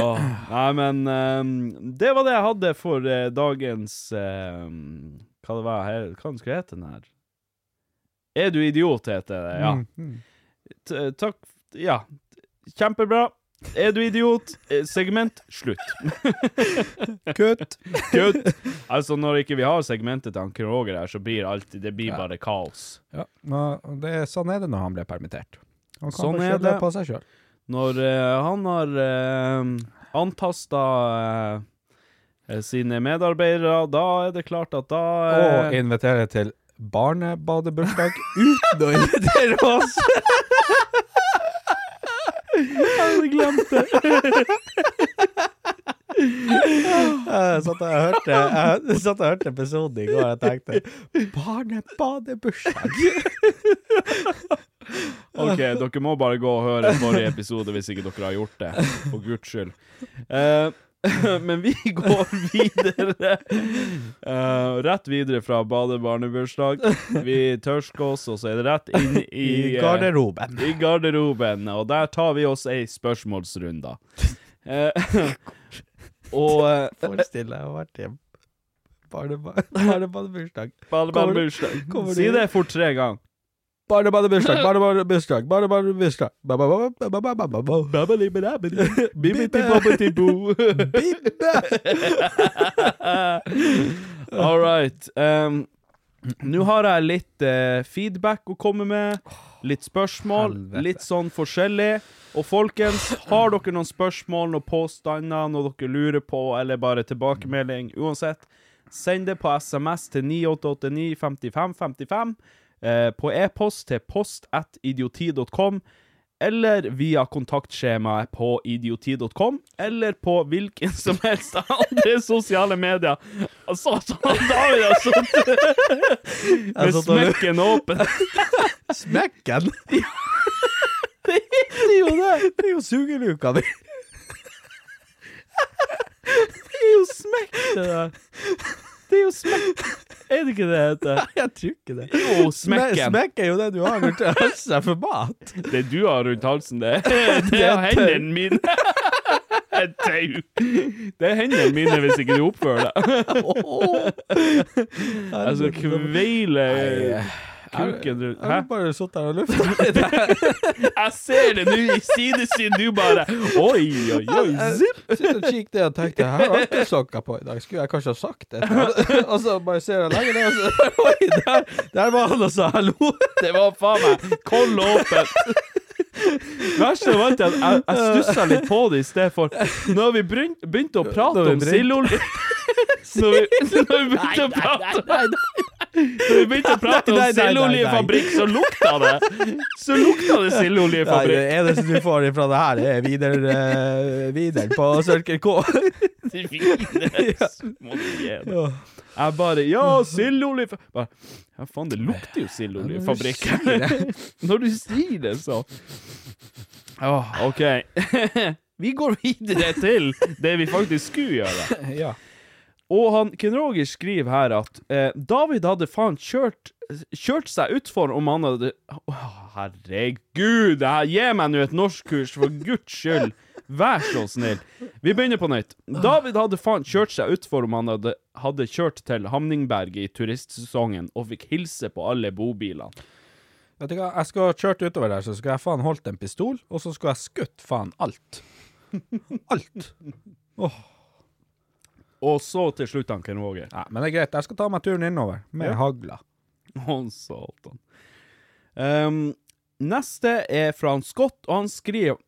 Speaker 3: Åh, nei, men ehm, det var det jeg hadde for eh, dagens ehm, Hva det var her? Hva den skulle hete den her? Er du idiot, heter det. Ja.
Speaker 4: Mm.
Speaker 3: T takk Ja. Kjempebra. Er du idiot? Eh, Segment slutt.
Speaker 4: Kutt!
Speaker 3: Kutt. Altså, når ikke vi har segmentet til Anker Roger her, så blir alltid, det blir
Speaker 4: Ja.
Speaker 3: bare kaos.
Speaker 4: Ja, og det, sånn er det når han ble permittert. Han kan
Speaker 3: Sånn
Speaker 4: sånn
Speaker 3: er
Speaker 4: skylde
Speaker 3: det.
Speaker 4: på seg sjøl.
Speaker 3: Når eh, han har eh, antasta eh, eh, sine medarbeidere, da er det klart at da
Speaker 4: Og
Speaker 3: eh,
Speaker 4: invitere til barnebadebursdag uten å invitere oss!
Speaker 3: Jeg glemte
Speaker 4: Jeg satt og hørte, jeg satt og hørte episoden i går og tenkte Barnebadebursdag!
Speaker 3: OK, dere må bare gå og høre forrige episode hvis ikke dere har gjort det. For guds skyld. Eh, men vi går videre. Eh, rett videre fra badebarnebursdag. Vi tørsker oss, og så er det rett inn i,
Speaker 4: I
Speaker 3: eh,
Speaker 4: garderoben.
Speaker 3: I garderoben, og der tar vi oss ei spørsmålsrunde. Eh, og eh,
Speaker 4: Forestill deg å ha vært i barnebadebursdag.
Speaker 3: Balle, balle, bursdag.
Speaker 4: kommer
Speaker 3: Si
Speaker 4: du-
Speaker 3: det fort tre ganger.
Speaker 4: Barnebadebursdag, barnebadebursdag, barnebadebursdag Ba, ba, ba, ba, ba, ba, ba, ba, ba.
Speaker 3: Bibbidi-bobbidi-boo. All right. Um, Nå har jeg litt eh, feedback å komme med. Litt spørsmål.
Speaker 4: Helvete.
Speaker 3: Litt sånn forskjellig. Og folkens, har dere noen spørsmål, noen påstander, noe dere lurer på, eller bare tilbakemelding, uansett, send det på SMS til 98895555, eh, på e-post til post.idioti.com, eller via kontaktskjemaet på idioti.com, eller på hvilken som helst andre sosiale medier. Altså, altså, David har sittet med
Speaker 4: satt og lur-
Speaker 3: smekken åpen.
Speaker 4: Smekken! Det er jo det! Det er jo sugeluka mi!
Speaker 3: Det er jo smekk, det der. Det er jo smekk. Er det ikke det det heter?
Speaker 4: Jeg tror ikke det.
Speaker 3: Jo,
Speaker 4: Sme-
Speaker 3: smekken.
Speaker 4: Smekk er jo det du har når du høster deg for mat.
Speaker 3: Det du har rundt halsen, det, det er
Speaker 4: tau.
Speaker 3: hendene mine. Et tau. Det er hendene mine hvis ikke du oppfører deg. Altså, kveile kuken rundt Hæ?
Speaker 4: Jeg har bare sittet her og lufta.
Speaker 3: Jeg ser det nå i sidesyn, du bare Oi, oi, oi. Zipp.
Speaker 4: Sitter og kikker det og tenkte Jeg har ikke sokker på i dag, skulle jeg kanskje ha sagt det? Og så bare ser jeg lenger ned, og så Oi, der, der var han og sa hallo!
Speaker 3: Det var faen meg koll åpent. Verste var alltid at jeg, jeg stussa litt på det i sted for Når vi bryn- begynte å prate
Speaker 4: Når vi
Speaker 3: om
Speaker 4: begynte-
Speaker 3: sildeolje Når vi når vi begynte å prate Når vi begynte å prate om
Speaker 4: Nei, nei, nei, nei, nei.
Speaker 3: sildeoljefabrikk, så lukta det Så lukta det
Speaker 4: Nei, det
Speaker 3: sildeoljefabrikk.
Speaker 4: eneste du får ifra det her, er videre, eh, videre på Circle K.
Speaker 3: Det må du gi det. Jeg bare Ja, sildeolje Bare, Ja, faen, det lukter jo sildeoljefabrikk. Når du sier det, så Åh, OK. Vi går videre til det vi faktisk skulle gjøre.
Speaker 4: Ja.
Speaker 3: Og han Ken Roger skriver her at eh, David hadde faen kjørt Kjørt seg utfor om han hadde Åh, Herregud, det her, gi meg nå et norskkurs, for guds skyld. Vær så snill. Vi begynner på nytt. David hadde faen kjørt seg utfor om han hadde, hadde kjørt til Hamningberget i turistsesongen og fikk hilse på alle bobilene.
Speaker 4: Vet du hva, jeg skal ha kjørt utover der, så skal jeg faen holdt en pistol, og så skal jeg skutt faen alt. Alt.
Speaker 3: Og så til slutt han Ken Roger.
Speaker 4: Nei, men det er greit, jeg skal ta meg turen innover med hagla.
Speaker 3: Å, satan. Eh, Um, neste er fra han Scott, og han skriver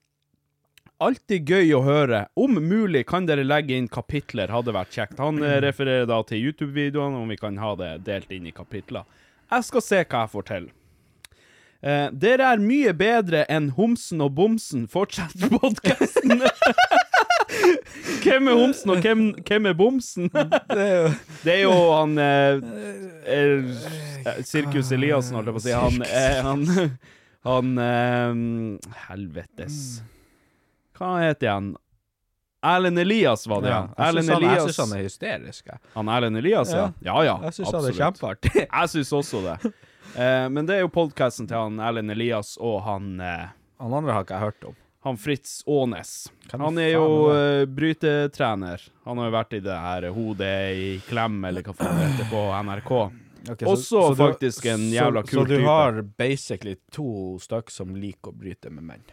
Speaker 3: Alltid gøy å høre. Om mulig kan dere legge inn kapitler, hadde vært kjekt. Han eh, refererer da til YouTube-videoene, om vi kan ha det delt inn i kapitler. Jeg skal se hva jeg får til. Eh, dere er mye bedre enn Homsen og Bomsen. Fortsett podkasten! hvem er Homsen, og hvem, hvem er Bomsen?
Speaker 4: Det er jo
Speaker 3: Det er jo han eh, eh, Sirkus Eliassen, holdt jeg på å si. Han, eh, han, han eh, Helvetes. Hva heter han? Erlend Elias, var det, ja.
Speaker 4: Jeg
Speaker 3: Erlend
Speaker 4: syns han, jeg
Speaker 3: Elias.
Speaker 4: synes han er hysterisk. Jeg,
Speaker 3: Han Erlend Elias, ja? Ja ja,
Speaker 4: jeg syns han er kjempeartig.
Speaker 3: Jeg syns også det. Eh, men det er jo podkasten til han Erlend Elias og han eh,
Speaker 4: Han andre har ikke jeg hørt om.
Speaker 3: han Fritz Aanes.
Speaker 4: Hvem
Speaker 3: Han
Speaker 4: faen
Speaker 3: er
Speaker 4: er
Speaker 3: jo eh, brytetrener. Han har jo vært i det her Hodet i klem, eller hva faen det heter, på NRK.
Speaker 4: Ok,
Speaker 3: eh, Også
Speaker 4: du-
Speaker 3: faktisk en jævla kul
Speaker 4: så, så du
Speaker 3: type.
Speaker 4: har basically to stykk som liker å bryte med menn.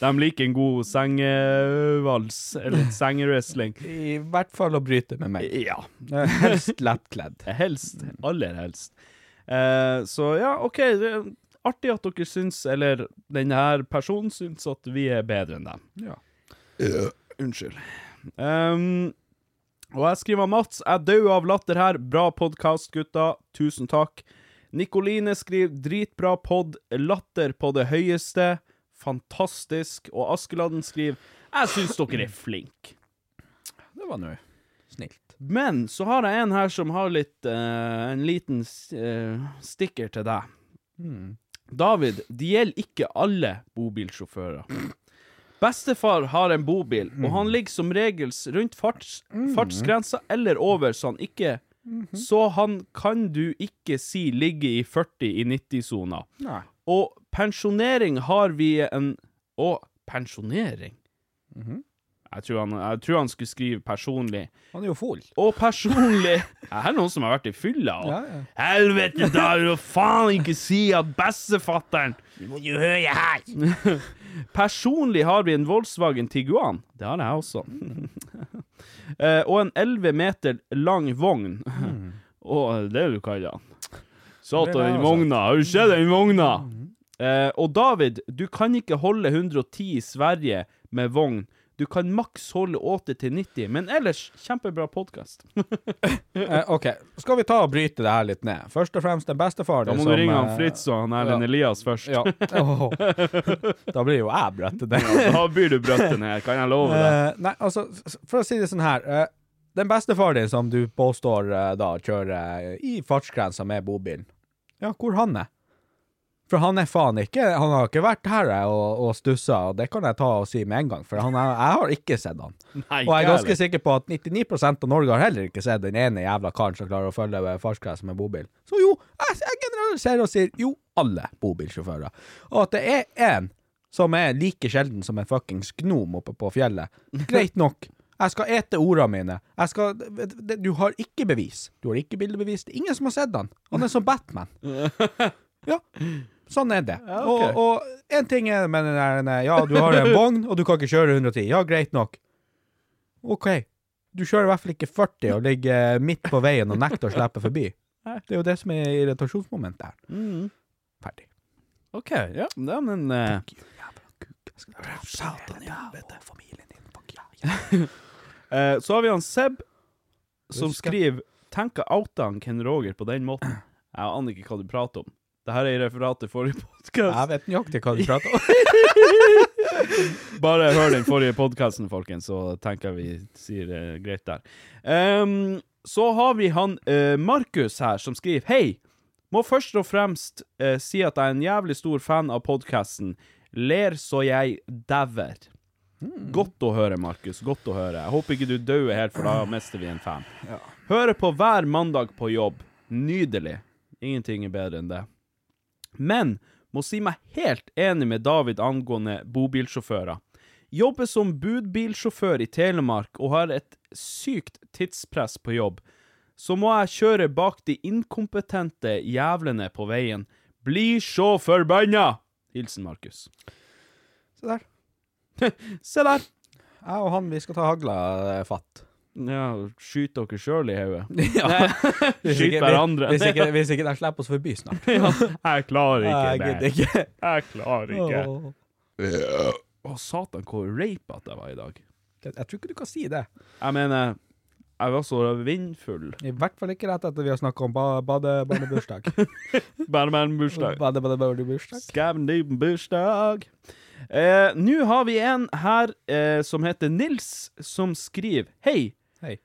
Speaker 3: De liker en god sengevals, eller sengewrestling.
Speaker 4: I hvert fall å bryte med menn.
Speaker 3: Ja.
Speaker 4: Helst lettkledd.
Speaker 3: Helst. Aller helst. Eh, så ja, OK. Det er artig at dere syns, eller denne her personen syns, at vi er bedre enn dem. Eh,
Speaker 4: Ja.
Speaker 3: Unnskyld. Ehm, og jeg skriver Mats, jeg dør av latter her. Bra podkast, gutta. Tusen takk. Nikoline skriver dritbra pod. Latter på det høyeste. Fantastisk. Og Askeladden skriver jeg syns dere er flinke.
Speaker 4: Det var nå snilt.
Speaker 3: Men så har jeg en her som har litt eh, En liten eh, stikker til deg. David, det gjelder ikke alle bobilsjåfører. Bestefar har en bobil, og han ligger som regel rundt farts, fartsgrensa eller over, så han ikke Så han kan du ikke si ligger i 40 i 90-sona.
Speaker 4: Nei.
Speaker 3: Og pensjonering har vi en Å, pensjonering? jeg, tror han, jeg tror han skulle skrive personlig.
Speaker 4: Han er jo full.
Speaker 3: Og personlig Her er noen som har vært i fylla. Og,
Speaker 4: Ja, ja.
Speaker 3: Helvete, da er det faen ikke si at bestefatteren Du må jo høre her. Personlig har vi en Volkswagen Tiguan. Det har jeg også. Eh, og en 11 meter lang vogn. Og det du kaller han.
Speaker 4: Hmm. Det er
Speaker 3: Satan,
Speaker 4: det
Speaker 3: den
Speaker 4: altså. Hmm. også.
Speaker 3: vogna. Har du sett den vogna? Eh, og David, du kan ikke holde 110 i Sverige med vogn. Du kan maks holde 80 til 90, men ellers kjempebra podkast.
Speaker 4: Eh, OK, skal vi ta og bryte det her litt ned? Først og fremst den bestefaren
Speaker 3: Da må
Speaker 4: som,
Speaker 3: du ringe
Speaker 4: eh,
Speaker 3: han Fritz og han Erlend
Speaker 4: ja.
Speaker 3: Elias først.
Speaker 4: Ja. Åh. Da blir jo jeg brøtte det.
Speaker 3: Da blir du brøtten her, kan jeg love deg.
Speaker 4: Eh, nei, altså, s- for å si det sånn her eh, Den bestefaren din som du påstår eh, da kjører eh, i fartsgrensa med bobilen, ja, hvor han er? For han er faen ikke Han har ikke vært her eh, og, og stussa, og det kan jeg ta og si med en gang, for han er, jeg har ikke sett han.
Speaker 3: Nei,
Speaker 4: Og jeg er
Speaker 3: ikke
Speaker 4: ganske sikker på at 99 av Norge har heller ikke sett den ene jævla karen som klarer å følge eh, fartsgrensa med bobil. Så jo, jeg, jeg generaliserer og sier jo, alle bobilsjåfører. Og at det er én som er like sjelden som en fuckings gnom oppe på fjellet, greit nok. Jeg skal ete ordene mine. Jeg skal det- det- Du har ikke bevis. Du har ikke bildebevis. Det er ingen som har sett han. Han er som Batman. Ja, sånn er det.
Speaker 3: ok.
Speaker 4: Og én ting er med den der nei, Ja, du har en vogn, og du kan ikke kjøre 110. Ja, greit nok. OK. Du kjører i hvert fall ikke 40 og ligger midt på veien og nekter å slippe forbi. Det er jo det som er irritasjonsmomentet her. Ferdig.
Speaker 3: Mm. OK, ja, ja men eh,
Speaker 4: Satan i helvete. Familien din, fuck ja.
Speaker 3: eh, Så har vi han Seb, som
Speaker 4: Husker.
Speaker 3: skriver Tenk å oute han Ken Roger på den måten. Jeg aner ikke hva du prater om. Dette er i referatet i forrige
Speaker 4: Jeg
Speaker 3: podkast.
Speaker 4: vet nøyaktig hva du prater om.
Speaker 3: Bare hør den forrige podkasten, folkens, så tenker jeg vi sier det greit der. Ehm, så har vi han eh, Markus her, som skriver Hei! Må først og fremst eh, si at jeg er en jævlig stor fan av podkasten. Ler så jeg dauer. Godt å høre, Markus. Godt å høre. Jeg håper ikke du dauer helt, for da mister vi en fan. Hører på hver mandag på jobb. Nydelig. Ingenting er bedre enn det. Men må si meg helt enig med David angående bobilsjåfører. Jobber som budbilsjåfør i Telemark og har et sykt tidspress på jobb. Så må jeg kjøre bak de inkompetente jævlene på veien. Blir så forbanna! Hilsen Markus.
Speaker 4: Se der.
Speaker 3: Se der!
Speaker 4: Jeg og han, vi skal ta hagla eh, fatt.
Speaker 3: Ja, skyt dere sjøl i hodet.
Speaker 4: Ja.
Speaker 3: skyt hverandre.
Speaker 4: Hvis ikke, hvis ikke de slipper oss forbi snart.
Speaker 3: Ja, jeg klarer
Speaker 4: Jeg
Speaker 3: ikke
Speaker 4: gidder
Speaker 3: det.
Speaker 4: ikke.
Speaker 3: Jeg klarer ikke.
Speaker 4: Åh.
Speaker 3: Å, satan, hvor rapete jeg var i dag.
Speaker 4: Jeg jeg tror ikke du kan si det.
Speaker 3: Jeg mener, jeg var så vindfull.
Speaker 4: I hvert fall ikke rett etter vi har snakka om ba bade, barnebursdag.
Speaker 3: Bare med en bursdag.
Speaker 4: Bade, bade, barnebursdag.
Speaker 3: Skam din bursdag. Eh, Nå har vi en her eh, som heter Nils, som skriver Hei,
Speaker 4: Hei.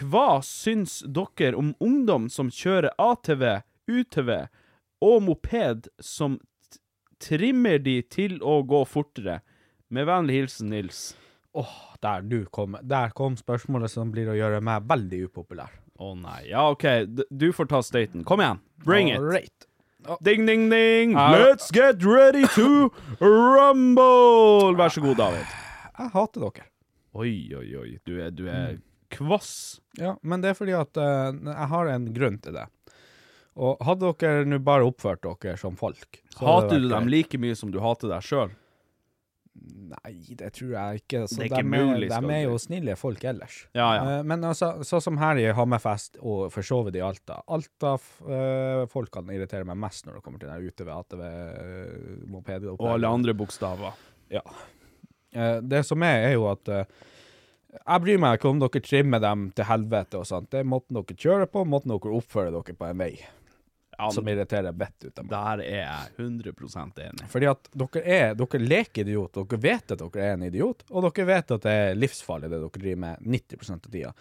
Speaker 3: hva syns dere om ungdom som kjører ATV, UTV og moped som t- trimmer de til å gå fortere? Med vennlig hilsen Nils.
Speaker 4: Åh, der, du kom, der kom spørsmålet som blir å gjøre meg veldig upopulær.
Speaker 3: Å nei. Ja, OK, d- du får ta staten. Kom igjen. Bring it.
Speaker 4: Alright.
Speaker 3: Ding, ding, ding.
Speaker 4: Ja.
Speaker 3: Let's get ready to rumble! Vær så god, David.
Speaker 4: Jeg hater dere.
Speaker 3: Oi, oi, oi. Du er, du er
Speaker 4: Mm.
Speaker 3: kvass.
Speaker 4: Ja, men det er fordi at eh, jeg har en grunn til det. Og hadde dere nå bare oppført dere som folk så hadde
Speaker 3: Hater
Speaker 4: det
Speaker 3: du
Speaker 4: vært
Speaker 3: dem
Speaker 4: greit.
Speaker 3: like mye som du hater deg sjøl?
Speaker 4: Nei, det tror jeg ikke. Så
Speaker 3: Det er ikke
Speaker 4: dem
Speaker 3: mulig,
Speaker 4: De
Speaker 3: skal
Speaker 4: er
Speaker 3: du
Speaker 4: jo snille folk ellers.
Speaker 3: Ja, ja.
Speaker 4: Eh, Men altså, sånn som her i Hammerfest og for så vidt i Alta Alta-folkene irriterer meg mest når det kommer til den ute ved eh, ATV-moped.
Speaker 3: Og alle andre bokstaver.
Speaker 4: Eh, det som er, er jo at eh, jeg bryr meg ikke om dere trimmer dem til helvete og sånt. Det er måten dere kjører på, måten dere oppfører dere på en vei,
Speaker 3: Ja,
Speaker 4: som irriterer vettet ut av meg.
Speaker 3: der er jeg 100 enig.
Speaker 4: Fordi at dere er, dere leker idiot, dere vet at dere er en idiot, og dere vet at det er livsfarlig det dere driver med 90 av tida.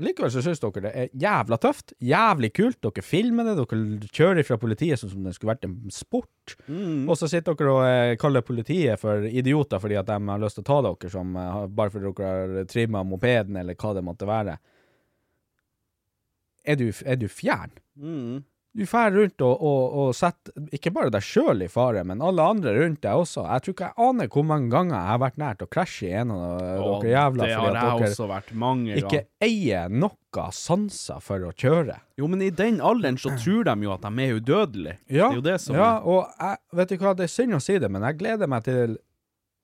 Speaker 4: Likevel så syns dere det er jævla tøft, jævlig kult, dere filmer det, dere kjører fra politiet sånn som det skulle vært en sport, og så sitter dere og eh, kaller politiet for idioter fordi at de har lyst til å ta dere som eh, har- bare fordi dere har trimma mopeden, eller hva det måtte være. Er du, er du fjern?
Speaker 3: Mm.
Speaker 4: Du drar rundt og, og, og setter ikke bare deg sjøl i fare, men alle andre rundt deg også. Jeg tror ikke jeg aner hvor mange ganger jeg har vært nær til å krasje i en av
Speaker 3: Og
Speaker 4: dere jævla
Speaker 3: det
Speaker 4: fordi
Speaker 3: har
Speaker 4: at
Speaker 3: jeg
Speaker 4: dere
Speaker 3: også vært mange
Speaker 4: ikke
Speaker 3: ganger.
Speaker 4: eier noe sanser for å kjøre.
Speaker 3: Jo, men i den alderen så tror de jo at de er udødelige. Det er jo det som
Speaker 4: ja og jeg, vet du hva, det er synd å si det, men jeg gleder meg til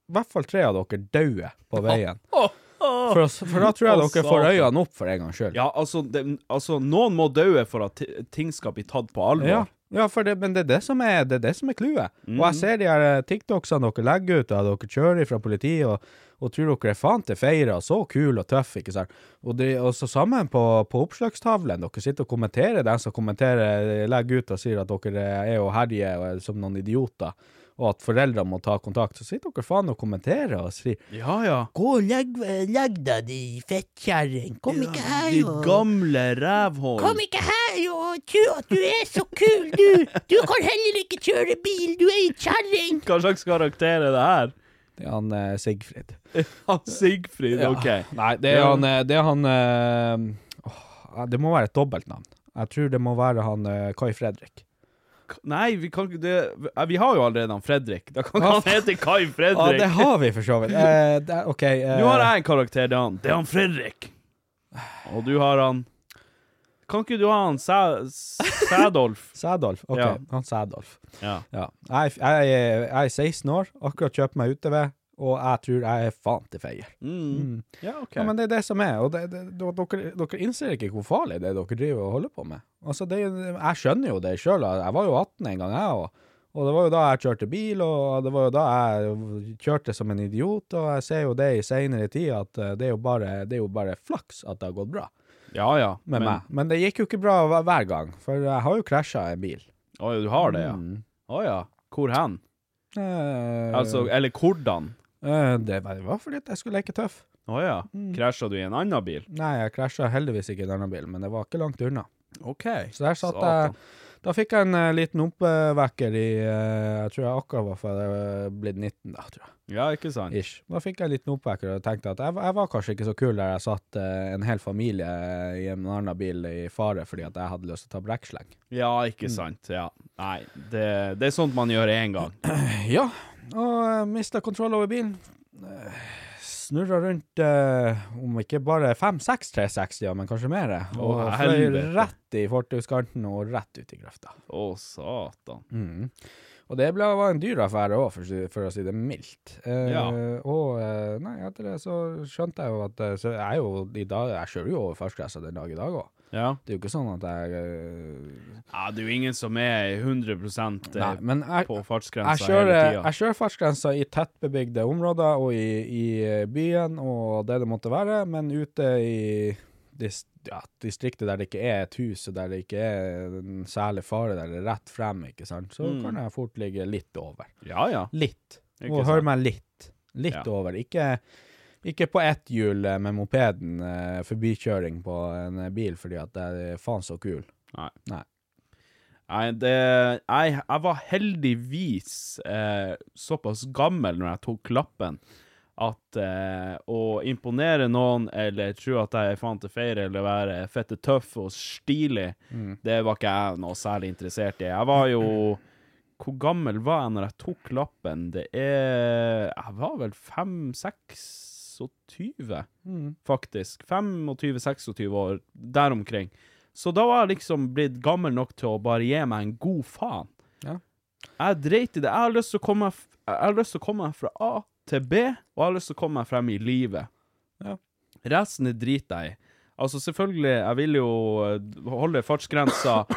Speaker 4: i hvert fall tre av dere dauer på veien. For, å s- for da tror jeg
Speaker 3: Å,
Speaker 4: dere får
Speaker 3: satan.
Speaker 4: øynene opp for en gangs skyld.
Speaker 3: Ja, altså, det, altså Noen må daue for at ti- ting skal bli tatt på alvor.
Speaker 4: Ja, ja for det, men det er det som er, det er, det som er clouet.
Speaker 3: Mm.
Speaker 4: Og jeg ser de her eh, TikToksene dere legger ut, og dere kjører fra politiet og, og tror dere er faen til feire, og så kul og tøff, ikke sant. Og, de, og så sammen på, på oppslagstavlen, dere sitter og kommenterer den som kommenterer, eh, legger ut og sier at dere er og herjer og er som noen idioter, og at foreldrene må ta kontakt. Så sitter dere faen og kommenterer og sier
Speaker 3: ja. ja.
Speaker 4: Gå og legg, legg deg, de fettkjerring. Kom ikke her,
Speaker 3: De gamle rævhål.
Speaker 4: ikke her og tro at du er så kul, du! Du kan heller ikke kjøre bil, du er ei kjerring!
Speaker 3: Hva slags karakter er det her?
Speaker 4: Det er han eh, Sigfrid.
Speaker 3: Han Sigfrid,
Speaker 4: Ja.
Speaker 3: OK.
Speaker 4: Nei, det er han, eh, det, er han eh, åh, det må være et dobbeltnavn. Jeg tror det må være han eh, Kai Fredrik.
Speaker 3: Nei, vi kan ikke det eh, Vi har jo allerede han Fredrik. Da kan ikke
Speaker 4: Ja.
Speaker 3: han hete Kai Fredrik.
Speaker 4: Ja, det har vi for så vidt. Eh, det er, OK. eh,
Speaker 3: Nå har jeg en karakter, det er han. Det er han Fredrik. Og du har han Kan ikke du ha han Sæ... Sædolf?
Speaker 4: Sædolf. OK,
Speaker 3: Ja.
Speaker 4: han Sædolf.
Speaker 3: Ja.
Speaker 4: Ja. Jeg, er- jeg, er- jeg er 16 år, akkurat kjøpt meg uteved, og jeg tror jeg er faen til feier.
Speaker 3: Mm. Ja, OK.
Speaker 4: Ja, men det er det som er, og det, det, da- dere, dere innser ikke hvor farlig det er dere driver og holder på med. Altså, det, er jo- jeg skjønner jo det sjøl, jeg var jo 18 en gang jeg òg. Og det var jo da jeg kjørte bil, og det var jo da jeg kjørte som en idiot, og jeg ser jo det i seinere tid at eh, det er, jo bare, det er jo bare flaks at det har gått bra
Speaker 3: ja, ja.
Speaker 4: med
Speaker 3: men,
Speaker 4: meg. Men det gikk jo ikke bra hver- hver gang, for jeg har jo krasja en bil.
Speaker 3: Å ja, du har det, ja.
Speaker 4: Mm.
Speaker 3: Å ja. Hvor hen?
Speaker 4: Eh,
Speaker 3: Altså, eller hvordan?
Speaker 4: eh, Det var det var fordi at jeg skulle leke tøff.
Speaker 3: Å ja.
Speaker 4: Mm.
Speaker 3: Krasja du i en annen bil?
Speaker 4: Nei, jeg krasja heldigvis ikke i denne bilen, men det var ikke langt unna.
Speaker 3: OK.
Speaker 4: Så der satt jeg Da fikk jeg en eh, liten oppvekker i eh, Jeg tror jeg akkurat var for, eh, blitt 19, da, tror jeg.
Speaker 3: Ja, ikke sant?
Speaker 4: Ish. Da fikk jeg en liten oppvekker og tenkte at jeg, var- jeg var kanskje ikke så kul der jeg satt eh, en hel familie i en annen bil i fare fordi at jeg hadde lyst til å ta brekksleng.
Speaker 3: Ja, ikke
Speaker 4: Mm.
Speaker 3: sant. Ja. Nei, det, det er sånt man gjør én gang.
Speaker 4: Ja, og uh, mista kontroll over bilen. Eh, snurra rundt, eh, om ikke bare fem-seks 360-er, men kanskje mer, og
Speaker 3: Å,
Speaker 4: fløy
Speaker 3: helvete.
Speaker 4: rett i fortauskanten og rett ut i grøfta.
Speaker 3: Å, satan.
Speaker 4: Mhm. Og det ble, var en dyr affære òg, for, å si- for å si det mildt. Eh,
Speaker 3: Ja.
Speaker 4: Og eh, nei, etter det så skjønte jeg jo at eh, så jeg, er jo, i dag, jeg kjører jo over førstgressa den dag i dag òg.
Speaker 3: Ja.
Speaker 4: Det er jo ikke sånn at jeg eh,
Speaker 3: ja, det er jo ingen som er 100
Speaker 4: Nei,
Speaker 3: eh,
Speaker 4: men jeg,
Speaker 3: på
Speaker 4: jeg
Speaker 3: fartsgrensa
Speaker 4: kjører,
Speaker 3: hele tida.
Speaker 4: jeg kjører fartsgrensa i tettbebygde områder og i, i eh, byen og det det måtte være, men ute i dis, ja, distriktet der det ikke er et hus, og der det ikke er en særlig fare, der det er rett frem, ikke sant, så
Speaker 3: Mm.
Speaker 4: kan jeg fort ligge litt over.
Speaker 3: Ja, ja.
Speaker 4: Litt.
Speaker 3: Ikke
Speaker 4: Og
Speaker 3: sant.
Speaker 4: hør meg litt. Litt
Speaker 3: Ja.
Speaker 4: over. Ikke, ikke på ett hjul eh, med mopeden, eh, forbikjøring på en eh, bil, fordi at jeg er faen så kul.
Speaker 3: Nei, det Jeg, jeg var heldigvis eh, såpass gammel når jeg tok klappen, at eh, å imponere noen eller tro at jeg er faen til feire eller være fette tøff og stilig,
Speaker 4: Mm.
Speaker 3: det var ikke jeg noe særlig interessert i. Jeg var jo Hvor gammel var jeg når jeg tok klappen? Det er Jeg var vel 5-26,
Speaker 4: Mm.
Speaker 3: faktisk. 25-26 år, der omkring. Så da var jeg liksom blitt gammel nok til å bare gi meg en god faen.
Speaker 4: Ja.
Speaker 3: Jeg dreit i det. Jeg har lyst til å komme meg f- Jeg har lyst til å komme meg fra A til B, og jeg har lyst til å komme meg frem i livet.
Speaker 4: Ja.
Speaker 3: Resten det driter jeg i. Altså, selvfølgelig, jeg vil jo eh, holde fartsgrensa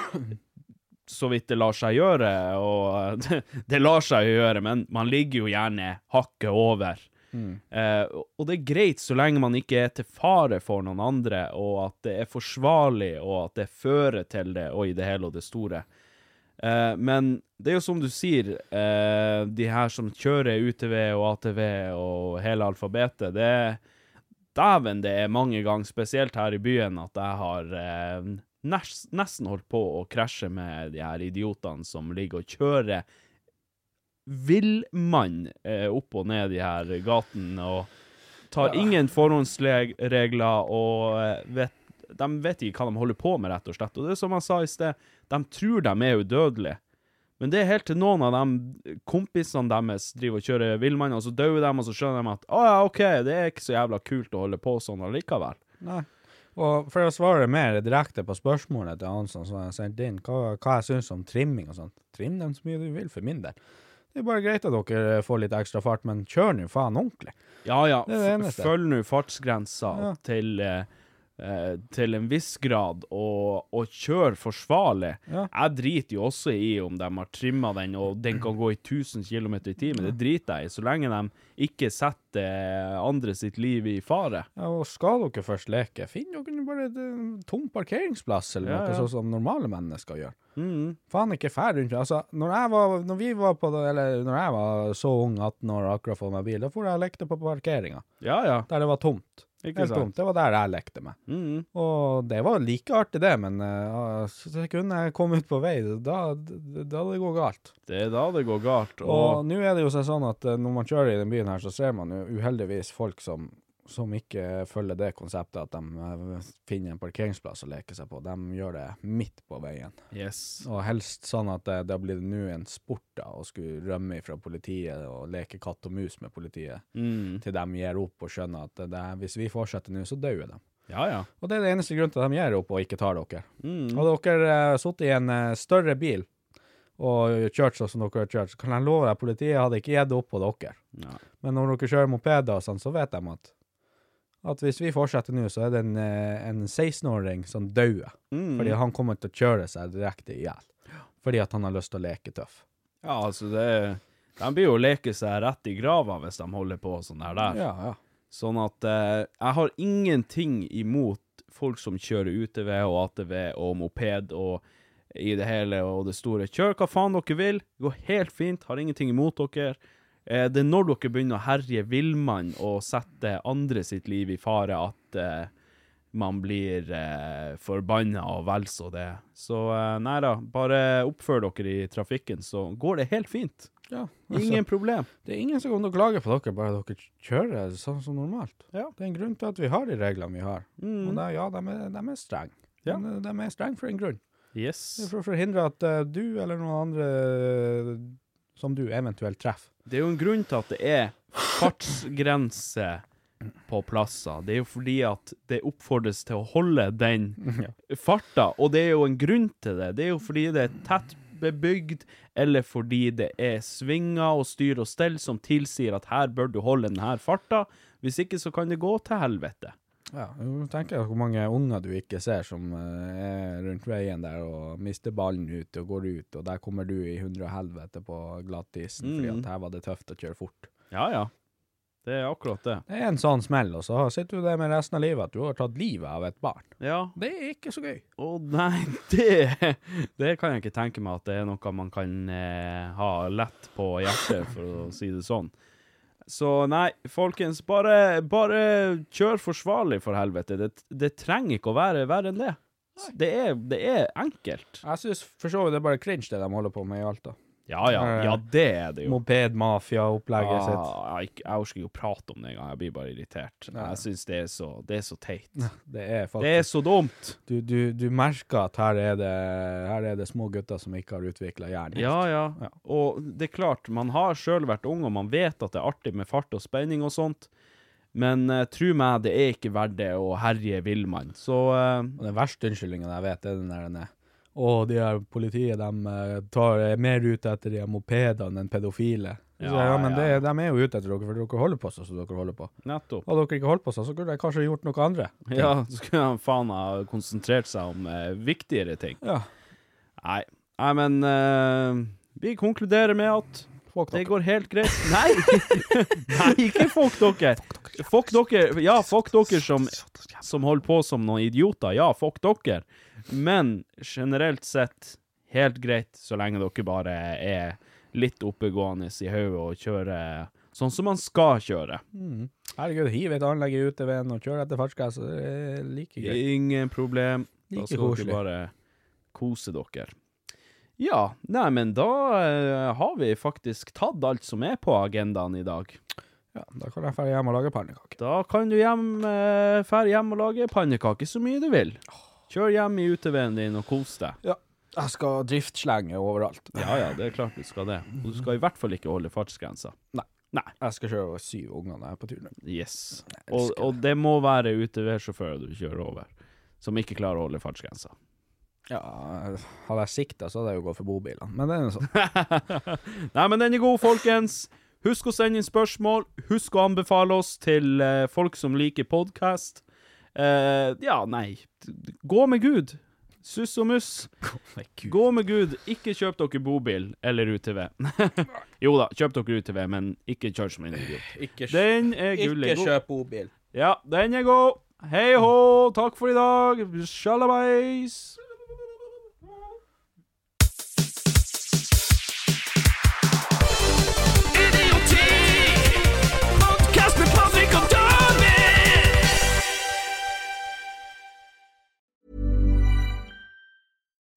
Speaker 3: så vidt det lar seg gjøre, og det, det lar seg jo gjøre, men man ligger jo gjerne hakket over. Eh, og det er greit så lenge man ikke er til fare for noen andre, og at det er forsvarlig, og at det fører til det, og i det hele og det store. Eh, men det er jo som du sier, eh, de her som kjører UTV og ATV og hele alfabetet, det er Dæven, det er mange ganger, spesielt her i byen, at jeg har eh, nes- nesten holdt på å krasje med de her idiotene som ligger og kjører villmann eh, opp og ned de her gatene og tar ingen forhåndsregler og eh, vet, de vet ikke hva de holder på med, rett og slett. Og det er som jeg sa i sted, de tror de er udødelige. Men det er helt til noen av de kompisene deres driver og kjører villmann, og så dør de, og så skjønner de at å ja, OK, det er ikke så jævla kult å holde på sånn allikevel.
Speaker 4: Nei. Og for å svare mer direkte på spørsmålet til Hansson, som jeg sendte inn, hva, hva jeg syns om trimming og sånt. Trim den så mye du vil, for min del. Det er bare greit at dere får litt ekstra fart, men kjør nå faen ordentlig.
Speaker 3: Ja ja,
Speaker 4: Det er det
Speaker 3: f-
Speaker 4: eneste.
Speaker 3: følg nå fartsgrensa
Speaker 4: Ja.
Speaker 3: til eh, eh, til en viss grad, og, og kjør forsvarlig.
Speaker 4: Ja.
Speaker 3: Jeg driter jo også i om de har trimma den, og den kan gå i 1000 km i timen. Det driter jeg i, så lenge de ikke setter eh, andre sitt liv i fare.
Speaker 4: Ja, og skal dere først leke, finn dere nå bare en tom parkeringsplass, eller
Speaker 3: Ja,
Speaker 4: noe
Speaker 3: ja.
Speaker 4: sånn som normale mennesker gjør.
Speaker 3: Mm.
Speaker 4: Faen ikke fær rundt Altså, når jeg var, når vi var på det, eller når jeg var så ung, 18 år, og akkurat fått meg bil, da for jeg og lekte på parkeringa,
Speaker 3: Ja ja,
Speaker 4: der det var tomt.
Speaker 3: ikke
Speaker 4: Helt
Speaker 3: sant?
Speaker 4: tomt. Det var der jeg lekte meg.
Speaker 3: Mm.
Speaker 4: Og det var like artig det, men uh, sekundet jeg kom ut på vei, da, da, da det går galt.
Speaker 3: Det er da det går galt.
Speaker 4: Og nå er det jo seg sånn at eh, når man kjører i den byen her, så ser man jo uheldigvis folk som, som ikke følger det konseptet at de eh, finner en parkeringsplass å leke seg på. De gjør det midt på veien.
Speaker 3: Yes.
Speaker 4: Og helst sånn at det, da blir det nå en sport da, å skulle rømme fra politiet og leke katt og mus med politiet,
Speaker 3: Mm.
Speaker 4: til de gir opp og skjønner at eh, det, er- hvis vi fortsetter nå, så dør de.
Speaker 3: Ja, ja.
Speaker 4: Og det er det eneste grunnen til at de gir opp og ikke tar dere.
Speaker 3: Mm.
Speaker 4: Hadde dere uh, sittet i en eh, større bil og kjørt sånn som dere har kjørt, så kan jeg love deg politiet hadde ikke gitt opp på dere.
Speaker 3: Nei.
Speaker 4: Men når dere kjører mopeder og sånn, så vet de at, at hvis vi fortsetter nå, så er det en, eh, en 16-åring som dauer.
Speaker 3: Mm.
Speaker 4: Fordi han kommer til å kjøre seg direkte i hjel. Fordi at han har lyst til å leke tøff.
Speaker 3: Ja, altså, det De blir jo å leke seg rett i grava hvis de holder på sånn her der.
Speaker 4: Ja, ja.
Speaker 3: Sånn at eh, jeg har ingenting imot folk som kjører UTV og ATV og moped og i det hele og det store. Kjør hva faen dere vil, det går helt fint, har ingenting imot dere. Eh, det er når dere begynner å herje villmann og sette andre sitt liv i fare at eh, man blir eh, forbanna og vel så det. Så eh, nei da, bare oppfør dere i trafikken, så går det helt fint.
Speaker 4: ja altså,
Speaker 3: Ingen problem.
Speaker 4: Det er ingen som kommer til å klage på dere, bare dere kjører sånn som normalt. Det er en grunn til at vi har de reglene vi har. Og
Speaker 3: Mm.
Speaker 4: det, er- ja, de er, de er strenge.
Speaker 3: Ja.
Speaker 4: Men, eh, De er strenge for en grunn.
Speaker 3: Yes.
Speaker 4: Det er for å forhindre at eh, du eller noen andre eh, som du eventuelt treffer.
Speaker 3: Det er jo en grunn til at det er fartsgrense på plasser. Det er jo fordi at det oppfordres til å holde den farta, og det er jo en grunn til det. Det er jo fordi det er tett bebygd, eller fordi det er svinger og styr og stell som tilsier at her bør du holde denne farta. Hvis ikke så kan det gå til helvete.
Speaker 4: Ja, nå tenker jeg hvor mange unger du ikke ser som eh, er rundt veien der og mister ballen ut og går ut, og der kommer du i hundre og helvete på glattisen fordi at her var det tøft å kjøre fort.
Speaker 3: Ja, ja. Det er akkurat det.
Speaker 4: Det er en sånn smell, og så sitter du der med resten av livet at du har tatt livet av et barn.
Speaker 3: Ja.
Speaker 4: Det er ikke så gøy.
Speaker 3: Å nei, det, det kan jeg ikke tenke meg at det er noe man kan eh, ha lett på hjertet, for å si det sånn. Så nei, folkens, bare, bare kjør forsvarlig, for helvete. Det, det trenger ikke å være verre enn det. Det er, det er enkelt.
Speaker 4: Jeg syns for så vidt det er bare cringe det de holder på med i Alta.
Speaker 3: Ja, ja, ja, det er det jo.
Speaker 4: Mopedmafia-opplegget sitt.
Speaker 3: Ah, jeg, jeg orker ikke å prate om det engang, jeg blir bare irritert. Jeg syns det, er så- det er så teit.
Speaker 4: Det er
Speaker 3: Det
Speaker 4: faktisk
Speaker 3: er så dumt.
Speaker 4: du, du, du merker at her er, det, her er det små gutter som ikke har utvikla hjernen.
Speaker 3: Ja, ja, Og det er klart, man har sjøl vært ung, og man vet at det er artig med fart og spenning og sånt, men uh, tru meg, det er ikke verdt det, og herje vil man. Så eh,
Speaker 4: Og den verste unnskyldningen jeg vet, er den der denne. Å, de her politiet, de eh, tar, er mer ute etter de her mopedene enn pedofile. Ja,
Speaker 3: Ja,
Speaker 4: ja, men
Speaker 3: ja.
Speaker 4: Det, de er jo ute etter dere, for dere holder på seg som dere holder på.
Speaker 3: nettopp.
Speaker 4: Hadde dere ikke holdt på seg, så kunne de kanskje gjort noe andre.
Speaker 3: Ja, så skulle han faen ha konsentrert seg om eh, viktigere ting.
Speaker 4: Ja.
Speaker 3: Nei, Nei men eh, vi konkluderer med at
Speaker 4: Fuck
Speaker 3: det
Speaker 4: dere.
Speaker 3: går helt greit. Nei! Nei, ikke fuck dere! Fuck dere, ja, fuck dere som, som holder på som noen idioter. Ja, fuck dere. Men generelt sett, helt greit så lenge dere bare er litt oppegående i hodet og kjører sånn som man skal kjøre.
Speaker 4: Herregud, hiv et anlegg i uteveien og kjør etter fartsgrensa. Det er like greit.
Speaker 3: Ingen problem. Da
Speaker 4: Ikke
Speaker 3: skal
Speaker 4: koselig.
Speaker 3: dere bare kose dere. Ja, nei, men da eh, har vi faktisk tatt alt som er på agendaen i dag.
Speaker 4: Ja, da kan jeg dra hjem og lage pannekaker.
Speaker 3: Da kan du hjem, eh, fær hjem og lage pannekaker så mye du vil. Kjør hjem i uteveien din og kos deg.
Speaker 4: Ja. Jeg skal driftslenge overalt.
Speaker 3: Ja, ja, det er klart du skal det. Og du skal i hvert fall ikke holde fartsgrensa.
Speaker 4: Nei.
Speaker 3: Nei.
Speaker 4: Jeg skal kjøre over syv unger når jeg er på turen.
Speaker 3: Yes.
Speaker 4: Jeg
Speaker 3: Og,
Speaker 4: elsker det.
Speaker 3: og det må være uteveissjåfører du kjører over, som ikke klarer å holde fartsgrensa.
Speaker 4: Ja, hadde jeg sikta, så hadde jeg jo gått for bobilene. Men det er nå sånn.
Speaker 3: Nei, men den er god, folkens. Husk å sende inn spørsmål. Husk å anbefale oss til eh, folk som liker podkast. ja, nei Gå med Gud. Suss og muss. Gå med Gud. Ikke kjøp dere bobil eller UTV. jo da, kjøp dere UTV, men ikke kjør som en idiot.
Speaker 4: Ikke
Speaker 3: Den er gullig god.
Speaker 4: kjøp bobil.
Speaker 3: Ja, den er god. Hei hå, takk for i dag. Sjalabais.